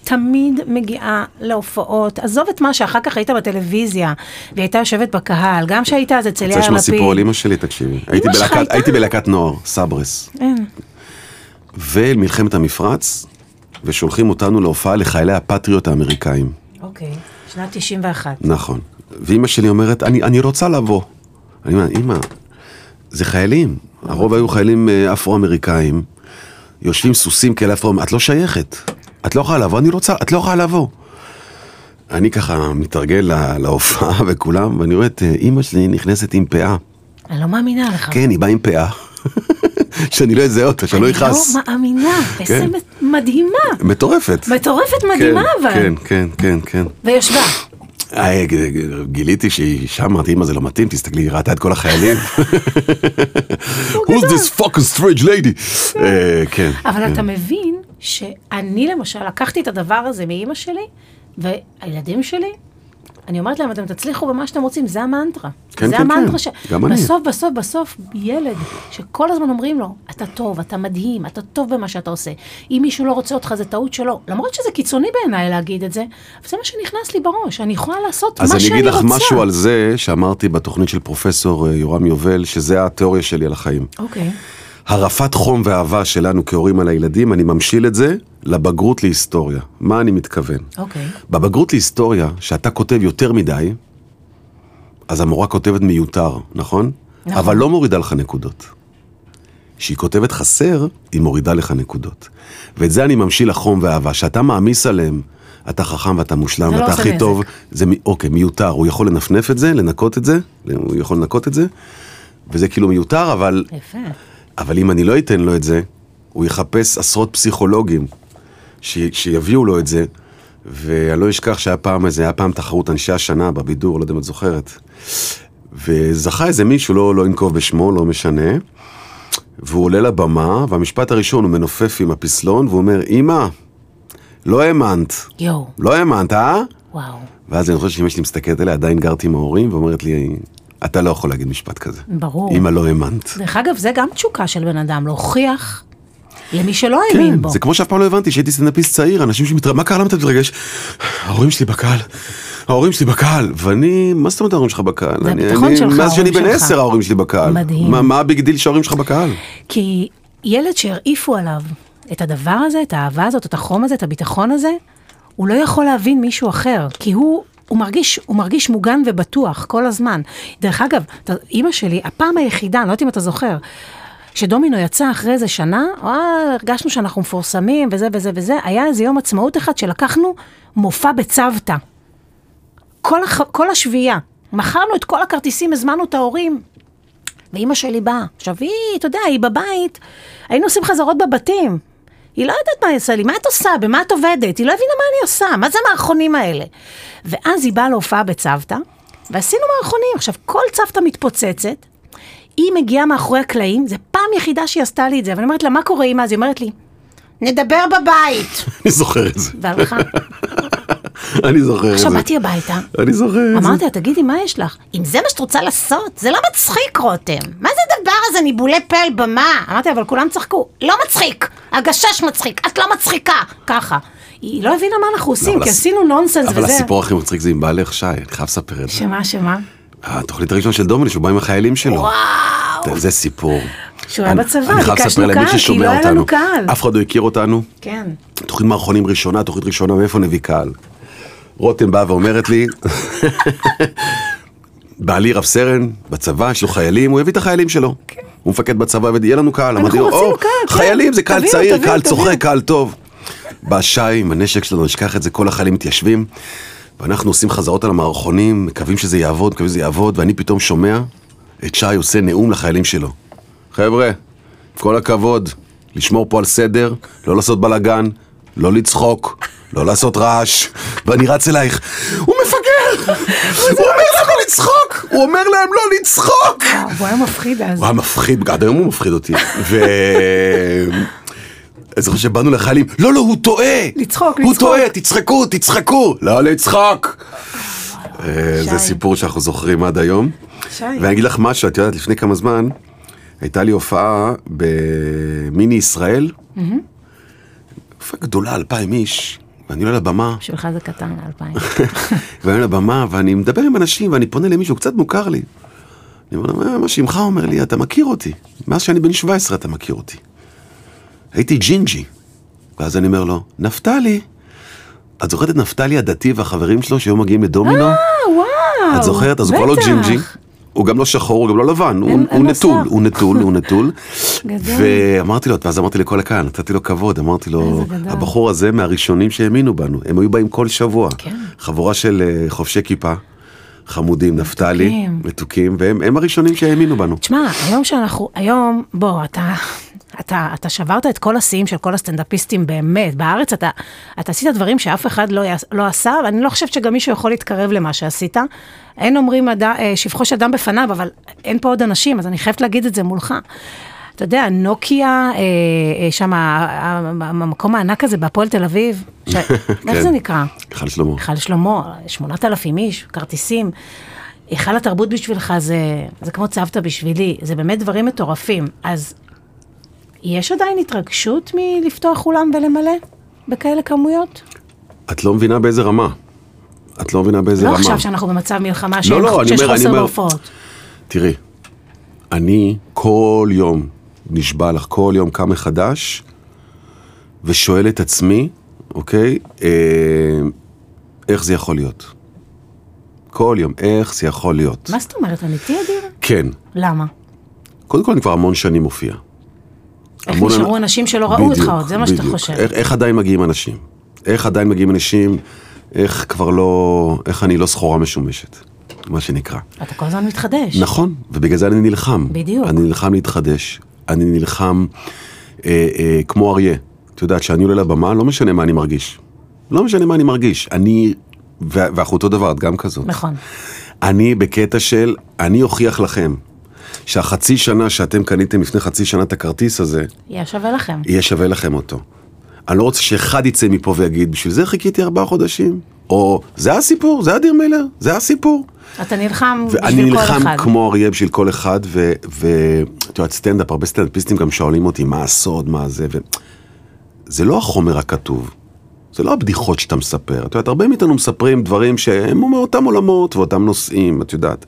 Speaker 1: תמיד מגיעה להופעות, עזוב את מה שאחר כך היית בטלוויזיה, והיא הייתה יושבת בקהל, גם שהיית אז אצל
Speaker 2: רוצה
Speaker 1: יאיר
Speaker 2: לשמוע
Speaker 1: לפיד.
Speaker 2: סיפור על אמא שלי, תקשיבי. הייתי
Speaker 1: שלך
Speaker 2: בלהקת-
Speaker 1: הייתה?
Speaker 2: הייתי בלהקת נוער, סברס.
Speaker 1: אין.
Speaker 2: ומלחמת המפרץ, ושולחים אותנו להופעה לחיילי הפטריוט האמריקאים.
Speaker 1: אוקיי, שנת 91.
Speaker 2: נכון. ואימא שלי אומרת, אני, אני רוצה לבוא. אני אומר, אימא, זה חיילים. הרוב היו חיילים אה, אפרו-אמריקאים, יושבים סוסים כאלה אפרו את לא שייכת. את לא יכולה לבוא, אני רוצה, את לא יכולה לבוא. אני ככה מתרגל לה, להופעה וכולם, ואני רואה את אה, אימא שלי נכנסת עם פאה.
Speaker 1: אני לא מאמינה לך.
Speaker 2: כן, היא באה עם פאה. שאני לא אזהה אותה, שאני לא אכעס.
Speaker 1: אני לא מאמינה, איזה
Speaker 2: כן.
Speaker 1: מדהימה.
Speaker 2: מטורפת.
Speaker 1: מטורפת מדהימה
Speaker 2: כן,
Speaker 1: אבל.
Speaker 2: כן, כן, כן, כן.
Speaker 1: וישבה.
Speaker 2: אה, ג- ג- גיליתי שהיא שם, אמרתי, אמא זה לא מתאים, תסתכלי, היא ראתה את כל החיילים. Who's this fucking strange lady? אה, כן.
Speaker 1: אבל אתה מבין שאני למשל לקחתי את הדבר הזה מאימא שלי, והילדים שלי, אני אומרת להם, אתם תצליחו במה שאתם רוצים, זה המנטרה.
Speaker 2: כן,
Speaker 1: זה
Speaker 2: כן,
Speaker 1: המנטרה
Speaker 2: כן.
Speaker 1: ש...
Speaker 2: גם אני.
Speaker 1: בסוף, בסוף, בסוף, ילד, שכל הזמן אומרים לו, אתה טוב, אתה מדהים, אתה טוב במה שאתה עושה. אם מישהו לא רוצה אותך, זה טעות שלו. למרות שזה קיצוני בעיניי להגיד את זה, אבל זה מה שנכנס לי בראש, אני יכולה לעשות מה
Speaker 2: אז
Speaker 1: שאני
Speaker 2: אני
Speaker 1: רוצה.
Speaker 2: אגיד לך משהו על זה שאמרתי בתוכנית של פרופסור אה, יורם יובל, שזה התיאוריה שלי על החיים.
Speaker 1: אוקיי.
Speaker 2: הרעפת חום ואהבה שלנו כהורים על הילדים, אני ממשיל את זה לבגרות להיסטוריה. מה אני מתכוון?
Speaker 1: אוקיי.
Speaker 2: בבגרות להיסטוריה, שאתה כותב יותר מדי, אז המורה כותבת מיותר, נכון?
Speaker 1: נכון.
Speaker 2: אבל לא מורידה לך נקודות. כשהיא כותבת חסר, היא מורידה לך נקודות. ואת זה אני ממשיל לחום ואהבה, שאתה מעמיס עליהם, אתה חכם ואתה מושלם
Speaker 1: זה לא
Speaker 2: ואתה
Speaker 1: עושה
Speaker 2: הכי
Speaker 1: נזק.
Speaker 2: טוב, זה מ- אוקיי, מיותר, הוא יכול לנפנף את זה, לנקות את זה, הוא יכול לנקות את זה, וזה כאילו מיותר, אבל
Speaker 1: יפה.
Speaker 2: אבל אם אני לא אתן לו את זה, הוא יחפש עשרות פסיכולוגים ש... שיביאו לו את זה, ואני לא אשכח שהיה פעם איזה, היה פעם תחרות אנשי השנה בבידור, לא יודע אם את זוכרת. וזכה איזה מישהו, לא, לא אנקוב בשמו, לא משנה, והוא עולה לבמה, והמשפט הראשון הוא מנופף עם הפסלון, והוא אומר, אמא, לא האמנת,
Speaker 1: יואו,
Speaker 2: לא האמנת, אה?
Speaker 1: וואו,
Speaker 2: ואז אני חושב שאמא שלי מסתכלת עליה, עדיין גרתי עם ההורים, ואומרת לי, אתה לא יכול להגיד משפט כזה.
Speaker 1: ברור.
Speaker 2: אמא, לא האמנת.
Speaker 1: דרך אגב, זה גם תשוקה של בן אדם, להוכיח למי שלא האמין
Speaker 2: כן,
Speaker 1: בו.
Speaker 2: זה כמו שאף פעם לא הבנתי שהייתי סטנדאפיסט צעיר, אנשים שמתרגש, מה קרה? למה אתה מתרגש? ההורים שלי בקהל, ההורים שלי בקהל, ואני, מה זאת אומרת ההורים שלך בקהל?
Speaker 1: זה
Speaker 2: אני-
Speaker 1: הביטחון
Speaker 2: אני-
Speaker 1: שלך,
Speaker 2: מאז שאני
Speaker 1: ההורים
Speaker 2: בן
Speaker 1: שלך.
Speaker 2: עשר ההורים שלי בקהל.
Speaker 1: מדהים.
Speaker 2: מה- מה הביג דיל שההורים שלך בקהל?
Speaker 1: כי ילד שהרעיפו עליו את הדבר הזה, את האהבה הזאת, את החום הזה, את הביטחון הזה, הוא לא יכול להבין מישהו אחר, כי הוא... הוא מרגיש, הוא מרגיש מוגן ובטוח כל הזמן. דרך אגב, אתה- אימא שלי, הפעם היחידה, אני לא יודעת אם אתה זוכר, כשדומינו יצא אחרי איזה שנה, אה, הרגשנו שאנחנו מפורסמים וזה וזה וזה, היה איזה יום עצמאות אחד שלקחנו מופע בצוותא. כל, הח... כל השביעייה. מכרנו את כל הכרטיסים, הזמנו את ההורים. ואימא שלי באה. עכשיו היא, אתה יודע, היא בבית, היינו עושים חזרות בבתים. היא לא יודעת מה היא עושה לי, מה את עושה? במה את עובדת? היא לא הבינה מה אני עושה, מה זה המערכונים האלה? ואז היא באה להופעה בצוותא, ועשינו מערכונים. עכשיו, כל צוותא מתפוצצת, היא מגיעה מאחורי הקלעים, זו פעם יחידה שהיא עשתה לי את זה, ואני אומרת לה, מה קורה אימא? אז היא אומרת לי, נדבר בבית!
Speaker 2: אני זוכר את זה.
Speaker 1: והלכה.
Speaker 2: אני זוכר את זה.
Speaker 1: עכשיו באתי הביתה,
Speaker 2: אני זוכר את זה.
Speaker 1: אמרתי לה, תגידי, מה יש לך? אם זה מה שאת רוצה לעשות, זה לא מצחיק, רותם. מה זה הדבר הזה, ניבולי פה על במה? אמרתי, אבל כולם צחקו. לא מצחיק! הגשש מצחיק, את לא מצחיקה! ככה. היא לא הבינה מה אנחנו עושים,
Speaker 2: אבל
Speaker 1: כי
Speaker 2: הס-
Speaker 1: עשינו נונסנס
Speaker 2: אבל
Speaker 1: וזה...
Speaker 2: הסיפור הכי מצחיק זה עם בעלך, שי, אני חייב לספר את זה.
Speaker 1: שמה, שמה?
Speaker 2: התוכנית הראשונה של דומיני, שהוא בא עם החיילים שלו.
Speaker 1: וואו!
Speaker 2: זה סיפור.
Speaker 1: שהוא היה
Speaker 2: אני-
Speaker 1: בצבא,
Speaker 2: אני חייב
Speaker 1: ביקשנו
Speaker 2: לספר
Speaker 1: קהל,
Speaker 2: למי
Speaker 1: כי
Speaker 2: ששומע
Speaker 1: לא היה לנו
Speaker 2: אותנו.
Speaker 1: קהל.
Speaker 2: אף אחד לא הכיר אותנו.
Speaker 1: כן.
Speaker 2: תוכנית מערכונים ראשונה, תוכנית ראשונה, מאיפה נביא קהל? רותם באה ואומרת לי, בעלי רב סרן, בצבא, יש לו חיילים, הוא יביא את החיילים שלו. הוא מפקד בצבא ויהיה לנו קהל. אמרתי לו,
Speaker 1: רצינו
Speaker 2: "או,
Speaker 1: כן. קהל, כן.
Speaker 2: חיילים זה קהל
Speaker 1: תביאו,
Speaker 2: צעיר,
Speaker 1: תביאו,
Speaker 2: קהל
Speaker 1: תביאו."
Speaker 2: צוחק, קהל טוב. בא שי עם הנשק שלנו, נשכח את זה, כל החיילים מתיישבים, ואנחנו עושים חזרות על המערכונים, מקווים שזה יעבוד, מקווים שזה יעבוד, ואני פתאום שומע את שי עושה נאום לחיילים שלו. חבר'ה, כל הכבוד, לשמור פה על סדר, לא לעשות בלאגן, לא לצחוק, לא לעשות רעש, ואני רץ אלייך, הוא מפגר! הוא אומר לנו לצחוק! הוא אומר להם לא לצחוק!
Speaker 1: וואו, הוא היה מפחיד אז.
Speaker 2: הוא היה מפחיד, עד היום הוא מפחיד אותי. ו... אני זוכר שבאנו לחיילים, לא, לא, הוא טועה!
Speaker 1: לצחוק,
Speaker 2: הוא
Speaker 1: לצחוק.
Speaker 2: טועה, תצחקו, תצחקו! לא לצחוק! אה,
Speaker 1: שי.
Speaker 2: זה סיפור שאנחנו זוכרים עד היום.
Speaker 1: שי.
Speaker 2: ואני אגיד לך משהו, את יודעת, לפני כמה זמן, הייתה לי הופעה במיני ישראל, הופעה גדולה, אלפיים איש, ואני עולה לבמה,
Speaker 1: בשבילך זה קטן, אלפיים. אה,
Speaker 2: ואני על הבמה, ואני מדבר עם אנשים, ואני פונה למישהו, קצת מוכר לי. אני אומר לו, "מה- מה שמך אומר לי, אתה מכיר אותי. מאז שאני בן 17 אתה מכיר אותי. הייתי ג'ינג'י. ואז אני אומר לו, נפתלי. את זוכרת את נפתלי הדתי והחברים שלו שהיו מגיעים לדומינו?
Speaker 1: אה, וואו!
Speaker 2: את זוכרת? אז הוא כבר לא
Speaker 1: בטח.
Speaker 2: ג'ינג'י. הוא גם לא שחור, הוא גם לא לבן, הוא-
Speaker 1: אין-
Speaker 2: הוא
Speaker 1: אין לו
Speaker 2: נטול,
Speaker 1: שיער.
Speaker 2: הוא נטול, הוא נטול.
Speaker 1: גדול.
Speaker 2: ואמרתי לו, ואז אמרתי לכל הקהל, נתתי לו כבוד, אמרתי לו,
Speaker 1: איזה גדול.
Speaker 2: הבחור הזה מהראשונים שהאמינו בנו, הם היו באים כל שבוע.
Speaker 1: כן.
Speaker 2: חבורה של אה, חובשי כיפה, חמודים, נפתלי,
Speaker 1: מתוקים.
Speaker 2: מתוקים, והם הם הראשונים שהאמינו בנו.
Speaker 1: תשמע, היום שאנחנו, היום, בוא, אתה, אתה, אתה שברת את כל השיאים של כל הסטנדאפיסטים באמת. בארץ אתה, אתה עשית דברים שאף אחד לא, יעש- לא עשה, ואני לא חושבת שגם מישהו יכול להתקרב למה שעשית. אין אומרים אד, שבחוש אדם בפניו, אבל אין פה עוד אנשים, אז אני חייבת להגיד את זה מולך. אתה יודע, נוקיה, אה, אה, שם, ה- ה- המקום הענק הזה בהפועל תל אביב, ש... איך
Speaker 2: כן.
Speaker 1: זה נקרא?
Speaker 2: חל שלמה.
Speaker 1: היכל שלמה, 8,000 איש, כרטיסים. היכל התרבות בשבילך זה, זה כמו צוותא בשבילי, זה באמת דברים מטורפים. אז יש עדיין התרגשות מלפתוח אולם ולמלא בכאלה כמויות?
Speaker 2: את לא מבינה באיזה רמה. את לא מבינה באיזה
Speaker 1: לא
Speaker 2: רמה.
Speaker 1: עכשיו שאנחנו במצב מלחמה שיש
Speaker 2: לא, אני
Speaker 1: שיש
Speaker 2: אומר- אני
Speaker 1: חוסר
Speaker 2: אומר-
Speaker 1: בהופעות.
Speaker 2: תראי, אני כל יום, נשבע לך, כל יום קם מחדש ושואל את עצמי, אוקיי, אה, איך זה יכול להיות? כל יום, איך זה יכול להיות?
Speaker 1: מה זאת אומרת, אמיתי אדיר?
Speaker 2: כן,
Speaker 1: למה?
Speaker 2: קודם כל אני כבר המון שנים מופיע.
Speaker 1: איך
Speaker 2: המון
Speaker 1: נשארו
Speaker 2: אנ-
Speaker 1: אנשים שלא ראו אותך
Speaker 2: בדיוק,
Speaker 1: עוד, זה מה שאתה
Speaker 2: בדיוק.
Speaker 1: חושב.
Speaker 2: איך, איך עדיין מגיעים אנשים? איך עדיין מגיעים אנשים? איך כבר לא, איך אני לא סחורה משומשת, מה שנקרא.
Speaker 1: אתה כל הזמן מתחדש.
Speaker 2: נכון, ובגלל זה אני נלחם.
Speaker 1: בדיוק.
Speaker 2: אני נלחם להתחדש, אני נלחם אה, אה, כמו אריה. את יודעת, כשאני עולה לבמה, לא משנה מה אני מרגיש. לא משנה מה אני מרגיש. אני, ו- ואנחנו אותו דבר, את גם כזאת.
Speaker 1: נכון.
Speaker 2: אני בקטע של, אני אוכיח לכם שהחצי שנה שאתם קניתם לפני חצי שנה את הכרטיס הזה,
Speaker 1: יהיה שווה לכם.
Speaker 2: יהיה שווה לכם אותו. אני לא רוצה שאחד יצא מפה ויגיד, בשביל זה חיכיתי ארבעה חודשים. או, זה הסיפור, זה אדיר מילר, זה הסיפור.
Speaker 1: אתה נלחם
Speaker 2: ואני
Speaker 1: בשביל כל אחד.
Speaker 2: נלחם כמו אריה בשביל כל אחד, ואת יודעת, סטנדאפ, הרבה סטנדאפיסטים גם שואלים אותי, מה הסוד, מה זה, ו... זה לא החומר הכתוב, זה לא הבדיחות שאתה מספר. את יודעת, הרבה מאיתנו מספרים דברים שהם מאותם עולמות ואותם נושאים, את יודעת.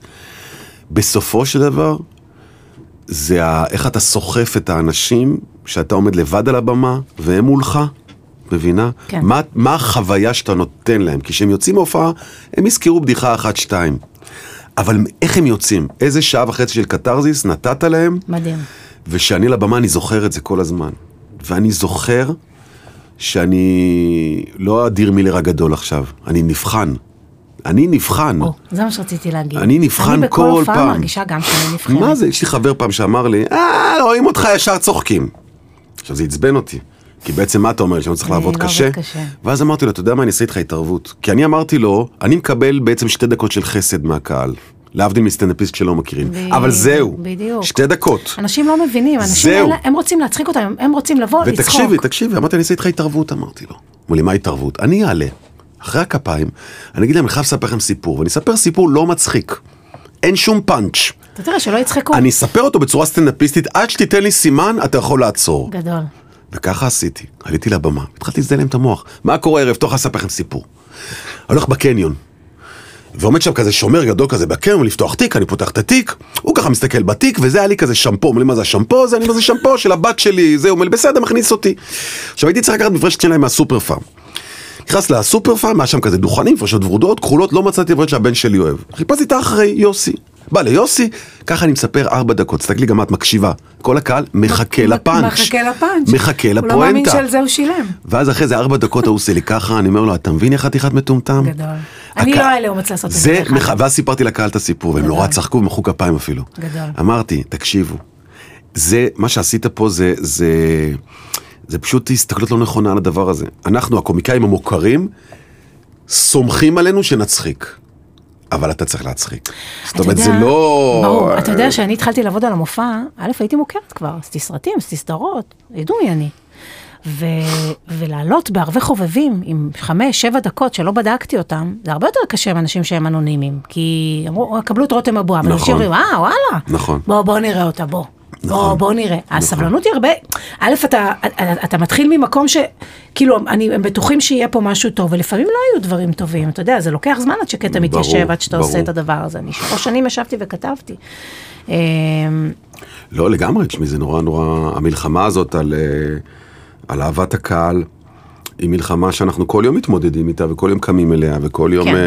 Speaker 2: בסופו של דבר, זה ה... איך אתה סוחף את האנשים שאתה עומד לבד על הבמה והם מולך, מבינה?
Speaker 1: כן.
Speaker 2: מה, מה החוויה שאתה נותן להם? כי כשהם יוצאים מהופעה, הם יזכרו בדיחה אחת-שתיים. אבל איך הם יוצאים? איזה שעה וחצי של קתרזיס נתת להם?
Speaker 1: מדהים.
Speaker 2: וכשאני על הבמה אני זוכר את זה כל הזמן. ואני זוכר שאני לא אדיר מילר הגדול עכשיו, אני נבחן. אני נבחן.
Speaker 1: או, זה מה שרציתי להגיד.
Speaker 2: אני נבחן כל
Speaker 1: אני בכל הופעה
Speaker 2: פעם.
Speaker 1: מרגישה גם שאני נבחנת.
Speaker 2: מה זה? יש לי חבר פעם שאמר לי, אה, רואים אותך ישר צוחקים. עכשיו זה עצבן אותי. כי בעצם מה אתה אומר לי? שאני צריך
Speaker 1: אני
Speaker 2: לעבוד
Speaker 1: לא עובד
Speaker 2: קשה?
Speaker 1: קשה.
Speaker 2: ואז אמרתי לו, אתה יודע מה, אני אעשה איתך התערבות. כי אני אמרתי לו, אני מקבל בעצם שתי דקות של חסד מהקהל. להבדיל מסטנדאפיסט שלא מכירים.
Speaker 1: ב-
Speaker 2: אבל זהו,
Speaker 1: בדיוק.
Speaker 2: שתי דקות.
Speaker 1: אנשים לא מבינים, אנשים
Speaker 2: זהו.
Speaker 1: האלה, הם רוצים להצחיק אותם, הם רוצים לבוא, לצחוק.
Speaker 2: ותקשיבי, תקשיבי, אמרתי, אני אעשה איתך התערבות, אמרתי לו. אמרו לי, מה התערבות? אני אעלה, אחרי הכפיים, אני אגיד להם, אני חייב לספר לכם סיפור, ואני אספר סיפור לא מצחיק. אין שום פאנץ'.
Speaker 1: אתה תראה שלא יצחקו.
Speaker 2: אני אספר אותו בצורה סטנדאפיסטית, עד שתיתן לי סימן, אתה יכול לעצור.
Speaker 1: גדול.
Speaker 2: וככה עשיתי, עליתי לבמה, התחלתי לזדהל להם את המוח. מה קורה ערב? תוך אספר לכם סיפור. אני הולך בקניון, ועומד שם כזה שומר גדול כזה בקניון, לפתוח תיק, אני פותח את התיק, הוא ככה מסתכל בתיק, וזה היה לי כזה שמפו, אומר לי מה זה השמפו? זה אני אומר זה שמפו של הבת שלי, זה, הוא אומר לי בסדר, מכניס אותי. עכשיו הייתי צריך לקחת מברשת שיניים מהסופר פארם. נכנס לסופר פארם, היה שם כזה דוכנים, פרשות ורודות, כחולות, לא מצאתי מברשת שהבן שלי אוהב. חיפשתי את האחראי, יוסי. בא ליוסי, ככה אני מספר ארבע דקות, תסתכלי גם את מקשיבה. כל הקהל מחכה לפאנץ'.
Speaker 1: מחכה לפאנץ'.
Speaker 2: מחכה לפואנטה.
Speaker 1: הוא לא מאמין שעל זה הוא שילם.
Speaker 2: ואז אחרי זה ארבע דקות ההוא עושה לי ככה, אני אומר לו, אתה מבין יא חתיכת מטומטם?
Speaker 1: גדול. אני
Speaker 2: הק-
Speaker 1: לא אלה אומץ לעשות את זה,
Speaker 2: זה.
Speaker 1: דרך אגב.
Speaker 2: מח- ואז סיפרתי לקהל את הסיפור, והם
Speaker 1: גדול.
Speaker 2: נורא צחקו ומחאו כפיים אפילו.
Speaker 1: גדול.
Speaker 2: אמרתי, תקשיבו, זה, מה שעשית פה זה, זה, זה פשוט הסתכלות לא נכונה על הדבר הזה. אנחנו, הקומיקאים המוכרים, סומכים עלינו שנצחיק. אבל אתה צריך להצחיק. זאת
Speaker 1: אתה
Speaker 2: אומרת,
Speaker 1: יודע-
Speaker 2: זה לא...
Speaker 1: ברור, אתה יודע שאני התחלתי לעבוד על המופע, א', הייתי מוכרת כבר, עשיתי סרטים, עשיתי סדרות, ידעו מי אני. ו... ולעלות בערבי חובבים עם חמש, שבע דקות שלא בדקתי אותם, זה הרבה יותר קשה מאנשים שהם אנונימיים. כי אמרו, "אה, קבלו את רותם אבוה, אבל אנשים
Speaker 2: נכון.
Speaker 1: אומרים, אה, וואלה.
Speaker 2: נכון.
Speaker 1: בוא, בוא נראה אותה, בוא. בוא, בוא נראה. הסבלנות היא הרבה, א', אתה, אתה, אתה מתחיל ממקום ש... כאילו, אני, הם בטוחים שיהיה פה משהו טוב, ולפעמים לא היו דברים טובים, אתה יודע, זה לוקח זמן עד שקטע
Speaker 2: ברור,
Speaker 1: מתיישב, עד שאתה
Speaker 2: ברור.
Speaker 1: עושה את הדבר הזה. אני שלוש שנים ישבתי וכתבתי. אמ,
Speaker 2: לא, לגמרי, תשמעי, זה נורא נורא, המלחמה הזאת על, אה, על אהבת הקהל, היא מלחמה שאנחנו כל יום מתמודדים איתה, וכל יום קמים אליה, וכל יום,
Speaker 1: כן.
Speaker 2: אה,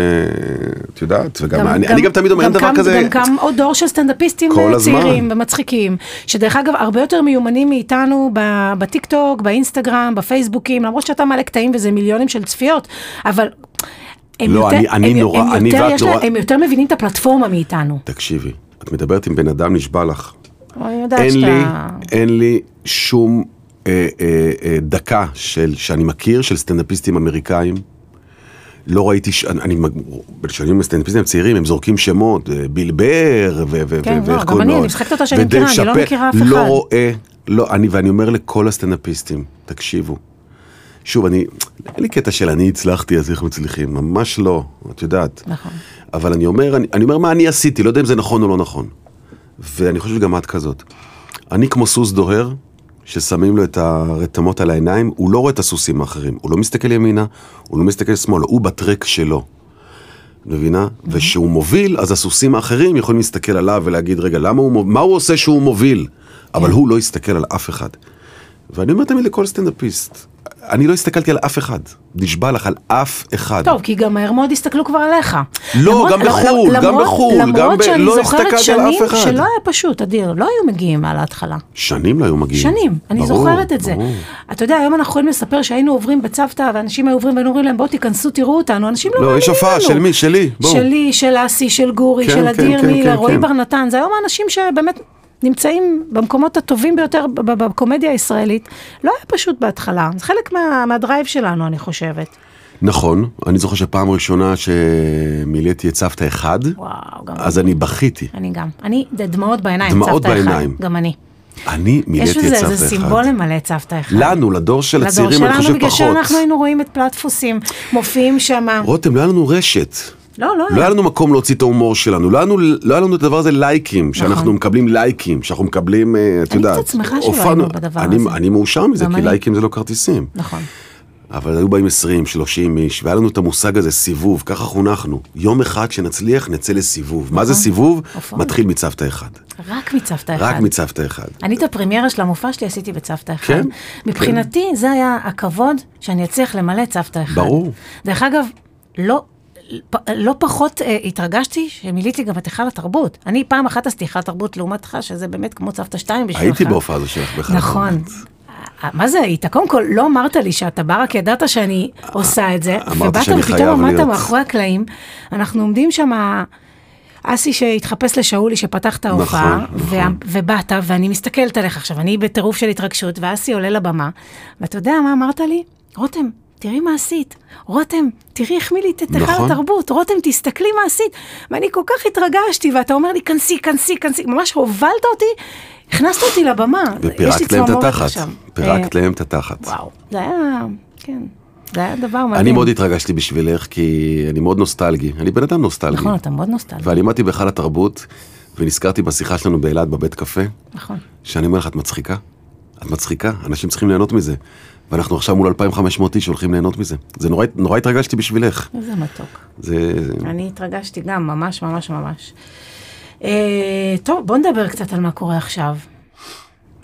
Speaker 2: את יודעת, וגם, אני, אני גם תמיד אומר, אין דבר
Speaker 1: קם-
Speaker 2: כזה,
Speaker 1: גם קם עוד דור של סטנדאפיסטים
Speaker 2: כל
Speaker 1: אה,
Speaker 2: הזמן.
Speaker 1: צעירים ומצחיקים, שדרך אגב, הרבה יותר מיומנים מאיתנו ב- בטיקטוק, באינסטגרם, בפייסבוקים, למרות שאתה מעלה קטעים וזה מיליונים של צפיות, אבל... הם
Speaker 2: לא,
Speaker 1: יותר-
Speaker 2: אני- אני
Speaker 1: הם-
Speaker 2: נורא-
Speaker 1: הם
Speaker 2: אני
Speaker 1: יותר
Speaker 2: ואת
Speaker 1: יש לה-
Speaker 2: נורא-
Speaker 1: הם יותר מבינים את הפלטפורמה מאיתנו.
Speaker 2: תקשיבי, את מדברת עם בן אדם, נשבע לך.
Speaker 1: אני יודעת
Speaker 2: אין לי,
Speaker 1: שאתה...
Speaker 2: אין לי שום אה, אה, אה, דקה של, שאני מכיר של סטנדאפיסטים אמריקאים. לא ראיתי, ש... אני, אני, כשאני אומר סטנדאפיסטים צעירים, הם זורקים שמות, אה, ביל בר, ו- ו-
Speaker 1: כן,
Speaker 2: ו-
Speaker 1: לא,
Speaker 2: ואיך
Speaker 1: גם
Speaker 2: קוראים
Speaker 1: אני,
Speaker 2: לו?
Speaker 1: אני משחקת אותה שאני
Speaker 2: ודייב
Speaker 1: מכירה, אני לא
Speaker 2: שאפל.
Speaker 1: מכירה אף
Speaker 2: לא
Speaker 1: אחד.
Speaker 2: רואה, לא, אני, ואני אומר לכל הסטנדאפיסטים, תקשיבו. שוב, אני, אין לי קטע של אני הצלחתי, אז איך מצליחים, ממש לא, את יודעת.
Speaker 1: נכון.
Speaker 2: אבל אני אומר, אני, אני אומר מה אני עשיתי, לא יודע אם זה נכון או לא נכון. ואני חושב שגם את כזאת. אני כמו סוס דוהר, ששמים לו את הרתמות על העיניים, הוא לא רואה את הסוסים האחרים. הוא לא מסתכל ימינה, הוא לא מסתכל שמאלה, הוא בטרק שלו. את מבינה? וכשהוא מוביל, אז הסוסים האחרים יכולים להסתכל עליו ולהגיד, רגע, למה הוא, מוב- מה הוא עושה שהוא מוביל?
Speaker 1: כן.
Speaker 2: אבל הוא לא הסתכל על אף אחד. ואני אומר תמיד לכל סטנדאפיסט, אני לא הסתכלתי על אף אחד. נשבע לך על אף אחד.
Speaker 1: טוב, כי גם מהר מאוד הסתכלו כבר עליך.
Speaker 2: לא,
Speaker 1: למרות-
Speaker 2: גם בחו"ל, גם
Speaker 1: למרות-
Speaker 2: בחו"ל, גם
Speaker 1: למרות
Speaker 2: ב-
Speaker 1: שאני
Speaker 2: לא
Speaker 1: זוכרת
Speaker 2: הסתכלתי על אף
Speaker 1: שנים
Speaker 2: אחד.
Speaker 1: שלא היה פשוט, אדיר, לא היו מגיעים על ההתחלה.
Speaker 2: שנים לא היו מגיעים.
Speaker 1: שנים, אני
Speaker 2: ברור,
Speaker 1: זוכרת את זה.
Speaker 2: ברור.
Speaker 1: אתה יודע, היום אנחנו יכולים לספר שהיינו עוברים בצוותא, ואנשים היו עוברים והיינו אומרים להם, בואו תיכנסו, תראו אותנו, אנשים לא
Speaker 2: לא,
Speaker 1: מאמינים
Speaker 2: יש
Speaker 1: לנו.
Speaker 2: הופעה של מי? שלי. בואו.
Speaker 1: שלי, של אסי, של גורי,
Speaker 2: כן,
Speaker 1: של
Speaker 2: כן,
Speaker 1: אדיר
Speaker 2: כן,
Speaker 1: מילר,
Speaker 2: כן,
Speaker 1: רועי
Speaker 2: כן.
Speaker 1: בר נתן, זה היום האנשים שבאמת נמצאים במקומות הטובים ביותר ב- ב- בקומדיה הישראלית. לא היה פשוט בהתחלה, זה חלק מה- מהדרייב שלנו, אני חושבת.
Speaker 2: נכון, אני זוכר שפעם ראשונה שמילאתי את סבתא אחד,
Speaker 1: וואו, גם
Speaker 2: אז אני בכיתי.
Speaker 1: אני גם. אני, זה דמעות בעיניים,
Speaker 2: דמעות
Speaker 1: צוותא אחד.
Speaker 2: בעיניים.
Speaker 1: גם אני.
Speaker 2: אני מילאתי את
Speaker 1: יש
Speaker 2: סבתא אחד.
Speaker 1: בזה איזה סימבול למלא צוותא אחד.
Speaker 2: לנו, לדור של
Speaker 1: לדור
Speaker 2: הצעירים, אני
Speaker 1: שלנו,
Speaker 2: חושב
Speaker 1: בגלל
Speaker 2: פחות.
Speaker 1: שאנחנו היינו רואים את פלטפוסים מופיעים שם.
Speaker 2: רותם, לא היה לנו רשת.
Speaker 1: לא, לא
Speaker 2: לא
Speaker 1: היה.
Speaker 2: היה לנו מקום להוציא את ההומור שלנו, לא היה לנו- לא היה לנו את הדבר הזה לייקים, שאנחנו
Speaker 1: נכון.
Speaker 2: מקבלים לייקים, שאנחנו מקבלים, אה, את
Speaker 1: אני
Speaker 2: יודעת.
Speaker 1: קצת שמחה שלא
Speaker 2: הופענו-
Speaker 1: היינו בדבר
Speaker 2: אני-
Speaker 1: הזה.
Speaker 2: אני מאושר מזה,
Speaker 1: גם
Speaker 2: כי
Speaker 1: אני.
Speaker 2: לייקים זה לא כרטיסים.
Speaker 1: נכון.
Speaker 2: אבל היו באים 20, 30 איש, והיה לנו את המושג הזה, סיבוב, ככה חונכנו. יום אחד שנצליח, נצא לסיבוב. מה זה סיבוב?
Speaker 1: נכון. הופעה.
Speaker 2: מתחיל מצוותא אחד.
Speaker 1: רק מצוותא אחד.
Speaker 2: רק מצוותא אחד.
Speaker 1: אני את הפרמיירה של המופע שלי עשיתי בצוותא אחד.
Speaker 2: כן,
Speaker 1: מבחינתי זה היה הכבוד שאני אצליח למלא צוותא אחד.
Speaker 2: ברור.
Speaker 1: דרך אגב, לא, פ- לא פחות אה, התרגשתי שמילאתי גם את היכל התרבות. אני פעם אחת עשיתי היכל תרבות לעומתך, שזה באמת כמו צוותא שתיים בשבילך.
Speaker 2: הייתי בהופעה הזו שלך בכלל.
Speaker 1: נכון. אה, מה זה היית? קודם כל, לא אמרת לי שאתה בא, רק ידעת שאני עושה את זה.
Speaker 2: אמרתי שאני
Speaker 1: ובאת
Speaker 2: חייב
Speaker 1: ופתאום עמדת
Speaker 2: להיות.
Speaker 1: מאחורי הקלעים. אנחנו עומדים שם, אסי שהתחפש לשאולי שפתח את ההופעה,
Speaker 2: נכון,
Speaker 1: וה-
Speaker 2: נכון.
Speaker 1: ובאת, ואני מסתכלת עליך עכשיו, אני בטירוף של התרגשות, ואסי עולה לבמה, ואתה יודע מה אמרת לי? רותם. תראי מה עשית, רותם, תראי איך מילאת את היכל
Speaker 2: נכון.
Speaker 1: התרבות, רותם, תסתכלי מה עשית. ואני כל כך התרגשתי, ואתה אומר לי, כנסי, כנסי, כנסי, ממש הובלת אותי, הכנסת אותי לבמה. יש לי
Speaker 2: ופירקת להם את
Speaker 1: צמרמורת
Speaker 2: התחת.
Speaker 1: עכשיו. אה,
Speaker 2: פירקת להם את התחת.
Speaker 1: וואו, זה היה, כן, זה היה דבר מדהים.
Speaker 2: אני מאוד התרגשתי בשבילך, כי אני מאוד נוסטלגי. אני בן אדם נוסטלגי.
Speaker 1: נכון, אתה מאוד נוסטלגי,
Speaker 2: ואני עמדתי בהיכל התרבות, ונזכרתי בשיחה שלנו באילת בבית קפה,
Speaker 1: נכון.
Speaker 2: שאני אומר לך, את מצחיקה? את מצחיקה? אנשים צריכים ליהנות מזה. ואנחנו עכשיו מול 2,500 איש שהולכים ליהנות מזה. זה נורא, נורא התרגשתי בשבילך.
Speaker 1: איזה מתוק.
Speaker 2: זה...
Speaker 1: אני התרגשתי גם, ממש ממש ממש. אה, טוב, בוא נדבר קצת על מה קורה עכשיו.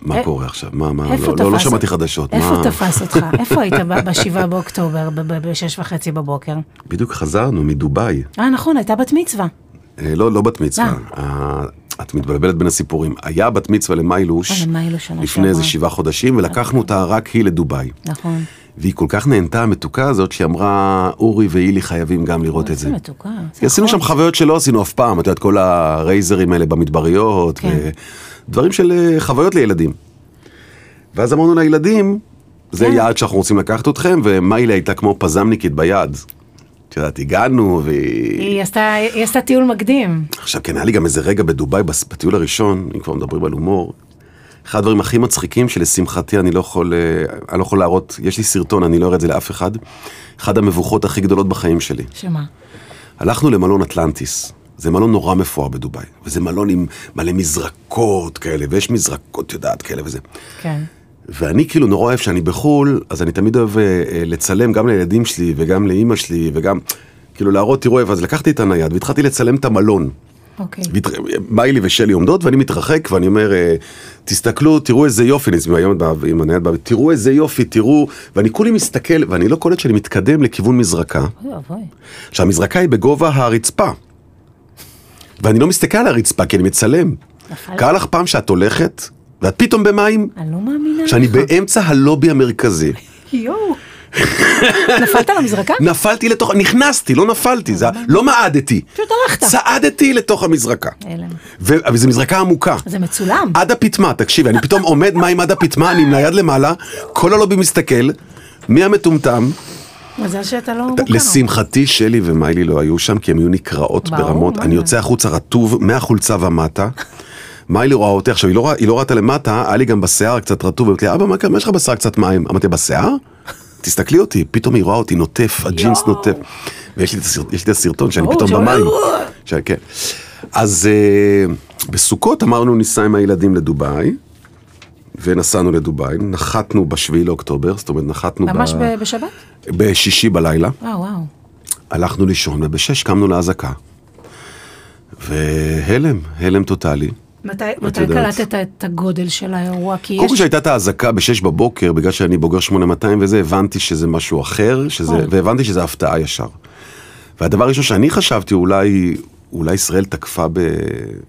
Speaker 2: מה
Speaker 1: אה,
Speaker 2: קורה עכשיו? מה, מה?
Speaker 1: איפה
Speaker 2: לא,
Speaker 1: תפס
Speaker 2: לא, לא
Speaker 1: אותך?
Speaker 2: שמעתי חדשות.
Speaker 1: איפה
Speaker 2: מה?
Speaker 1: תפס אותך? איפה היית ב- בשבעה באוקטובר, ב-6 וחצי בבוקר?
Speaker 2: בדיוק חזרנו מדובאי.
Speaker 1: אה, נכון, הייתה בת מצווה.
Speaker 2: אה, לא, לא בת מצווה. אה, את מתבלבלת בין הסיפורים. היה בת מצווה למיילוש
Speaker 1: אה, למיילוש שנה
Speaker 2: לפני
Speaker 1: שעברה. אוקיי.
Speaker 2: איזה שבעה חודשים, ולקחנו אותה רק היא לדובאי.
Speaker 1: נכון.
Speaker 2: והיא כל כך נהנתה המתוקה הזאת, שהיא אמרה, אורי ואילי חייבים גם לראות את זה.
Speaker 1: איזה מתוקה.
Speaker 2: כי עשינו
Speaker 1: נכון.
Speaker 2: שם חוויות שלא עשינו אף פעם, את יודעת, כל הרייזרים האלה במדבריות,
Speaker 1: כן.
Speaker 2: ודברים של אה, חוויות לילדים. ואז אמרנו לילדים, זה
Speaker 1: כן.
Speaker 2: יעד שאנחנו רוצים לקחת אתכם, ומיילי הייתה כמו פזמניקית ביד. את יודעת, הגענו, והיא...
Speaker 1: היא עשתה- היא עשתה טיול מקדים.
Speaker 2: עכשיו, כן, היה לי גם איזה רגע בדובאי, בס- בטיול הראשון, אם כבר מדברים על הומור, אחד הדברים הכי מצחיקים שלשמחתי אני לא יכול, אה, אני לא יכול להראות, יש לי סרטון, אני לא אראה את זה לאף אחד, אחד המבוכות הכי גדולות בחיים שלי.
Speaker 1: שמה?
Speaker 2: הלכנו למלון אטלנטיס. זה מלון נורא מפואר בדובאי, וזה מלון עם מלא מזרקות כאלה, ויש מזרקות, את יודעת, כאלה וזה.
Speaker 1: כן.
Speaker 2: ואני כאילו נורא אוהב שאני בחו"ל, אז אני תמיד אוהב אה, אה, לצלם גם לילדים שלי, וגם לאימא שלי, וגם, כאילו להראות, תראו, אז לקחתי את הנייד והתחלתי לצלם את המלון.
Speaker 1: אוקיי.
Speaker 2: והתר- מיילי ושלי עומדות ואני מתרחק ואני אומר, אה, תסתכלו, תראו איזה יופי, אני היום בא- עם הנייד, בא- תראו איזה יופי, תראו, ואני כולי מסתכל ואני לא קולט שאני מתקדם לכיוון מזרקה,
Speaker 1: אוי ואבוי.
Speaker 2: שהמזרקה היא בגובה הרצפה. ואני לא מסתכל על הרצפה כי אני מצלם.
Speaker 1: נפל.
Speaker 2: קרה לך פעם שאת הולכת ואת פתאום במים,
Speaker 1: אני לא מאמינה לך.
Speaker 2: שאני באמצע הלובי המרכזי.
Speaker 1: יואו. נפלת על המזרקה?
Speaker 2: נפלתי לתוך, נכנסתי, לא נפלתי, זה, לא מעדתי.
Speaker 1: נכון. פשוט הלכת.
Speaker 2: צעדתי לתוך המזרקה.
Speaker 1: הלם.
Speaker 2: ו- אבל זו מזרקה עמוקה.
Speaker 1: זה מצולם.
Speaker 2: עד הפטמה, תקשיב, אני פתאום עומד מים עד הפטמה, אני עם נייד למעלה, כל הלובי מסתכל, מי המטומטם?
Speaker 1: מזל שאתה לא מוכר.
Speaker 2: לשמחתי שלי ומיילי לא היו שם, כי הן היו נקרעות
Speaker 1: ברור,
Speaker 2: ברמות,
Speaker 1: מה
Speaker 2: אני
Speaker 1: זה?
Speaker 2: יוצא החוצה רטוב מהחולצה ומטה. מיילי רואה אותי, עכשיו היא לא, ראה- היא לא ראתה למטה, היה לי גם בשיער קצת רטוב, אמרתי לי, אבא, מה קרה, יש לך בשיער קצת מים? אמרתי, בשיער? תסתכלי אותי, פתאום היא רואה אותי נוטף, הג'ינס
Speaker 1: יואו.
Speaker 2: נוטף. ויש לי את הסרט- יש לי את הסרטון שאני
Speaker 1: ברור,
Speaker 2: פתאום
Speaker 1: שאומר,
Speaker 2: במים.
Speaker 1: "אה,
Speaker 2: ש- כן. אז אה, בסוכות אמרנו ניסע עם הילדים לדובאי, ונסענו לדובאי, נחתנו בשביעי לאוקטובר, זאת אומרת נחתנו ב-
Speaker 1: ממש ב- בשבת?
Speaker 2: בשישי בלילה.
Speaker 1: וואו וואו.
Speaker 2: הלכנו לישון, ובשש קמנו לאזעקה. והלם, הלם טוטאלי.
Speaker 1: מתי מתי
Speaker 2: לא יודעת.
Speaker 1: קלטת את הגודל של האירוע? כי
Speaker 2: קודם כל
Speaker 1: יש...
Speaker 2: שהייתה את האזעקה בשש בבוקר, בגלל שאני בוגר 8200 וזה, הבנתי שזה משהו אחר, שזה,
Speaker 1: נכון.
Speaker 2: והבנתי שזה הפתעה ישר. והדבר הראשון שאני חשבתי, אולי, אולי ישראל תקפה ב,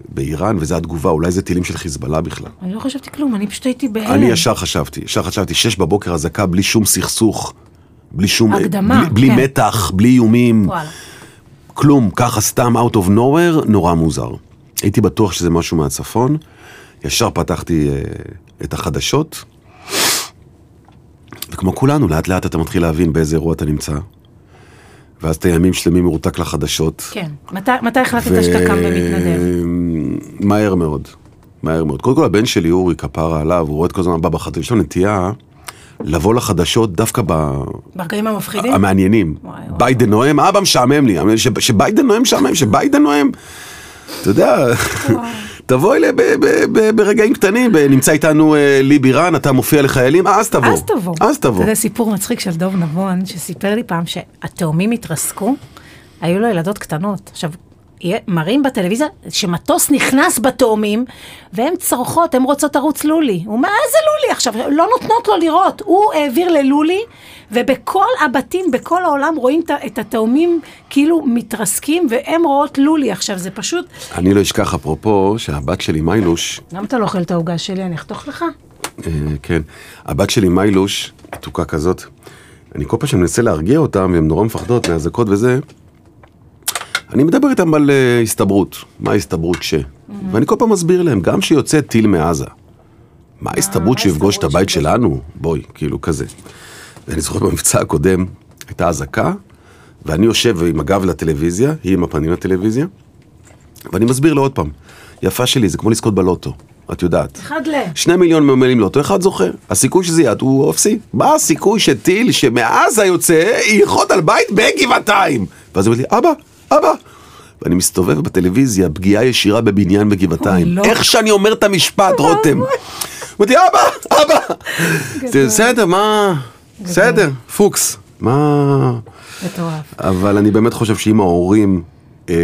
Speaker 2: באיראן, וזו התגובה, אולי זה טילים של חיזבאללה בכלל.
Speaker 1: אני לא חשבתי כלום, אני פשוט הייתי בהלם.
Speaker 2: אני ישר חשבתי, ישר חשבתי, שש בבוקר אזעקה בלי שום סכסוך, בלי שום...
Speaker 1: הקדמה,
Speaker 2: בלי,
Speaker 1: כן.
Speaker 2: בלי מתח, בלי איומים.
Speaker 1: וואלה.
Speaker 2: כלום, ככה סתם out of nowhere, נורא מוזר. הייתי בטוח שזה משהו מהצפון, ישר פתחתי אה, את החדשות, וכמו כולנו, לאט לאט אתה מתחיל להבין באיזה אירוע אתה נמצא, ואז אתה ימים שלמים מרותק לחדשות.
Speaker 1: כן. מתי- מתי החלטת שאתה קם ומתנדב?
Speaker 2: מהר מאוד, מהר מאוד. קודם כל הבן שלי אורי כפרה עליו, הוא רואה את כל הזמן הבא בחדשות, יש לו נטייה לבוא לחדשות דווקא ב...
Speaker 1: ברגעים המפחידים?
Speaker 2: המעניינים.
Speaker 1: וואי, וואי.
Speaker 2: אה, ביידן נואם, אה, אבא משעמם לי, אבל ש- שביידן נואם משעמם, שביידן נואם, אתה יודע, תבואי ל- ב- ב- ב- ברגעים קטנים, ב- נמצא איתנו אה, לי בירן, אתה מופיע לחיילים, אה, אז תבוא.
Speaker 1: אז תבוא.
Speaker 2: אז תבוא.
Speaker 1: אתה יודע, סיפור מצחיק של דוב נבון, שסיפר לי פעם שהתאומים התרסקו, היו לו ילדות קטנות. עכשיו, יהיה- מראים בטלוויזיה שמטוס נכנס בתאומים, והן צורחות, הן רוצות ערוץ לולי. הוא אומר, איזה לולי עכשיו? לא נותנות לו לראות. הוא העביר ללולי, ובכל הבתים, בכל העולם, רואים את ה- את התאומים כאילו מתרסקים, והן רואות לולי עכשיו. זה פשוט...
Speaker 2: אני לא אשכח, אפרופו, שהבת שלי מיילוש,
Speaker 1: למה אתה לא אוכל את העוגה שלי? אני אחתוך לך.
Speaker 2: אה, כן, הבת שלי מיילוש, מתוקה כזאת, אני כל פעם שאני מנסה להרגיע אותם, והן נורא מפחדות מאזעקות וזה, אני מדבר איתם על אה, הסתברות, מה ההסתברות ש...
Speaker 1: Mhm.
Speaker 2: ואני כל פעם מסביר להם, גם שיוצא טיל מעזה, מה ההסתברות שיפגוש את
Speaker 1: אה, ההסתברות
Speaker 2: הבית
Speaker 1: שיפגוש?
Speaker 2: שלנו? בואי, כאילו כזה. ואני זוכר במבצע הקודם, הייתה אזעקה, ואני יושב עם הגב לטלוויזיה, היא עם הפנים לטלוויזיה, ואני מסביר לה עוד פעם, יפה שלי, זה כמו לזכות בלוטו, את יודעת.
Speaker 1: אחד ל...
Speaker 2: שני מיליון ממלאים לוטו, אחד זוכה. הסיכוי שזה יעד הוא אפסי. מה הסיכוי שטיל שמעזה יוצא ייחוד על בית בגבעתיים? ואז הוא אומר לי, אבא, אבא. ואני מסתובב בטלוויזיה, פגיעה ישירה בבניין בגבעתיים.
Speaker 1: לא.
Speaker 2: איך שאני אומר את המשפט, רותם. הוא אומר לי, אבא, אבא. זה בסדר, מה... בסדר, פוקס. מה...
Speaker 1: מטורף.
Speaker 2: אבל אני באמת חושב שאם ההורים אה,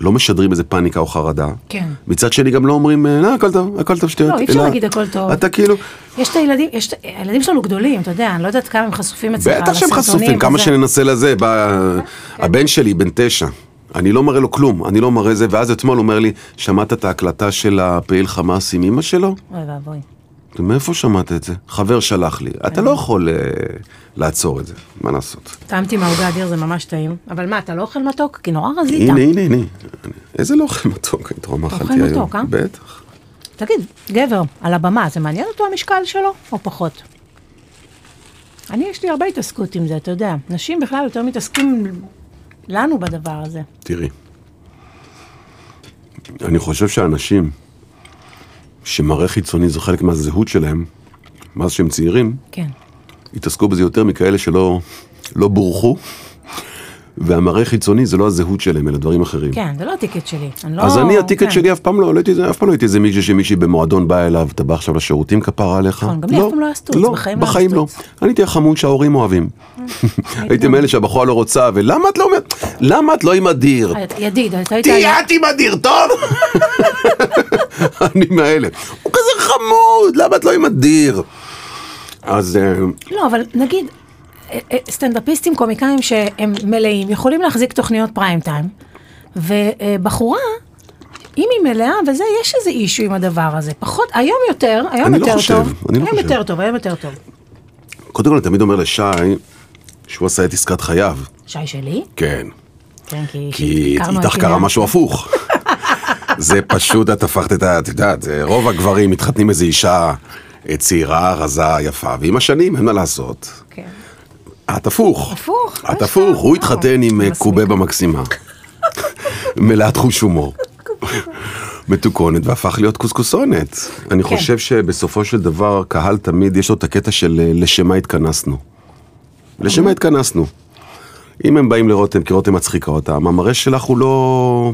Speaker 2: לא משדרים איזה פאניקה או חרדה,
Speaker 1: כן.
Speaker 2: מצד שני גם לא אומרים, אה, לא, הכל טוב, הכל טוב שטויות.
Speaker 1: לא, אי אפשר
Speaker 2: אלא
Speaker 1: להגיד הכל טוב.
Speaker 2: אתה כאילו,
Speaker 1: יש את הילדים, יש את... הילדים שלנו גדולים, אתה יודע, אני לא יודעת כמה הם חשופים אצלך.
Speaker 2: בטח שהם
Speaker 1: לסרטונים
Speaker 2: חשופים, כמה
Speaker 1: וזה. כן.
Speaker 2: שננסה לזה. ב... הבן שלי, בן תשע, אני לא מראה לו כלום, אני לא מראה זה, ואז אתמול הוא אומר לי, שמעת את ההקלטה של הפעיל חמאס עם אמא שלו?
Speaker 1: אוי ואבוי.
Speaker 2: מאיפה שמעת את זה? חבר שלח לי.
Speaker 1: כן.
Speaker 2: אתה לא יכול אה, לעצור את זה, מה לעשות?
Speaker 1: טעמתי מהעוגה אדיר, זה ממש טעים. אבל מה, אתה לא אוכל מתוק? כי נורא רזית.
Speaker 2: הנה, הנה, הנה. איזה לא אוכל מתוק, היית רואה מה
Speaker 1: אוכל
Speaker 2: אכלתי היום.
Speaker 1: מתוק, אה?
Speaker 2: בטח.
Speaker 1: תגיד, גבר, על הבמה, זה מעניין אותו המשקל שלו, או פחות? אני, יש לי הרבה התעסקות עם זה, אתה יודע. נשים בכלל יותר מתעסקים לנו בדבר הזה.
Speaker 2: תראי, אני חושב שאנשים שמראה חיצוני זה חלק מהזהות שלהם, מאז שהם צעירים,
Speaker 1: כן.
Speaker 2: התעסקו בזה יותר מכאלה שלא לא בורחו, והמראה חיצוני זה לא הזהות שלהם, אלא דברים אחרים.
Speaker 1: כן, זה לא הטיקט שלי. אני לא...
Speaker 2: אז אני, הטיקט
Speaker 1: כן.
Speaker 2: שלי אף פעם לא, לא הייתי, אף פעם לא הייתי איזה מישהו שמישהי במועדון בא אליו, אתה בא עכשיו לשירותים כפרה עליך.
Speaker 1: נכון, גם לי אף פעם לא היה סטוץ, בחיים לא היה
Speaker 2: בחיים לא.
Speaker 1: סטוץ.
Speaker 2: אני הייתי החמוד שההורים אוהבים. הייתי מאלה שהבחורה לא רוצה, ולמה את לא, אומרת- למה את לא עם אדיר?
Speaker 1: ידיד, אתה היית...
Speaker 2: תהיה את עם אדיר, טוב? אני מאלה. הוא כזה חמוד, למה את לא עם אדיר? אז אה,
Speaker 1: לא, אבל נגיד, אה, אה, סטנדאפיסטים, קומיקאים שהם מלאים, יכולים להחזיק תוכניות פריים טיים, ובחורה, אם היא מלאה וזה, יש איזה אישו עם הדבר הזה. פחות, היום יותר, היום
Speaker 2: אני לא
Speaker 1: יותר
Speaker 2: חושב,
Speaker 1: טוב.
Speaker 2: אני לא
Speaker 1: היום
Speaker 2: חושב.
Speaker 1: יותר טוב, היום יותר טוב.
Speaker 2: קודם כל אני תמיד אומר לשי, שהוא עשה את עסקת חייו.
Speaker 1: שי שלי?
Speaker 2: כן.
Speaker 1: כן, כי...
Speaker 2: כי
Speaker 1: הכרנו
Speaker 2: איתך
Speaker 1: את
Speaker 2: קרה
Speaker 1: הנה.
Speaker 2: משהו הפוך. זה פשוט, את הפכת את ה... את יודעת, זה- רוב הגברים מתחתנים איזו אישה אה, צעירה, רזה, יפה, ועם השנים, אין מה לעשות.
Speaker 1: כן.
Speaker 2: את הפוך.
Speaker 1: הפוך, מה
Speaker 2: את
Speaker 1: שאתה
Speaker 2: הפוך, הוא
Speaker 1: אומר.
Speaker 2: התחתן עם אה,
Speaker 1: מסמיק.
Speaker 2: קובבה מקסימה. מלאת חוש הומור. מתוקונת והפך להיות קוסקוסונת.
Speaker 1: כן.
Speaker 2: אני חושב שבסופו של דבר, קהל תמיד יש לו את הקטע של אה, לשם מה התכנסנו. לשם
Speaker 1: אוקיי.
Speaker 2: מה התכנסנו. אם הם באים לרותם, כי רותם מצחיקה אותם, המראה שלך הוא לא...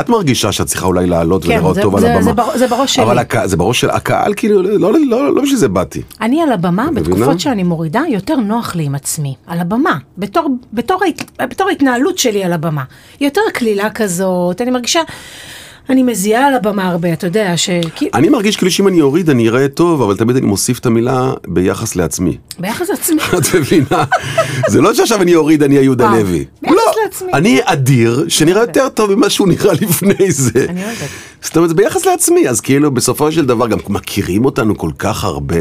Speaker 2: את מרגישה שאת צריכה אולי לעלות
Speaker 1: כן,
Speaker 2: ולראות
Speaker 1: זה-
Speaker 2: טוב על
Speaker 1: זה-
Speaker 2: הבמה.
Speaker 1: זה בר- זה בראש
Speaker 2: אבל
Speaker 1: שלי.
Speaker 2: הקה- זה בראש של הקהל, כאילו, לא- לא לא- לא בשביל זה באתי.
Speaker 1: אני על הבמה,
Speaker 2: מבינה?
Speaker 1: בתקופות שאני מורידה, יותר נוח לי עם עצמי. על הבמה. בתור, בתור, ההת- בתור ההתנהלות שלי על הבמה. יותר קלילה כזאת, אני מרגישה... אני מזיעה על הבמה הרבה, אתה יודע, שכאילו...
Speaker 2: אני מרגיש כאילו שאם אני אוריד אני אראה טוב, אבל תמיד אני מוסיף את המילה ביחס לעצמי.
Speaker 1: ביחס לעצמי.
Speaker 2: את מבינה? זה לא שעכשיו אני אוריד, אני יהודה
Speaker 1: אה,
Speaker 2: לוי.
Speaker 1: ביחס
Speaker 2: לא,
Speaker 1: לעצמי.
Speaker 2: אני אדיר, שנראה יותר טוב ממה שהוא נראה לפני זה.
Speaker 1: אני אוהבת.
Speaker 2: זאת אומרת, זה ביחס לעצמי, אז כאילו בסופו של דבר גם מכירים אותנו כל כך הרבה.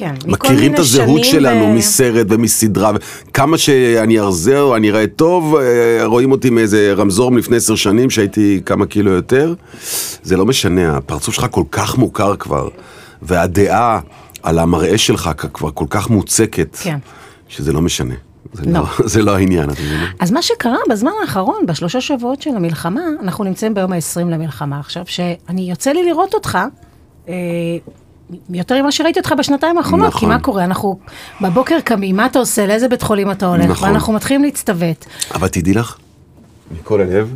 Speaker 1: כן. מכל
Speaker 2: מכירים
Speaker 1: מיני
Speaker 2: את הזהות
Speaker 1: שנים אה,
Speaker 2: שלנו
Speaker 1: ו-
Speaker 2: מסרט ומסדרה, וכמה שאני ארזה או אני אראה טוב, אה, רואים אותי מאיזה רמזור מלפני עשר שנים שהייתי כמה קילו יותר, זה לא משנה, הפרצוף שלך כל כך מוכר כבר, והדעה על המראה שלך כ- כבר כל כך מוצקת,
Speaker 1: כן.
Speaker 2: שזה לא משנה. זה
Speaker 1: לא.
Speaker 2: לא, זה לא העניין, את מבינה?
Speaker 1: אז מה שקרה בזמן האחרון, בשלושה שבועות של המלחמה, אנחנו נמצאים ביום ה-20 למלחמה עכשיו, שאני יוצא לי לראות אותך. אה, יותר ממה שראיתי אותך בשנתיים האחרונות,
Speaker 2: נכון.
Speaker 1: כי מה קורה? אנחנו בבוקר קמים, מה אתה עושה, לאיזה בית חולים אתה הולך,
Speaker 2: נכון.
Speaker 1: ואנחנו מתחילים להצטוות.
Speaker 2: אבל תדעי לך, מכל הלב,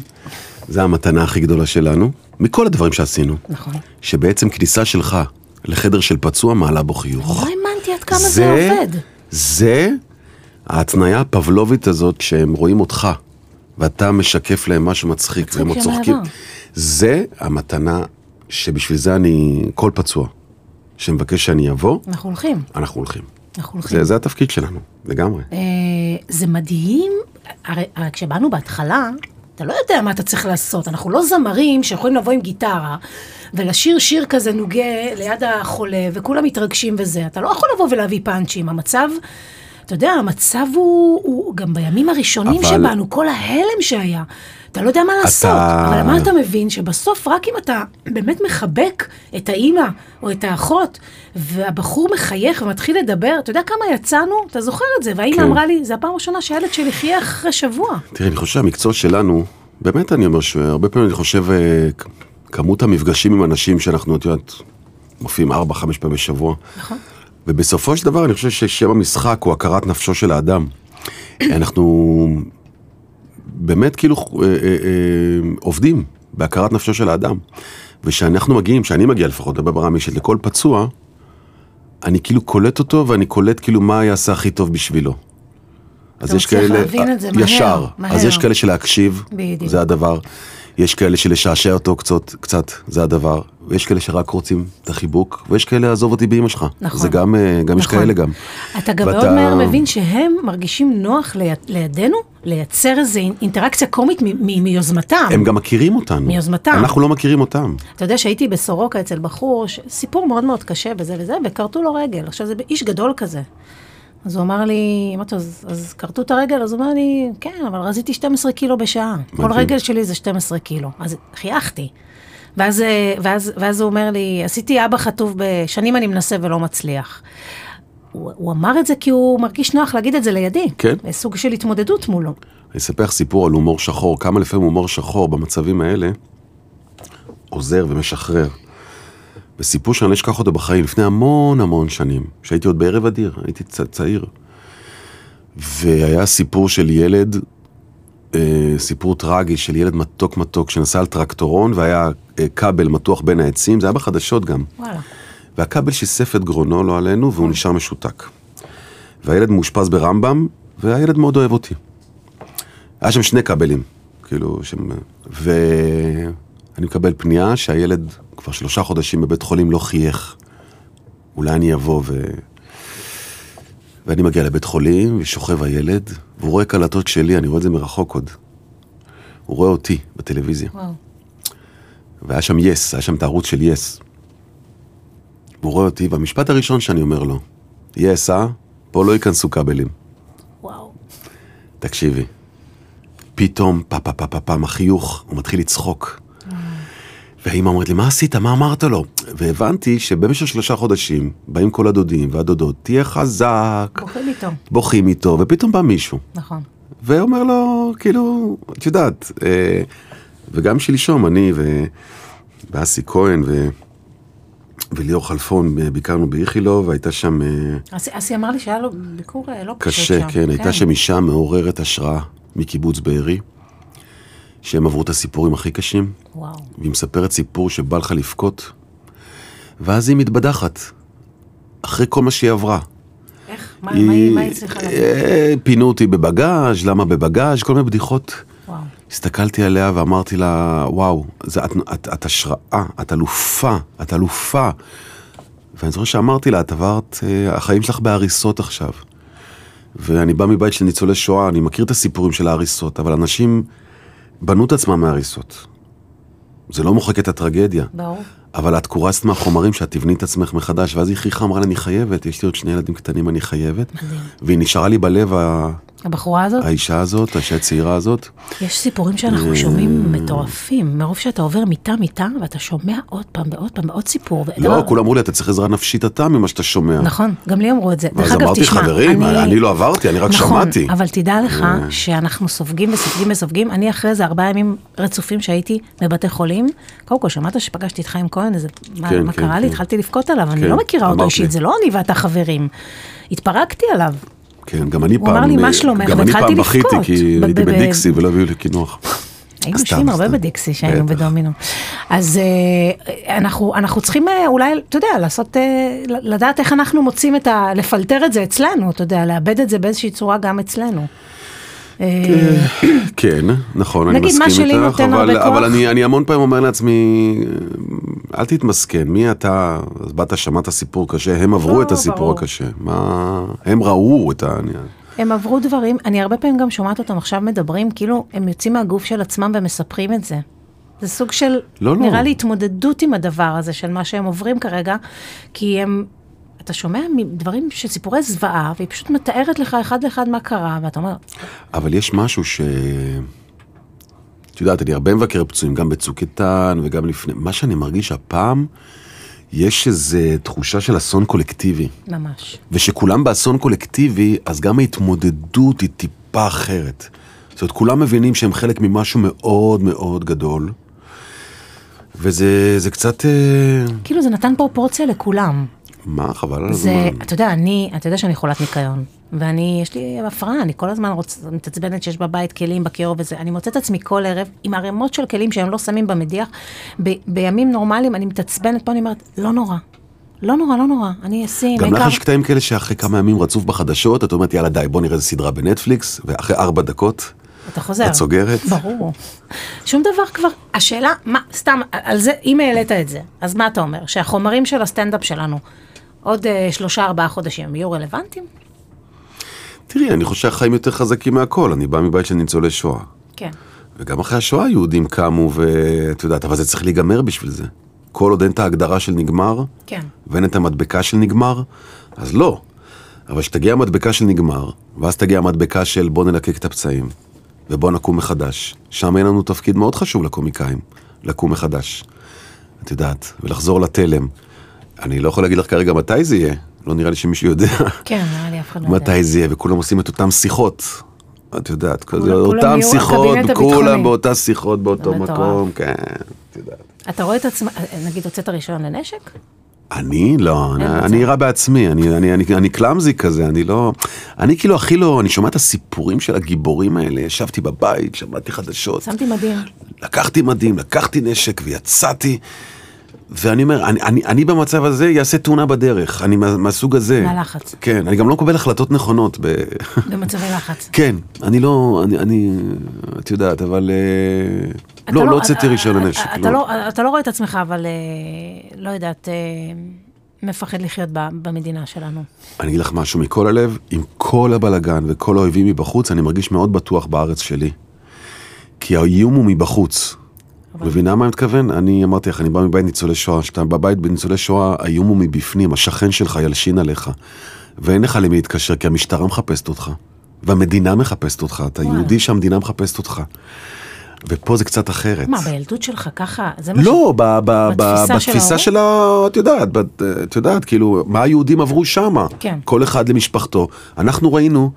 Speaker 2: זו המתנה הכי גדולה שלנו, מכל הדברים שעשינו,
Speaker 1: נכון.
Speaker 2: שבעצם כניסה שלך לחדר של פצוע מעלה בו חיוך.
Speaker 1: לא האמנתי עד כמה זה, זה עובד.
Speaker 2: זה ההתניה הפבלובית הזאת שהם רואים אותך. ואתה משקף להם משהו מצחיק, והם עוד
Speaker 1: שהם
Speaker 2: צוחקים.
Speaker 1: מהעבר.
Speaker 2: זה המתנה שבשביל זה אני, כל פצוע שמבקש שאני אבוא,
Speaker 1: אנחנו הולכים,
Speaker 2: אנחנו הולכים.
Speaker 1: אנחנו הולכים.
Speaker 2: זה, זה התפקיד שלנו, לגמרי.
Speaker 1: אה, זה מדהים, הרי, הרי כשבאנו בהתחלה, אתה לא יודע מה אתה צריך לעשות, אנחנו לא זמרים שיכולים לבוא עם גיטרה ולשיר שיר כזה נוגה ליד החולה וכולם מתרגשים וזה, אתה לא יכול לבוא ולהביא פאנצ'ים, המצב, אתה יודע, המצב הוא, הוא גם בימים הראשונים
Speaker 2: אבל-
Speaker 1: שבאנו, כל ההלם שהיה, אתה לא יודע מה לעשות,
Speaker 2: אתה-
Speaker 1: אבל מה אתה מבין? שבסוף רק אם אתה באמת מחבק את האימא או את האחות, והבחור מחייך ומתחיל לדבר, אתה יודע כמה יצאנו? אתה זוכר את זה, והאימא
Speaker 2: כן.
Speaker 1: אמרה לי, זה הפעם הראשונה שהילד שלי חייך אחרי שבוע.
Speaker 2: תראה, אני חושב שהמקצוע שלנו, באמת אני אומר שהרבה פעמים אני חושב, אה, כ- כמות המפגשים עם אנשים שאנחנו, את יודעת, מופיעים 4-5 פעמים בשבוע. נכון. ובסופו של דבר אני חושב ששם המשחק הוא הכרת נפשו של האדם. אנחנו באמת כאילו אה, אה, אה, עובדים בהכרת נפשו של האדם. וכשאנחנו מגיעים, כשאני מגיע לפחות, אני מדבר ברמה אישית, לכל פצוע, אני כאילו קולט אותו ואני קולט כאילו מה יעשה הכי טוב בשבילו. אז
Speaker 1: אתה
Speaker 2: יש
Speaker 1: מצליח
Speaker 2: כאלה, אה,
Speaker 1: להבין את זה מהר,
Speaker 2: ישר,
Speaker 1: מהר.
Speaker 2: אז יש כאלה שלהקשיב,
Speaker 1: בדיוק.
Speaker 2: זה הדבר, יש כאלה שלשעשע אותו קצת, קצת, זה הדבר, ויש כאלה שרק רוצים את החיבוק, ויש כאלה לעזוב אותי באמא שלך,
Speaker 1: נכון.
Speaker 2: זה גם, אה, גם יש
Speaker 1: נכון.
Speaker 2: כאלה גם.
Speaker 1: אתה גם
Speaker 2: ואתה-
Speaker 1: מאוד מהר מבין שהם מרגישים נוח ליד- לידינו לייצר איזו אינטראקציה קומית מ- מ- מיוזמתם.
Speaker 2: הם גם מכירים אותנו,
Speaker 1: מיוזמתם.
Speaker 2: אנחנו לא מכירים אותם,
Speaker 1: אתה יודע שהייתי בסורוקה אצל בחור, ש... סיפור מאוד מאוד קשה וזה וזה, וכרתו לו רגל. עכשיו זה איש גדול כזה. אז הוא אמר לי, אמרתי לו, אז, אז כרתו את הרגל? אז הוא אמר לי, כן, אבל רזיתי 12 קילו בשעה. כל
Speaker 2: מדהים.
Speaker 1: רגל שלי זה 12 קילו. אז חייכתי. ואז, אה, ואז, ואז הוא אומר לי, עשיתי אבא חטוף בשנים אני מנסה ולא מצליח. הוא, הוא אמר את זה כי הוא מרגיש נוח להגיד את זה לידי.
Speaker 2: כן.
Speaker 1: זה סוג של התמודדות מולו.
Speaker 2: אני אספר לך סיפור על הומור שחור, כמה לפעמים הומור שחור במצבים האלה עוזר ומשחרר. בסיפור שאני לא אשכח אותו בחיים, לפני המון המון שנים, שהייתי עוד בערב אדיר, הייתי צ- צעיר. והיה סיפור של ילד, אה, סיפור טרגי של ילד מתוק מתוק שנסע על טרקטורון והיה אה, כבל מתוח בין העצים, זה היה בחדשות גם.
Speaker 1: וואלה.
Speaker 2: והכבל שיסף את גרונו לא עלינו והוא נשאר משותק. והילד מאושפז ברמב"ם, והילד מאוד אוהב אותי. היה שם שני כבלים, כאילו, שם... ואני מקבל פנייה שהילד כבר שלושה חודשים בבית חולים לא חייך. אולי אני אבוא ו... ואני מגיע לבית חולים, ושוכב הילד, והוא רואה קלטות שלי, אני רואה את זה מרחוק עוד. הוא רואה אותי בטלוויזיה.
Speaker 1: וואו.
Speaker 2: והיה שם יס, היה שם את הערוץ של יס. והוא רואה אותי, והמשפט הראשון שאני אומר לו, יס, אה? פה לא ייכנסו כבלים.
Speaker 1: וואו.
Speaker 2: תקשיבי. פתאום, פה פה פה פה פעם החיוך, הוא מתחיל לצחוק. והאימא אומרת לי, מה עשית? מה אמרת לו? והבנתי שבמשך שלושה חודשים באים כל הדודים והדודות, תהיה חזק,
Speaker 1: בוכים איתו.
Speaker 2: בוכים איתו, ופתאום בא מישהו.
Speaker 1: נכון.
Speaker 2: ואומר לו, כאילו, את יודעת, אה, וגם שלשום, אני ו- ואסי כהן ו... וליאור חלפון אה, ביקרנו באיכילוב, והייתה שם אה,
Speaker 1: אסי אסי אמר לי שהיה לו ביקור אה, לא פשוט שם.
Speaker 2: קשה, כן, הייתה שם אישה מעוררת השראה מקיבוץ בארי, שהם עברו את הסיפורים הכי קשים,
Speaker 1: וואו.
Speaker 2: והיא מספרת סיפור שבא לך לבכות, ואז היא מתבדחת, אחרי כל מה שהיא עברה.
Speaker 1: איך? מה מה היא מה היא הצליחה לעשות?
Speaker 2: אה, פינו אותי בבגאז', למה בבגאז', כל מיני בדיחות.
Speaker 1: וואו.
Speaker 2: הסתכלתי עליה ואמרתי לה, וואו, זה, את, את, את השראה, את אלופה, את אלופה. ואני זוכר שאמרתי לה, את עברת, אה, החיים שלך בהריסות עכשיו. ואני בא מבית של ניצולי שואה, אני מכיר את הסיפורים של ההריסות, אבל אנשים בנו את עצמם מההריסות. זה לא מוחק את הטרגדיה,
Speaker 1: ברור.
Speaker 2: אבל את קורסת מהחומרים שאת תבני את עצמך מחדש, ואז היא חייכה אמרה לה, אני חייבת, יש לי עוד שני ילדים קטנים, אני חייבת. והיא נשארה לי בלב, ה-
Speaker 1: הבחורה הזאת,
Speaker 2: האישה הזאת, האישה הצעירה הזאת.
Speaker 1: יש סיפורים
Speaker 2: אה,
Speaker 1: שאנחנו שומעים מטורפים, מרוב שאתה עובר מיטה-מיטה ואתה שומע עוד פעם ועוד פעם ועוד סיפור.
Speaker 2: לא,
Speaker 1: ודבר-
Speaker 2: כולם אמרו לי, אתה צריך עזרה נפשית אתה ממה שאתה שומע.
Speaker 1: נכון, גם לי אמרו את זה. דרך
Speaker 2: ואז
Speaker 1: אגב,
Speaker 2: אמרתי,
Speaker 1: תשמע,
Speaker 2: חברים, אני לא עברתי, אני רק
Speaker 1: נכון,
Speaker 2: שמעתי. אה.
Speaker 1: אבל תדע לך שאנחנו סופגים וסופגים וסופגים. אני אחרי זה ארבעה ימים רצופים שהייתי בבתי חולים. קודם כל, שמעת שפגשתי את חיים כהן, איזה, מה,
Speaker 2: כן,
Speaker 1: מה
Speaker 2: כן,
Speaker 1: קרה לי?
Speaker 2: כן.
Speaker 1: התחלתי לבכות עליו, אני
Speaker 2: כן,
Speaker 1: לא מכירה אותו
Speaker 2: אמרת
Speaker 1: אישית,
Speaker 2: לי.
Speaker 1: זה לא אני ואתה חברים. התפרקתי עליו.
Speaker 2: כן, גם אני פעם...
Speaker 1: הוא אמר לי, "מה
Speaker 2: אה,
Speaker 1: שלומך?"
Speaker 2: גם אני
Speaker 1: והתחלתי
Speaker 2: פעם בכיתי,
Speaker 1: לבכות.
Speaker 2: כי
Speaker 1: ב-
Speaker 2: הייתי
Speaker 1: ב- ב-
Speaker 2: בדיקסי ולא הביאו לי קינוח.
Speaker 1: היינו
Speaker 2: סתם,
Speaker 1: יושבים הרבה
Speaker 2: סתם.
Speaker 1: בדיקסי שהיינו
Speaker 2: בטח.
Speaker 1: בדומינו. אז אה, אנחנו, אנחנו צריכים אה, אולי, אתה יודע, לעשות, אה, לדעת איך אנחנו מוצאים את ה... לפלטר את זה אצלנו, אתה יודע, לאבד את זה באיזושהי צורה גם אצלנו. אה,
Speaker 2: כן, נכון, אני
Speaker 1: נגיד, מה
Speaker 2: מסכים איתך.
Speaker 1: שלי נותן
Speaker 2: אבל,
Speaker 1: הרבה
Speaker 2: אבל
Speaker 1: כוח.
Speaker 2: אני, אני המון פעמים אומר לעצמי, "אה, אל תתמסכן, מי אתה? אז באת, שמעת סיפור קשה, הם עברו
Speaker 1: לא,
Speaker 2: את הסיפור
Speaker 1: ברור.
Speaker 2: הקשה. מה... הם ראו את העניין.
Speaker 1: הם עברו דברים, אני הרבה פעמים גם שומעת אותם עכשיו מדברים, כאילו הם יוצאים מהגוף של עצמם ומספרים את זה. זה סוג של,
Speaker 2: לא, לא.
Speaker 1: נראה לי התמודדות עם הדבר הזה, של מה שהם עוברים כרגע, כי הם, אתה שומע מ- דברים של סיפורי זוועה, והיא פשוט מתארת לך אחד לאחד מה קרה, ואתה אומר,
Speaker 2: אבל יש משהו ש... את יודעת, אני הרבה מבקר פצועים, גם בצוק איתן וגם לפני. מה שאני מרגיש הפעם, יש איזו תחושה של אסון קולקטיבי.
Speaker 1: ממש.
Speaker 2: ושכולם באסון קולקטיבי, אז גם ההתמודדות היא טיפה אחרת. זאת אומרת, כולם מבינים שהם חלק ממשהו מאוד מאוד גדול, וזה זה קצת... אה,
Speaker 1: כאילו זה נתן פרופורציה לכולם.
Speaker 2: מה, חבל על
Speaker 1: זה,
Speaker 2: הזמן.
Speaker 1: אתה יודע, אני, אתה יודע שאני חולת ניקיון, ואני, יש לי הפרעה, אני כל הזמן רוצ, מתעצבנת שיש בבית כלים בכיור וזה, אני מוצאת עצמי כל ערב עם ערימות של כלים שהם לא שמים במדיח, ב, בימים נורמליים אני מתעצבנת פה, אני אומרת, לא נורא, לא נורא, לא נורא, אני אשים,
Speaker 2: גם לך
Speaker 1: העיקר-"
Speaker 2: יש קטעים כאלה שאחרי כמה ימים רצוף בחדשות, את אומרת, יאללה, די, בוא נראה איזה סדרה בנטפליקס, ואחרי ארבע דקות,
Speaker 1: אתה חוזר.
Speaker 2: את סוגרת?
Speaker 1: ברור. שום דבר כבר, השאלה, מה, סתם, על זה, אם העלית את זה, אז מה אתה אומר? שהחומרים של הסטנדאפ שלנו עוד אה, שלושה, ארבעה חודשים הם יהיו רלוונטיים?
Speaker 2: תראי, אני חושב שהחיים יותר חזקים מהכל, אני בא מבית של ניצולי שואה.
Speaker 1: כן.
Speaker 2: וגם אחרי השואה יהודים קמו, ואת יודעת, אבל זה צריך להיגמר בשביל זה. כל עוד אין את ההגדרה של נגמר,
Speaker 1: כן.
Speaker 2: ואין את המדבקה של נגמר, אז לא. אבל כשתגיע המדבקה של נגמר, ואז תגיע המדבקה של בוא נלקק את הפצעים, ובוא נקום מחדש. שם אין לנו תפקיד מאוד חשוב לקומיקאים, לקום מחדש. את יודעת, ולחזור לתלם. אני לא יכול להגיד לך כרגע מתי זה יהיה, לא נראה לי שמישהו יודע.
Speaker 1: כן, נראה לי אף אחד לא יודע.
Speaker 2: מתי זה יהיה, וכולם עושים את אותן שיחות. את יודעת, כזה,
Speaker 1: כולם
Speaker 2: אותן
Speaker 1: יהיו
Speaker 2: שיחות,
Speaker 1: הקבינט הביטחוני.
Speaker 2: כולם באותן שיחות באותו
Speaker 1: זה מטורף.
Speaker 2: מקום, כן, את יודעת.
Speaker 1: אתה רואה את עצמך, נגיד הוצאת רישיון לנשק?
Speaker 2: אני לא, אני-
Speaker 1: מצב.
Speaker 2: אני אירה בעצמי, אני, אני, אני, אני קלאמזי כזה, אני לא, אני כאילו הכי לא, אני שומע את הסיפורים של הגיבורים האלה, ישבתי בבית, שמעתי חדשות,
Speaker 1: שמתי מדים.
Speaker 2: לקחתי מדים, לקחתי נשק ויצאתי, ואני אומר, אני, אני, אני במצב הזה אעשה תאונה בדרך, אני מה- מהסוג הזה.
Speaker 1: מהלחץ.
Speaker 2: כן, אני גם לא מקבל החלטות נכונות. ב...
Speaker 1: במצבי לחץ.
Speaker 2: כן, אני לא, אני, אני, את יודעת, אבל אה,
Speaker 1: אתה
Speaker 2: לא, לא הוצאתי
Speaker 1: אתה-
Speaker 2: רישיון
Speaker 1: אתה-
Speaker 2: לנשק.
Speaker 1: אתה לא- אתה לא רואה את עצמך, אבל אה, לא יודעת, אה, מפחד לחיות ב- במדינה שלנו.
Speaker 2: אני אגיד לך משהו מכל הלב, עם כל הבלגן וכל האויבים מבחוץ, אני מרגיש מאוד בטוח בארץ שלי. כי האיום הוא מבחוץ. מבינה מה אני מתכוון? אני אמרתי לך, אני בא מבית ניצולי שואה, כשאתה בבית בניצולי שואה, האיום הוא מבפנים, השכן שלך ילשין עליך. ואין לך למי להתקשר, כי המשטרה מחפשת אותך. והמדינה מחפשת אותך, אתה
Speaker 1: וואלה.
Speaker 2: יהודי שהמדינה מחפשת אותך. ופה זה קצת אחרת.
Speaker 1: מה, בילדות שלך ככה? זה מה ש...
Speaker 2: לא, ב, ב, ב,
Speaker 1: בתפיסה של
Speaker 2: בתפיסה
Speaker 1: ההורים?
Speaker 2: של ה... את יודעת, בת- את יודעת, כאילו, מה היהודים עברו שמה.
Speaker 1: כן.
Speaker 2: כל אחד למשפחתו. אנחנו ראינו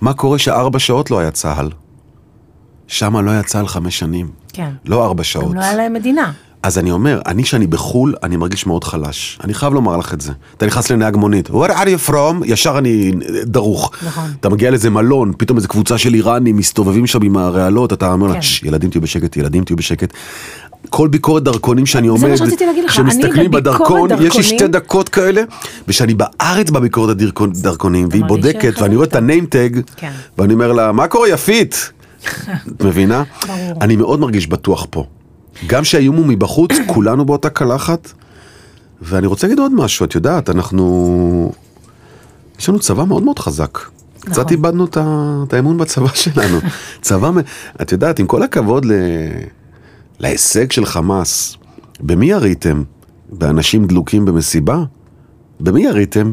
Speaker 2: מה קורה שארבע שעות לא היה צה"ל. שמה לא היה צה"ל חמש שנים.
Speaker 1: כן.
Speaker 2: לא ארבע שעות.
Speaker 1: גם לא היה להם מדינה.
Speaker 2: אז אני אומר, אני שאני בחו"ל, אני מרגיש מאוד חלש. אני חייב לומר לך את זה. אתה נכנס לנהג מונית, where are you from? ישר אני אה, דרוך.
Speaker 1: נכון.
Speaker 2: אתה מגיע לאיזה מלון, פתאום איזה קבוצה של איראנים מסתובבים שם עם הרעלות, אתה אומר
Speaker 1: כן.
Speaker 2: לה, "שש, ילדים תהיו בשקט, ילדים תהיו בשקט. כל ביקורת דרכונים שאני עומד,
Speaker 1: מה שרציתי להגיד לך, אני בביקורת
Speaker 2: שמסתכלים בדרכון, יש לי
Speaker 1: דרכונים-
Speaker 2: שתי דקות כאלה, ושאני בארץ בביקורת הדרכון- דרכונים, והיא
Speaker 1: מרגיש
Speaker 2: בודקת,
Speaker 1: שאחד
Speaker 2: ואני רואה את הניימטג,
Speaker 1: כן.
Speaker 2: ואני אומר לה, מה קורה יפית? את מבינה?
Speaker 1: ברור.
Speaker 2: אני מאוד מרגיש בטוח פה. גם שהאיום הוא מבחוץ, כולנו באותה קלחת. ואני רוצה להגיד עוד משהו, את יודעת, אנחנו... יש לנו צבא מאוד מאוד חזק. קצת איבדנו את ה- את האמון בצבא שלנו. צבא, מ- את יודעת, עם כל הכבוד ל... להישג של חמאס, במי יריתם? באנשים דלוקים במסיבה? במי יריתם?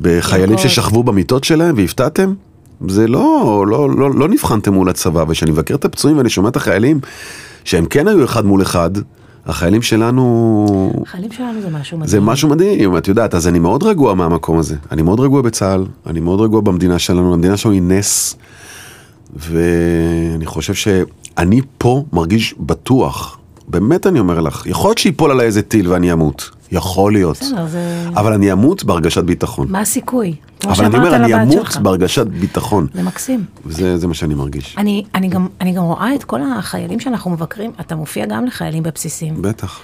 Speaker 2: בחיילים
Speaker 1: ירקות.
Speaker 2: ששכבו במיטות שלהם והפתעתם? זה לא, לא, לא, לא נבחנתם מול הצבא, וכשאני מבקר את הפצועים ואני שומע את החיילים, שהם כן היו אחד מול אחד, החיילים שלנו,
Speaker 1: החיים שלנו זה משהו מדהים.
Speaker 2: זה משהו מדהים, את יודעת, אז אני מאוד רגוע מהמקום הזה. אני מאוד רגוע בצה"ל, אני מאוד רגוע במדינה שלנו, המדינה שלנו היא נס, ואני חושב שאני פה מרגיש בטוח, באמת אני אומר לך, יכול להיות שיפול עליי איזה טיל ואני אמות, יכול להיות,
Speaker 1: בסדר, זה...
Speaker 2: אבל אני אמות בהרגשת ביטחון.
Speaker 1: מה הסיכוי? כמו
Speaker 2: אבל אני
Speaker 1: שאמרת
Speaker 2: אומר, אני
Speaker 1: לבת
Speaker 2: אמות
Speaker 1: שלך.
Speaker 2: בהרגשת ביטחון,
Speaker 1: זה מקסים.
Speaker 2: וזה זה מה שאני מרגיש.
Speaker 1: אני, אני, גם, אני גם רואה את כל החיילים שאנחנו מבקרים, אתה מופיע גם לחיילים בבסיסים.
Speaker 2: בטח.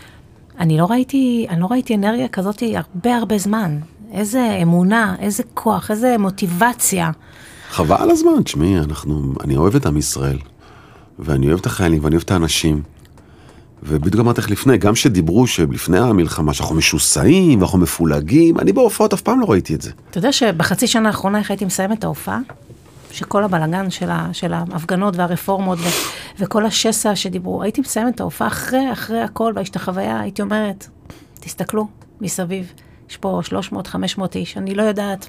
Speaker 1: אני לא ראיתי, אני לא ראיתי אנרגיה כזאת הרבה הרבה זמן. איזה אמונה, איזה כוח, איזה מוטיבציה.
Speaker 2: חבל על הזמן, תשמעי, אנחנו, אני אוהב את עם ישראל, ואני אוהב את החיילים, ואני אוהב את האנשים. ובדיוק אמרת איך לפני, גם שדיברו שלפני המלחמה, שאנחנו משוסעים ואנחנו מפולגים, אני בהופעות אף פעם לא ראיתי את זה.
Speaker 1: אתה יודע שבחצי שנה האחרונה, איך הייתי מסיימת את ההופעה? שכל הבלגן של, ה, של ההפגנות והרפורמות ו, וכל השסע שדיברו, הייתי מסיימת את ההופעה אחרי, אחרי הכל, ויש את החוויה, הייתי אומרת, תסתכלו מסביב, יש פה 300-500 איש, אני לא יודעת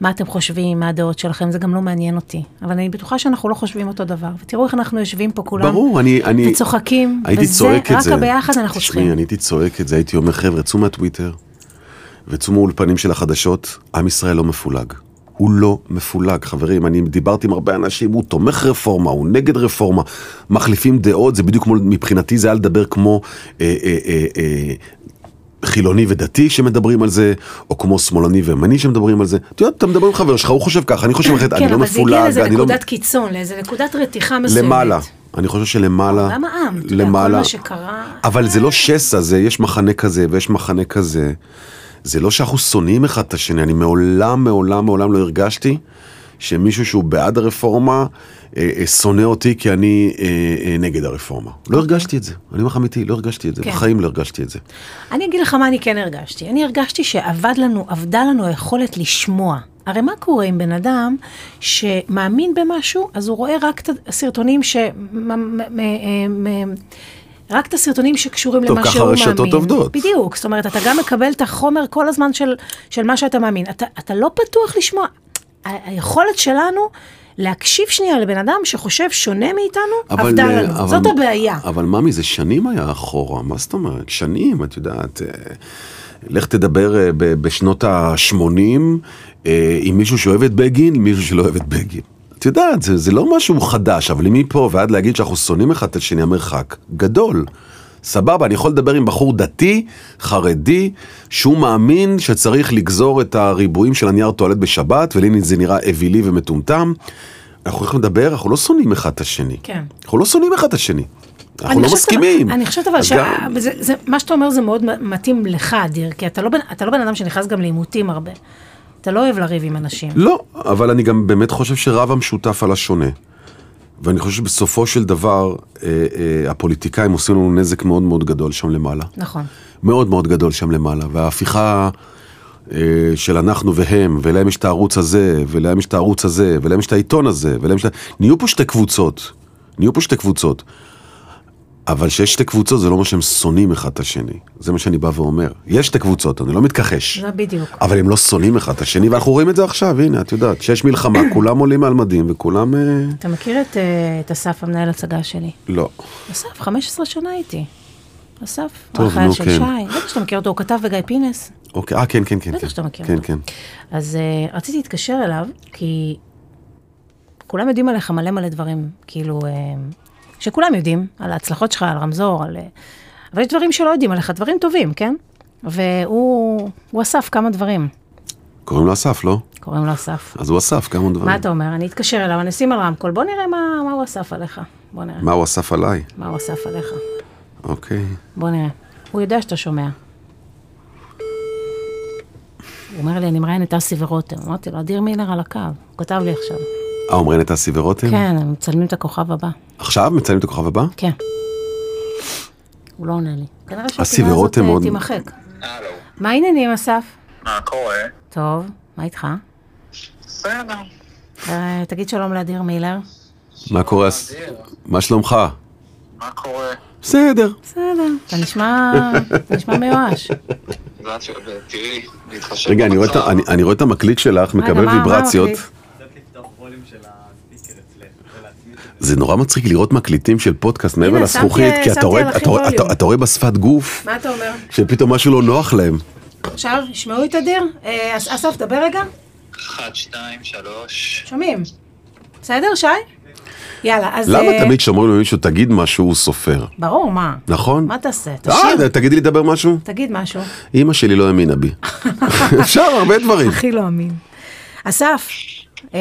Speaker 1: מה אתם חושבים, מה הדעות שלכם, זה גם לא מעניין אותי. אבל אני בטוחה שאנחנו לא חושבים אותו דבר, ותראו איך אנחנו יושבים פה כולם,
Speaker 2: ברור, אני... אני
Speaker 1: וצוחקים,
Speaker 2: הייתי
Speaker 1: וזה,
Speaker 2: צועק את
Speaker 1: רק
Speaker 2: זה.
Speaker 1: הביחד אנחנו
Speaker 2: תשמעי,
Speaker 1: צריכים.
Speaker 2: אני הייתי צועק את זה, הייתי אומר, חבר'ה, צאו מהטוויטר, וצאו מהאולפנים של החדשות, עם ישראל לא מפולג. הוא לא מפולג, חברים, אני דיברתי עם הרבה אנשים, הוא תומך רפורמה, הוא נגד רפורמה, מחליפים דעות, זה בדיוק כמו, מבחינתי זה היה לדבר כמו אה, אה, אה, אה, חילוני ודתי שמדברים על זה, או כמו שמאלני וימני שמדברים על זה. את יודעת, אתה מדבר עם חבר שלך, הוא חושב ככה, אני חושב אחרת, אני
Speaker 1: כן,
Speaker 2: לא
Speaker 1: אבל זה הגיע
Speaker 2: מפולג,
Speaker 1: לאיזה
Speaker 2: אני לא...
Speaker 1: נקודת קיצון, לאיזה נקודת רתיחה מסוימת.
Speaker 2: למעלה, אני חושב שלמעלה,
Speaker 1: גם העם, אתה יודע, כל
Speaker 2: למעלה,
Speaker 1: מה שקרה,
Speaker 2: אבל זה לא שסע, זה יש מחנה כזה ויש מחנה כזה. זה לא שאנחנו שונאים אחד את השני, אני מעולם, מעולם, מעולם לא הרגשתי שמישהו שהוא בעד הרפורמה אה, אה, שונא אותי כי אני אה, אה, נגד הרפורמה. לא הרגשתי את זה, אני אומר לך אמיתי, לא הרגשתי את זה,
Speaker 1: אוקיי. כן.
Speaker 2: בחיים לא הרגשתי את זה.
Speaker 1: אני אגיד לך מה אני כן הרגשתי. אני הרגשתי שעבד לנו, עבדה לנו היכולת לשמוע. הרי מה קורה עם בן אדם שמאמין במשהו, אז הוא רואה רק את הסרטונים ש... מ- מ- מ- מ- רק את הסרטונים שקשורים
Speaker 2: טוב,
Speaker 1: למה
Speaker 2: ככה
Speaker 1: שהוא מאמין.
Speaker 2: הרשתות עובדות.
Speaker 1: בדיוק, זאת אומרת, אתה גם מקבל את החומר כל הזמן של, של מה שאתה מאמין. אתה, אתה לא פתוח לשמוע. ה- היכולת שלנו להקשיב שנייה לבן אדם שחושב שונה מאיתנו,
Speaker 2: אבל,
Speaker 1: עבדה
Speaker 2: אה,
Speaker 1: לנו.
Speaker 2: אבל-
Speaker 1: זאת הבעיה.
Speaker 2: אבל ממי, זה שנים היה אחורה, מה זאת אומרת? שנים, את יודעת. אה, לך תדבר אה, ב- בשנות ה-80 עם מישהו שאוהב את בגין, מישהו שלא אוהב את בגין. את יודעת, זה, זה לא משהו חדש, אבל מפה ועד להגיד שאנחנו שונאים אחד את השני, המרחק גדול. סבבה, אני יכול לדבר עם בחור דתי, חרדי, שהוא מאמין שצריך לגזור את הריבועים של הנייר טואלט בשבת, ולי זה נראה אווילי ומטומטם. אנחנו יכולים לדבר, אנחנו לא שונאים אחד את השני.
Speaker 1: כן.
Speaker 2: אנחנו לא שונאים אחד את השני. אנחנו
Speaker 1: אני
Speaker 2: לא
Speaker 1: חושבת
Speaker 2: מסכימים.
Speaker 1: אבל, אני חושבת אבל
Speaker 2: אז גם-
Speaker 1: שמה שאתה אומר זה מאוד מ- מתאים לך, אדיר, כי אתה לא, בן- אתה לא בן אדם שנכנס גם לעימותים הרבה. אתה לא אוהב לריב עם אנשים.
Speaker 2: לא, אבל אני גם באמת חושב שרב המשותף על השונה. ואני חושב שבסופו של דבר, אה, אה, הפוליטיקאים עושים לנו נזק מאוד מאוד גדול שם למעלה.
Speaker 1: נכון.
Speaker 2: מאוד מאוד גדול שם למעלה, וההפיכה אה, של אנחנו והם, ולהם יש את הערוץ הזה, ולהם יש את הערוץ הזה, ולהם יש את העיתון הזה, ולהם יש את... ה- נהיו פה שתי קבוצות, נהיו פה שתי קבוצות. אבל שיש שתי קבוצות זה לא אומר שהם שונאים אחד את השני, זה מה שאני בא ואומר. יש שתי קבוצות, אני לא מתכחש.
Speaker 1: זה בדיוק.
Speaker 2: אבל הם לא שונאים אחד את השני, ואנחנו רואים את זה עכשיו, הנה, את יודעת, שיש מלחמה, כולם עולים על מדים וכולם... אה,
Speaker 1: אתה מכיר את, אה, את אסף, המנהל הצגה שלי?
Speaker 2: לא.
Speaker 1: אסף, 15 שנה הייתי. אסף,
Speaker 2: טוב,
Speaker 1: החייל
Speaker 2: נו,
Speaker 1: של
Speaker 2: כן.
Speaker 1: שי. בטח שאתה מכיר אותו, הוא כתב וגיא פינס.
Speaker 2: אוקיי, אה, כן, כן, כן.
Speaker 1: בטח
Speaker 2: כן.
Speaker 1: שאתה מכיר
Speaker 2: כן,
Speaker 1: אותו.
Speaker 2: כן.
Speaker 1: אז uh, רציתי להתקשר אליו, כי כולם יודעים עליך מלא מלא דברים, כאילו, uh, שכולם יודעים, על ההצלחות שלך, על רמזור, על... Uh, אבל יש דברים שלא יודעים עליך, דברים טובים, כן? והוא הוא אסף כמה דברים,
Speaker 2: קוראים לו אסף, לא?
Speaker 1: קוראים לו אסף.
Speaker 2: אז הוא אסף כמה דברים.
Speaker 1: מה אתה אומר? אני אתקשר אליו, אני אשים על רמקול, בוא נראה מה, מה הוא אסף עליך. בוא נראה
Speaker 2: מה הוא אסף עליי?
Speaker 1: מה הוא אסף עליך.
Speaker 2: אוקיי.
Speaker 1: בוא נראה. הוא יודע שאתה שומע. הוא אומר לי, אני מראיין את אסי ורותם. אמרתי לו, אדיר מילר על הקו, הוא כתב לי עכשיו.
Speaker 2: אה, אומרים את אסי ורותם?
Speaker 1: כן, הם מצלמים את הכוכב הבא.
Speaker 2: עכשיו מצלמים את הכוכב הבא?
Speaker 1: כן. הוא לא עונה לי. כנראה
Speaker 2: אסי
Speaker 1: שהפינה הזאת
Speaker 2: ורותם
Speaker 1: אה,
Speaker 2: עוד-
Speaker 1: תימחק.
Speaker 3: הלו,
Speaker 1: מה העניינים, אסף?
Speaker 3: מה קורה?
Speaker 1: טוב, מה איתך?
Speaker 3: בסדר.
Speaker 1: אה, תגיד שלום לאדיר מילר.
Speaker 2: מה קורה? אס-
Speaker 3: אדיר,
Speaker 2: מה שלומך?
Speaker 3: מה קורה?
Speaker 2: בסדר.
Speaker 1: בסדר. אתה נשמע, אתה נשמע מיואש.
Speaker 3: זה את יודעת, תראי, להתחשב
Speaker 2: רגע, אני רואה את ה-
Speaker 3: במצב.
Speaker 2: אני- אני רואה את המקליט שלך,
Speaker 1: רגע,
Speaker 2: מקבל
Speaker 1: מה- מה
Speaker 2: ויברציות.
Speaker 1: המקליט?
Speaker 4: צריך לפתוח ווליום של הספיקר אצלך, ולהצמיד את זה.
Speaker 2: זה נורא מצחיק לראות מקליטים של פודקאסט מעבר
Speaker 1: הנה,
Speaker 2: לזכוכית,
Speaker 1: שמתי-
Speaker 2: כי אתה
Speaker 1: שמתי
Speaker 2: רואה-
Speaker 1: על הכי
Speaker 2: אתה רואה-
Speaker 1: ווליום.
Speaker 2: אתה- אתה רואה בשפת גוף
Speaker 1: מה אתה אומר?
Speaker 2: שפתאום משהו לא נוח להם.
Speaker 1: עכשיו, שמעו את אדיר? אה, אס- אסף, דבר רגע.
Speaker 3: אחד, שתיים, שלוש.
Speaker 1: שומעים. בסדר, שי? יאללה, אז...
Speaker 2: למה
Speaker 1: אה,
Speaker 2: תמיד כשאומרים למישהו תגיד משהו הוא סופר,
Speaker 1: ברור, מה?
Speaker 2: נכון?
Speaker 1: מה תעשה? תשאיר.
Speaker 2: אה, תגידי לי לדבר משהו?
Speaker 1: תגיד משהו.
Speaker 2: אימא שלי לא האמינה בי. אפשר, הרבה דברים.
Speaker 1: הכי לא אמין. אסף, אה,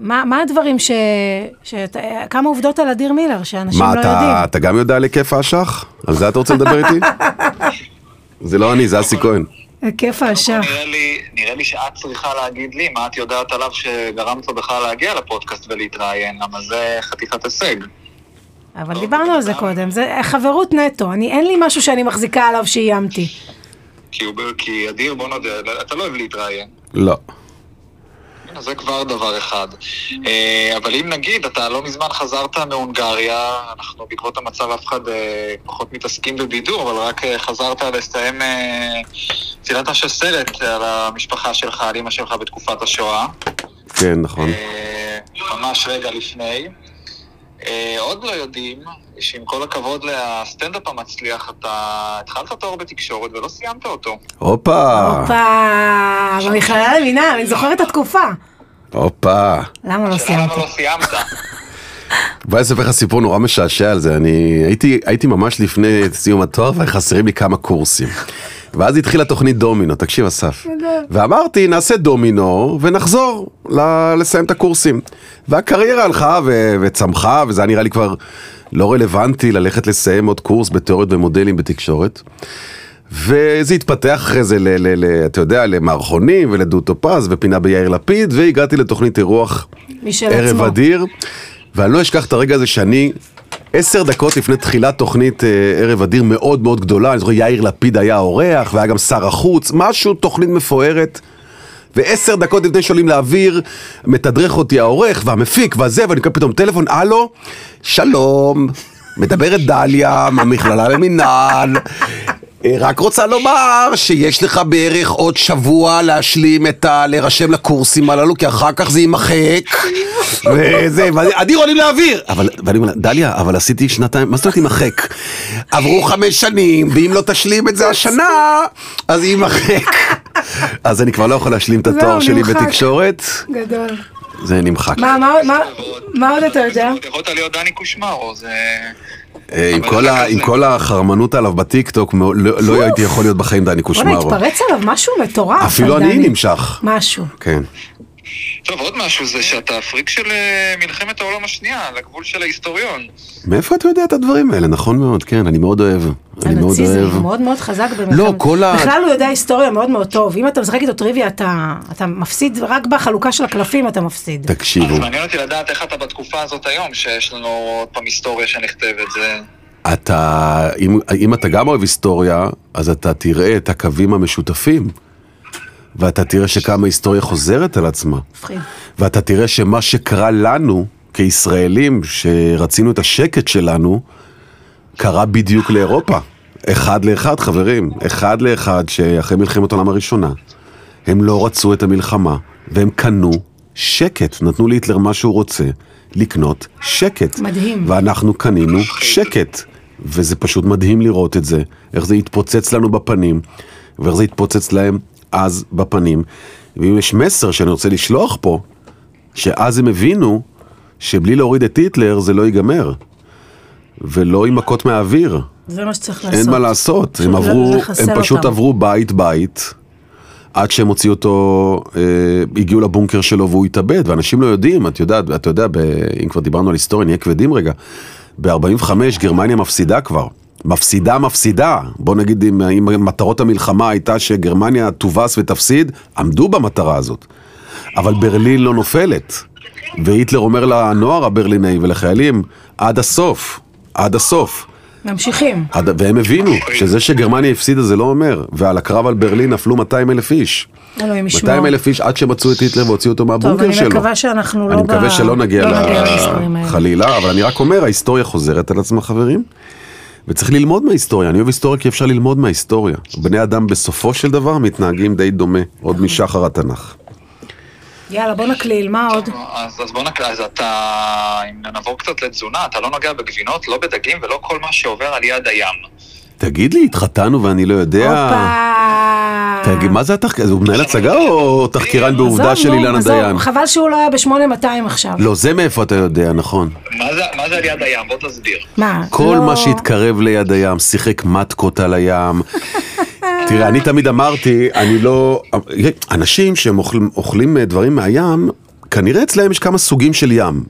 Speaker 1: מה מה הדברים ש... שאת- אה, כמה עובדות על אדיר מילר שאנשים
Speaker 2: מה,
Speaker 1: לא
Speaker 2: אתה-
Speaker 1: יודעים?
Speaker 2: אתה גם יודע על היקף האשך? על זה אתה רוצה לדבר איתי? זה לא אני, זה אסי כהן.
Speaker 1: היקף
Speaker 3: קודם כל,
Speaker 1: העשן.
Speaker 3: נראה לי, נראה לי שאת צריכה להגיד לי מה את יודעת עליו שגרמת לו בכלל להגיע לפודקאסט ולהתראיין, למה זה חתיכת הישג.
Speaker 1: אבל דיברנו על זה קודם, זה חברות נטו, אני, אין לי משהו שאני מחזיקה עליו שאיימתי.
Speaker 3: כי, הוא, ב- כי אדיר, בוא נודה, אתה לא אוהב להתראיין.
Speaker 2: לא.
Speaker 3: כן, זה כבר דבר אחד. אה, אבל אם נגיד, אתה לא מזמן חזרת מהונגריה, אנחנו בעקבות המצב אף אחד אה, פחות מתעסקים בבידור, אבל רק אה, חזרת לסיים אה, צילמת של סרט על המשפחה שלך, על אימא שלך בתקופת השואה.
Speaker 2: כן, נכון.
Speaker 3: אה, ממש רגע לפני. אה, עוד לא יודעים שעם כל הכבוד לסטנדאפ המצליח, אתה התחלת תואר בתקשורת ולא סיימת אותו.
Speaker 1: לא
Speaker 2: הופה!
Speaker 1: הופה, במכללה לבינה, אני זוכרת את התקופה.
Speaker 2: הופה!
Speaker 1: למה לא
Speaker 3: השאלה
Speaker 1: סיימת?
Speaker 3: למה לא סיימת?
Speaker 2: בא לספר לך סיפור נורא משעשע על זה, אני הייתי, הייתי ממש לפני סיום התואר וחסרים לי כמה קורסים. ואז התחילה תוכנית דומינו, תקשיב אסף. ואמרתי, נעשה דומינו ונחזור ל- לסיים את הקורסים. והקריירה הלכה ו- וצמחה, וזה היה נראה לי כבר לא רלוונטי ללכת לסיים עוד קורס בתיאוריות ומודלים בתקשורת. וזה התפתח אחרי זה, ל, ל, ל, אתה יודע, למערכונים ולדו טופז ופינה ביאיר לפיד, והגעתי לתוכנית אירוח
Speaker 1: משל
Speaker 2: ערב
Speaker 1: עצמו.
Speaker 2: אדיר, ואני לא אשכח את הרגע הזה שאני, עשר דקות לפני תחילת תוכנית אה, ערב אדיר מאוד מאוד גדולה, אני זוכר יאיר לפיד היה האורח, והיה גם שר החוץ, משהו, תוכנית מפוארת. ועשר דקות לפני שעולים לאוויר, מתדרך אותי העורך והמפיק והזה, ואני מקבל פתאום טלפון, הלו, שלום, מדברת דליה מהמכללה למינהל. אה, רק רוצה לומר שיש לך בערך עוד שבוע להשלים את ה... להירשם לקורסים הללו, כי אחר כך זה יימחק. וזה, ואני- אדיר עולים לאוויר! אבל, ואני אומר לה, דליה, אבל עשיתי שנתיים, מה זאת אומרת יימחק? עברו חמש שנים, ואם לא תשלים את זה השנה, אז יימחק. אז אני כבר לא יכול להשלים את התואר שלי
Speaker 1: נמחק.
Speaker 2: בתקשורת,
Speaker 1: גדול.
Speaker 2: זה נמחק.
Speaker 1: מה, מה, מה, מה עוד אתה יודע?
Speaker 3: יכולת להיות דני קושמרו, זה...
Speaker 2: אה, עם
Speaker 3: אבל
Speaker 2: כל ה-
Speaker 3: ככה
Speaker 2: עם
Speaker 3: זה.
Speaker 2: כל החרמנות עליו בטיקטוק, מאוד- לא לא הייתי יכול להיות בחיים דני
Speaker 1: בוא'נה,
Speaker 2: קושמרו.
Speaker 1: התפרץ עליו משהו מטורף.
Speaker 2: אפילו
Speaker 1: על
Speaker 2: אני
Speaker 1: דני.
Speaker 2: נמשך.
Speaker 1: משהו.
Speaker 2: כן.
Speaker 3: טוב, עוד משהו זה שאתה פריק של אה, מלחמת העולם השנייה, על הגבול של ההיסטוריון.
Speaker 2: מאיפה אתה יודע את הדברים האלה? נכון מאוד, כן, אני מאוד אוהב. אני מאוד
Speaker 1: הנאציזם
Speaker 2: אוהב.
Speaker 1: הוא מאוד מאוד חזק במלחמת...
Speaker 2: לא, כל ה-
Speaker 1: בכלל הוא יודע היסטוריה מאוד מאוד טוב. אם אתה משחק איתו טריוויה, אתה, אתה מפסיד, רק בחלוקה של הקלפים אתה מפסיד.
Speaker 2: תקשיבו,
Speaker 3: אז מעניין אותי לדעת איך אתה בתקופה הזאת היום, שיש לנו עוד פעם היסטוריה שנכתבת, זה...
Speaker 2: אתה, אם, אם אתה גם אוהב היסטוריה, אז אתה תראה את הקווים המשותפים, ואתה תראה שכמה היסטוריה חוזרת על עצמה.
Speaker 1: מפחיד.
Speaker 2: ואתה תראה שמה שקרה לנו, כישראלים, שרצינו את השקט שלנו, קרה בדיוק לאירופה. אחד לאחד, חברים. אחד לאחד שאחרי מלחמת העולם הראשונה, הם לא רצו את המלחמה, והם קנו שקט. נתנו להיטלר מה שהוא רוצה, לקנות שקט.
Speaker 1: מדהים.
Speaker 2: ואנחנו קנינו שקט. וזה פשוט מדהים לראות את זה, איך זה התפוצץ לנו בפנים, ואיך זה התפוצץ להם אז בפנים. ואם יש מסר שאני רוצה לשלוח פה, שאז הם הבינו שבלי להוריד את היטלר זה לא ייגמר. ולא עם מכות מהאוויר,
Speaker 1: זה מה שצריך לעשות.
Speaker 2: אין מה לעשות,
Speaker 1: פשוט
Speaker 2: הם
Speaker 1: לא
Speaker 2: עברו,
Speaker 1: לחסל
Speaker 2: הם פשוט
Speaker 1: אותם.
Speaker 2: עברו בית בית, עד שהם הוציאו אותו, אה, הגיעו לבונקר שלו והוא התאבד, ואנשים לא יודעים, את יודעת, אתה יודע, ב, אם כבר דיברנו על היסטוריה, נהיה כבדים רגע, ב-45 גרמניה מפסידה כבר. מפסידה מפסידה, בוא נגיד אם, אם מטרות המלחמה הייתה שגרמניה תובס ותפסיד, עמדו במטרה הזאת. אבל ברלין לא נופלת. והיטלר אומר לנוער הברלינאי ולחיילים, עד הסוף, עד הסוף.
Speaker 1: ממשיכים.
Speaker 2: עד- והם הבינו שזה שגרמניה הפסידה זה לא אומר, ועל הקרב על ברלין נפלו 200 אלף איש.
Speaker 1: אלוהים ישמור.
Speaker 2: 200 אלף איש עד שמצאו את היטלר והוציאו אותו
Speaker 1: טוב,
Speaker 2: מהבונקר
Speaker 1: אני
Speaker 2: שלו.
Speaker 1: מקווה שאנחנו לא...
Speaker 2: אני
Speaker 1: ב-
Speaker 2: מקווה שלא נגיע
Speaker 1: לא
Speaker 2: ל-
Speaker 1: נגיע למספרים האלה.
Speaker 2: חלילה, אבל אני רק אומר, ההיסטוריה חוזרת על עצמה חברים, וצריך ללמוד מההיסטוריה, אני אוהב היסטוריה כי אפשר ללמוד מההיסטוריה. בני אדם בסופו של דבר מתנהגים די דומה, עוד משחר התנ"ך.
Speaker 1: יאללה, בוא נקליל, מה עוד?
Speaker 3: אז, אז בוא נקרא, אז אתה, אם נעבור קצת לתזונה, אתה לא נוגע בגבינות, לא בדגים ולא כל מה שעובר על יד הים.
Speaker 2: תגיד לי, התחתנו ואני לא יודע.
Speaker 1: הופה.
Speaker 2: תגיד, מה זה התחקיר? הוא מנהל הצגה או תחקירן
Speaker 1: עזוב,
Speaker 2: בעובדה של
Speaker 1: נו,
Speaker 2: אילנה
Speaker 1: עזוב,
Speaker 2: דיין?
Speaker 1: חבל שהוא לא היה ב-8200 עכשיו.
Speaker 2: לא, זה מאיפה אתה יודע, נכון.
Speaker 3: מה זה, מה זה על יד הים? בוא תסביר.
Speaker 1: מה?
Speaker 2: כל
Speaker 1: לא-
Speaker 2: מה שהתקרב ליד הים, שיחק מתקות על הים. תראה, אני תמיד אמרתי, אני לא... אנשים שהם אוכלים, אוכלים אה, דברים מהים, כנראה אצלהם יש כמה סוגים של ים.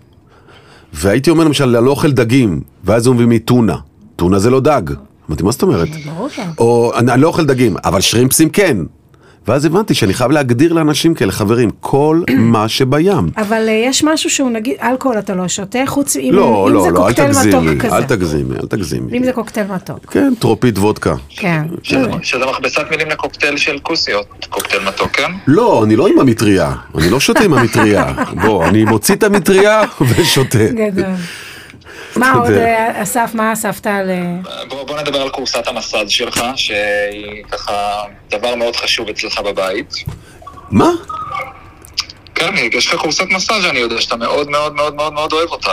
Speaker 2: והייתי אומר למשל, אני לא אוכל דגים, ואז אומרים לי טונה. טונה זה לא דג. אמרתי, מה זאת אומרת?
Speaker 1: ברור שלא.
Speaker 2: או אני אני לא אוכל דגים, אבל שרימפסים כן. ואז הבנתי שאני חייב להגדיר לאנשים כאלה, חברים, כל מה שבים.
Speaker 1: אבל אה, יש משהו שהוא נגיד, אלכוהול אתה לא שותה, חוץ אם,
Speaker 2: לא,
Speaker 1: אם
Speaker 2: לא,
Speaker 1: זה
Speaker 2: לא, אל
Speaker 1: קוקטייל
Speaker 2: תגזימי,
Speaker 1: מתוק כזה.
Speaker 2: אל תגזימי, אל תגזימי.
Speaker 1: אם זה קוקטייל מתוק,
Speaker 2: כן, טרופית וודקה.
Speaker 1: כן.
Speaker 3: שזה- שזה מכבסת מילים לקוקטייל של כוסיות, קוקטייל מתוק, כן?
Speaker 2: לא, אני לא עם המטריה, אני לא שותה עם המטריה. בוא, אני מוציא את המטריה ושותה.
Speaker 1: גדול. מה עוד,
Speaker 2: יודע.
Speaker 1: אה, אסף, מה אספת על... אה,
Speaker 3: בוא, בוא נדבר על קורסת המסאז' שלך, שהיא ככה דבר מאוד חשוב אצלך בבית.
Speaker 2: מה?
Speaker 3: כן, יש לך קורסת מסאז' אני יודע שאתה מאוד מאוד מאוד מאוד מאוד אוהב אותה.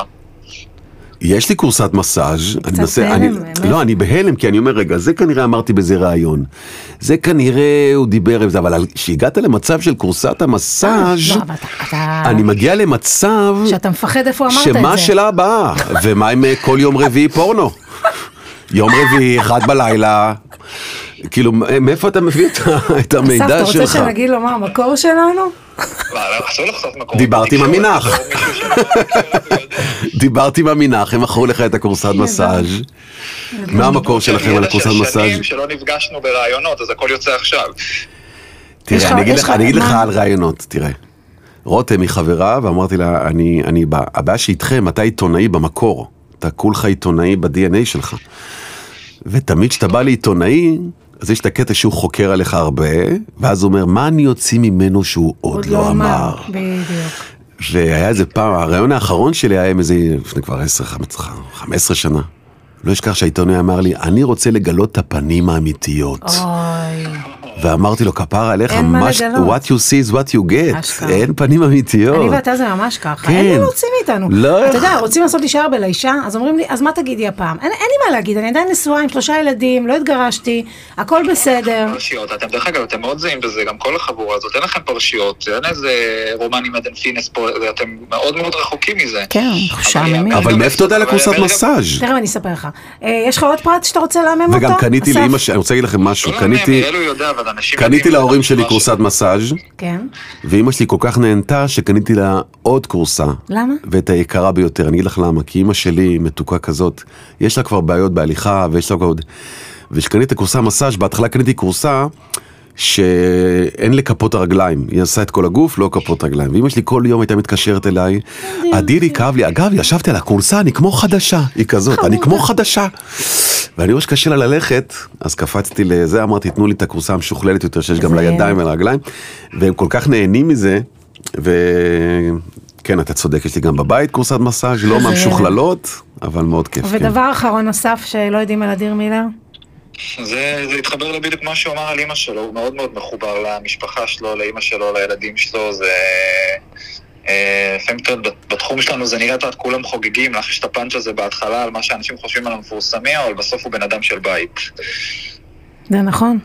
Speaker 2: יש לי קורסת מסאז', אני
Speaker 1: קצת
Speaker 2: מנסה,
Speaker 1: בהלם,
Speaker 2: אני,
Speaker 1: באמת.
Speaker 2: לא, אני בהלם, כי אני אומר, רגע, זה כנראה אמרתי באיזה ראיון. זה כנראה, הוא דיבר עם זה, אבל על- כשהגעת למצב של קורסת המסאז',
Speaker 1: לא, אבל אתה- אתה...
Speaker 2: אה, אני מגיע למצב,
Speaker 1: שאתה מפחד איפה אמרת את זה.
Speaker 2: שמה שלה הבאה, ומה עם אה, כל יום רביעי פורנו? יום רביעי, אחד בלילה, כאילו, מ- מאיפה אתה מביא את ה- את
Speaker 1: אסף, אתה
Speaker 2: המידע
Speaker 1: רוצה
Speaker 2: שלך?
Speaker 1: שנגיד לו מה המקור שלנו?
Speaker 3: מה, לא, אסור לחשוף מקור.
Speaker 2: דיברתי עם
Speaker 3: בתקשורת,
Speaker 2: עמינח.
Speaker 3: בתור מישהו שמכיר אותו ויודע.
Speaker 2: דיברתי עם המנח, הם מכרו לך את הקורסת מסאז'. מה המקור שלכם על הקורסת
Speaker 3: ידע של
Speaker 2: מסאז'?
Speaker 3: שנים שלא נפגשנו ברעיונות, אז הכל יוצא עכשיו.
Speaker 1: יש לך-
Speaker 2: תראה, אני אגיד
Speaker 1: יש
Speaker 2: לך,
Speaker 1: לך
Speaker 2: אני אגיד לך
Speaker 1: מה?
Speaker 2: על רעיונות, תראה. רותם היא חברה, ואמרתי לה, אני, אני בא. הבעיה שאיתכם, אתה עיתונאי במקור. אתה כולך עיתונאי ב-DNA שלך. ותמיד כשאתה בא לעיתונאי, אז יש את הקטע שהוא חוקר עליך הרבה, ואז הוא אומר, מה אני אוציא ממנו שהוא עוד לא אמר?
Speaker 1: בדיוק.
Speaker 2: והיה איזה פעם, הרעיון האחרון שלי היה עם איזה, לפני כבר 10, 15, 15 שנה. לא אשכח שהעיתונאי אמר לי, אני רוצה לגלות את הפנים האמיתיות.
Speaker 1: אוי,
Speaker 2: ואמרתי לו, כפרה עליך,
Speaker 1: אין מה
Speaker 2: מה ש-
Speaker 1: לגלות."
Speaker 2: what you see is what you get.
Speaker 1: אשכרה.
Speaker 2: אין פנים
Speaker 1: אני
Speaker 2: אמיתיות.
Speaker 1: ואתה זה ממש ככה,
Speaker 2: כן.
Speaker 1: אין מה להוציא מאיתנו.
Speaker 2: לא.
Speaker 1: אתה יודע, רוצים לעשות לי שער בלישה, אז אומרים לי, אז מה תגידי הפעם? אין אין לי מה להגיד, אני עדיין נשואה עם שלושה ילדים, לא התגרשתי, הכל בסדר.
Speaker 3: פרשיות, אתם דרך אגב, אתם מאוד זהים בזה, גם כל החבורה הזאת, אין לכם פרשיות, אין איזה רומן עם עדן פינס פה, אתם מאוד מאוד רחוקים מזה.
Speaker 1: כן, משעממים.
Speaker 2: אבל מאיפה אתה יודע על הקורסת
Speaker 3: אבל-
Speaker 2: מסאז'?
Speaker 1: תכף אני אספר לך. אה, יש לך עוד פרט שאתה רוצה לעמם אותו?
Speaker 2: וגם קניתי
Speaker 1: אסף?
Speaker 2: לאימא שלי, אני רוצה להגיד לכם משהו,
Speaker 3: לא, לא,
Speaker 2: קניתי...
Speaker 3: נראה לי הוא יודע, אבל אנשים
Speaker 2: קניתי
Speaker 3: יודעים
Speaker 2: להורים שלי
Speaker 3: משהו.
Speaker 2: קורסת מסאז'
Speaker 1: כן.
Speaker 2: ואימא שלי כל כך נהנתה שקניתי לה עוד קורסה.
Speaker 1: למה?
Speaker 2: ואת היקרה ביותר, אני אגיד לך למה, כי אימא שלי מתוקה כזאת, יש לה כבר בעיות בהליכה ויש לה כבר עוד... וכשקניתי את הקורסה מסאז', בהתחלה קניתי קורסה שאין לכפות הרגליים, היא עושה את כל הגוף, לא כפות רגליים. ואימא שלי כל יום הייתה מתקשרת אליי, עדידי כאב לי, אגב, ישבתי על הקורסה, אני כמו חדשה, היא כזאת, אני כמו חדשה. ואני רואה שקשה לה ללכת, אז קפצתי לזה, אמרתי, תנו לי את הקורסה המשוכללת יותר, שיש גם
Speaker 1: זה-
Speaker 2: לידיים ולרגליים, והם כל כך נהנים מזה, וכן, אתה צודק, יש לי גם בבית קורסת מסאז', לא מהמשוכללות, אבל מאוד כיף. כן.
Speaker 1: אה, ודבר אחרון נוסף שלא יודעים על אדיר מילר?
Speaker 3: זה, זה התחבר לו בדיוק מה שהוא אמר על אימא שלו, הוא מאוד מאוד מחובר למשפחה שלו, לאימא שלו, לילדים שלו, זה... אה, לפעמים אתה יודע, בתחום שלנו זה נראה, אתה יודע, כולם חוגגים, לך יש את הפאנץ' הזה בהתחלה על מה שאנשים חושבים על המפורסמים, אבל בסוף הוא בן אדם של בית.
Speaker 1: זה נכון.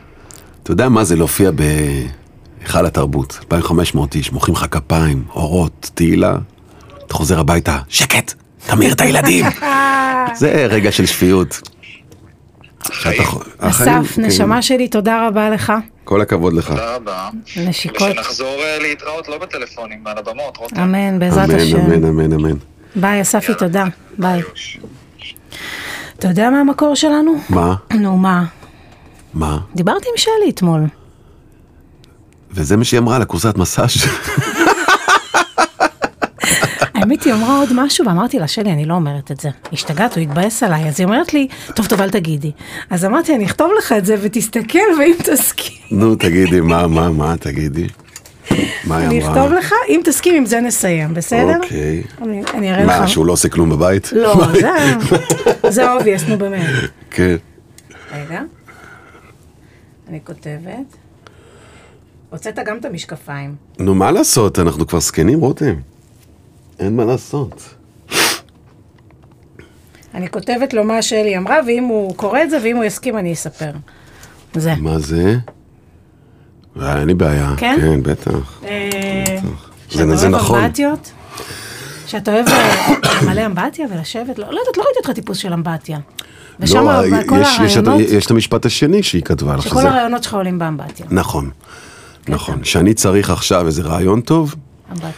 Speaker 2: אתה יודע מה זה להופיע בהיכל התרבות? 2,500 איש, מוחאים לך כפיים, אורות, תהילה, אתה חוזר הביתה, שקט, תמיר את הילדים. זה רגע של שפיות. שאתה חו- החיים,
Speaker 1: אסף,
Speaker 2: כן.
Speaker 1: נשמה שלי, תודה רבה לך.
Speaker 2: כל הכבוד לך.
Speaker 3: תודה רבה.
Speaker 1: נשיקות.
Speaker 3: ושנחזור אה, להתראות, לא בטלפונים, על הבמות, רותם.
Speaker 1: אמן, בעזרת
Speaker 2: אמן,
Speaker 1: השם.
Speaker 2: אמן, אמן, אמן.
Speaker 1: ביי, אספי,
Speaker 3: יאללה.
Speaker 1: תודה. ביי. אתה יודע מה המקור שלנו?
Speaker 2: מה?
Speaker 1: נו, מה?
Speaker 2: מה?
Speaker 1: דיברתי עם שלי אתמול.
Speaker 2: וזה מה שהיא אמרה על הקורסת מסאז'.
Speaker 1: האמת, היא אמרה עוד משהו, ואמרתי לה, שלי, אני לא אומרת את זה. השתגעת, הוא התבאס עליי. אז היא אומרת לי, טוב, טוב, אל תגידי. אז אמרתי, אני אכתוב לך את זה, ותסתכל, ואם תסכים,
Speaker 2: נו, תגידי, מה, מה, מה, תגידי. מה
Speaker 1: אני
Speaker 2: היא אמרה?
Speaker 1: אכתוב לך, אם תסכים, עם זה נסיים, בסדר?
Speaker 2: אוקיי.
Speaker 1: אני אני אראה לך.
Speaker 2: מה, שהוא לא עושה כלום בבית?
Speaker 1: לא,
Speaker 2: מה?
Speaker 1: זה- זה obvious, נו באמת.
Speaker 2: כן.
Speaker 1: רגע, אני כותבת. הוצאת גם את המשקפיים.
Speaker 2: נו, מה לעשות? אנחנו כבר זקנים, רותם. אין מה לעשות.
Speaker 1: אני כותבת לו מה שלי אמרה, ואם הוא קורא את זה, ואם הוא יסכים, אני אספר. זה.
Speaker 2: מה זה? אה, אין לי בעיה.
Speaker 1: כן?
Speaker 2: כן, בטח.
Speaker 1: אה,
Speaker 2: זה- זה
Speaker 1: שאתה
Speaker 2: נכון.
Speaker 1: אוהב אמבטיות? שאתה אוהב אה, למלא אמבטיה ולשבת? לא לא יודעת, לא ראיתי אותך טיפוס של אמבטיה. ושם
Speaker 2: לא,
Speaker 1: כל
Speaker 2: יש- יש אה, את-
Speaker 1: הרעיונות,
Speaker 2: יש את המשפט השני שהיא כתבה לך.
Speaker 1: שכל
Speaker 2: שזה-
Speaker 1: הרעיונות שלך עולים באמבטיה.
Speaker 2: נכון. נכון. שאני צריך עכשיו איזה רעיון טוב,
Speaker 1: אמבטיה.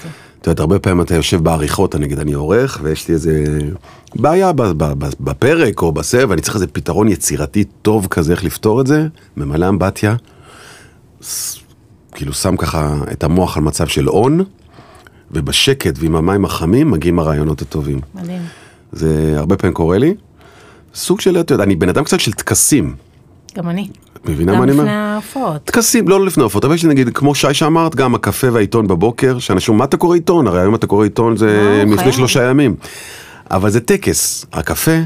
Speaker 2: את יודעת, הרבה פעמים אתה יושב בעריכות, אני נגיד, אני עורך, ויש לי איזה בעיה ב- ב- ב- בפרק או בסבב, ואני צריך איזה פתרון יצירתי טוב כזה, איך לפתור את זה, ממלא אמבטיה, ס- כאילו שם ככה את המוח על מצב של און, ובשקט ועם המים החמים מגיעים הרעיונות הטובים.
Speaker 1: מדהים.
Speaker 2: זה הרבה פעמים קורה לי. סוג של, אתה יודע, אני בן אדם קצת של טקסים.
Speaker 1: גם אני.
Speaker 2: את מבינה
Speaker 1: גם
Speaker 2: מה אני אומר?
Speaker 1: לפני ההופעות.
Speaker 2: טקסים, לא לפני עופות, אבל יש לי נגיד, כמו שי שאמרת, גם הקפה והעיתון בבוקר, שאנשים, מה אתה קורא עיתון? הרי היום אתה קורא עיתון זה
Speaker 1: לא,
Speaker 2: מלפני
Speaker 1: חייב.
Speaker 2: שלושה ימים. אבל זה טקס, הקפה,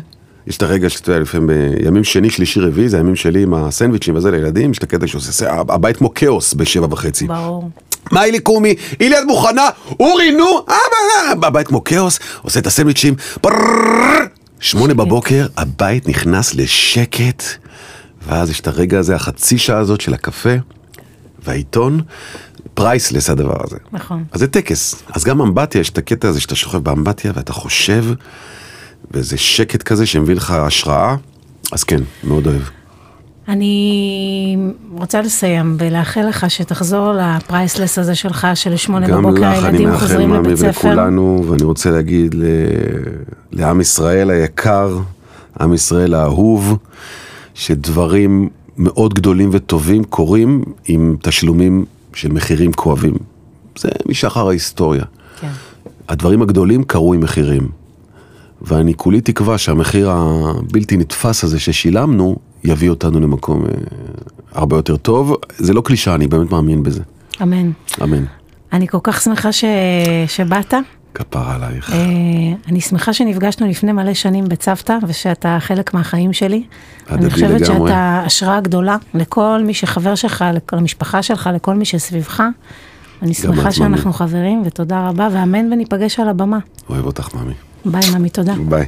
Speaker 2: יש את הרגע שאתה יודע, לפעמים בימים שני, שלישי, רביעי, זה הימים שלי עם הסנדוויצ'ים וזה לילדים, יש את הקטע שעושה, זה- הבית כמו כאוס בשבע וחצי.
Speaker 1: ברור.
Speaker 2: מה אילי קומי? אילי את מוכנה? אורי נו! אה, אה, אה. הבית כמו כאוס, עושה את הסנדוויצ'ים, פרררררר. שמונה בבוקר, הבית נכנס לשקט, ואז יש את הרגע הזה, החצי שעה הזאת של הקפה והעיתון, פרייסלס הדבר הזה.
Speaker 1: נכון.
Speaker 2: אז זה טקס. אז גם אמבטיה, יש את הקטע הזה שאתה שוכב באמבטיה ואתה חושב, וזה שקט כזה שמביא לך השראה, אז כן, מאוד אוהב.
Speaker 1: אני רוצה לסיים ולאחל לך שתחזור לפרייסלס הזה שלך, של שמונה
Speaker 2: גם
Speaker 1: בבוקר
Speaker 2: לך אני
Speaker 1: הילדים
Speaker 2: מאחל
Speaker 1: חוזרים
Speaker 2: מאמי
Speaker 1: לבית ספר.
Speaker 2: ולכולנו, ואני רוצה להגיד ל... לעם ישראל היקר, עם ישראל האהוב, שדברים מאוד גדולים וטובים קורים עם תשלומים של מחירים כואבים. זה משחר ההיסטוריה.
Speaker 1: כן.
Speaker 2: הדברים הגדולים קרו עם מחירים. ואני כולי תקווה שהמחיר הבלתי נתפס הזה ששילמנו, יביא אותנו למקום אה, הרבה יותר טוב. זה לא קלישאה, אני באמת מאמין בזה.
Speaker 1: אמן.
Speaker 2: אמן.
Speaker 1: אני כל כך שמחה ש... שבאת.
Speaker 2: כפרה עלייך.
Speaker 1: אה, אני שמחה שנפגשנו לפני מלא שנים בצוותא, ושאתה חלק מהחיים שלי.
Speaker 2: הדדי
Speaker 1: אני חושבת
Speaker 2: לגמרי.
Speaker 1: שאתה השראה גדולה לכל מי שחבר שלך, לכל המשפחה שלך, לכל מי שסביבך. אני שמחה
Speaker 2: את, מאמי.
Speaker 1: שאנחנו חברים, ותודה רבה, ואמן וניפגש על הבמה.
Speaker 2: אוהב אותך, מאמי.
Speaker 1: ביי, ממי, תודה.
Speaker 2: ביי.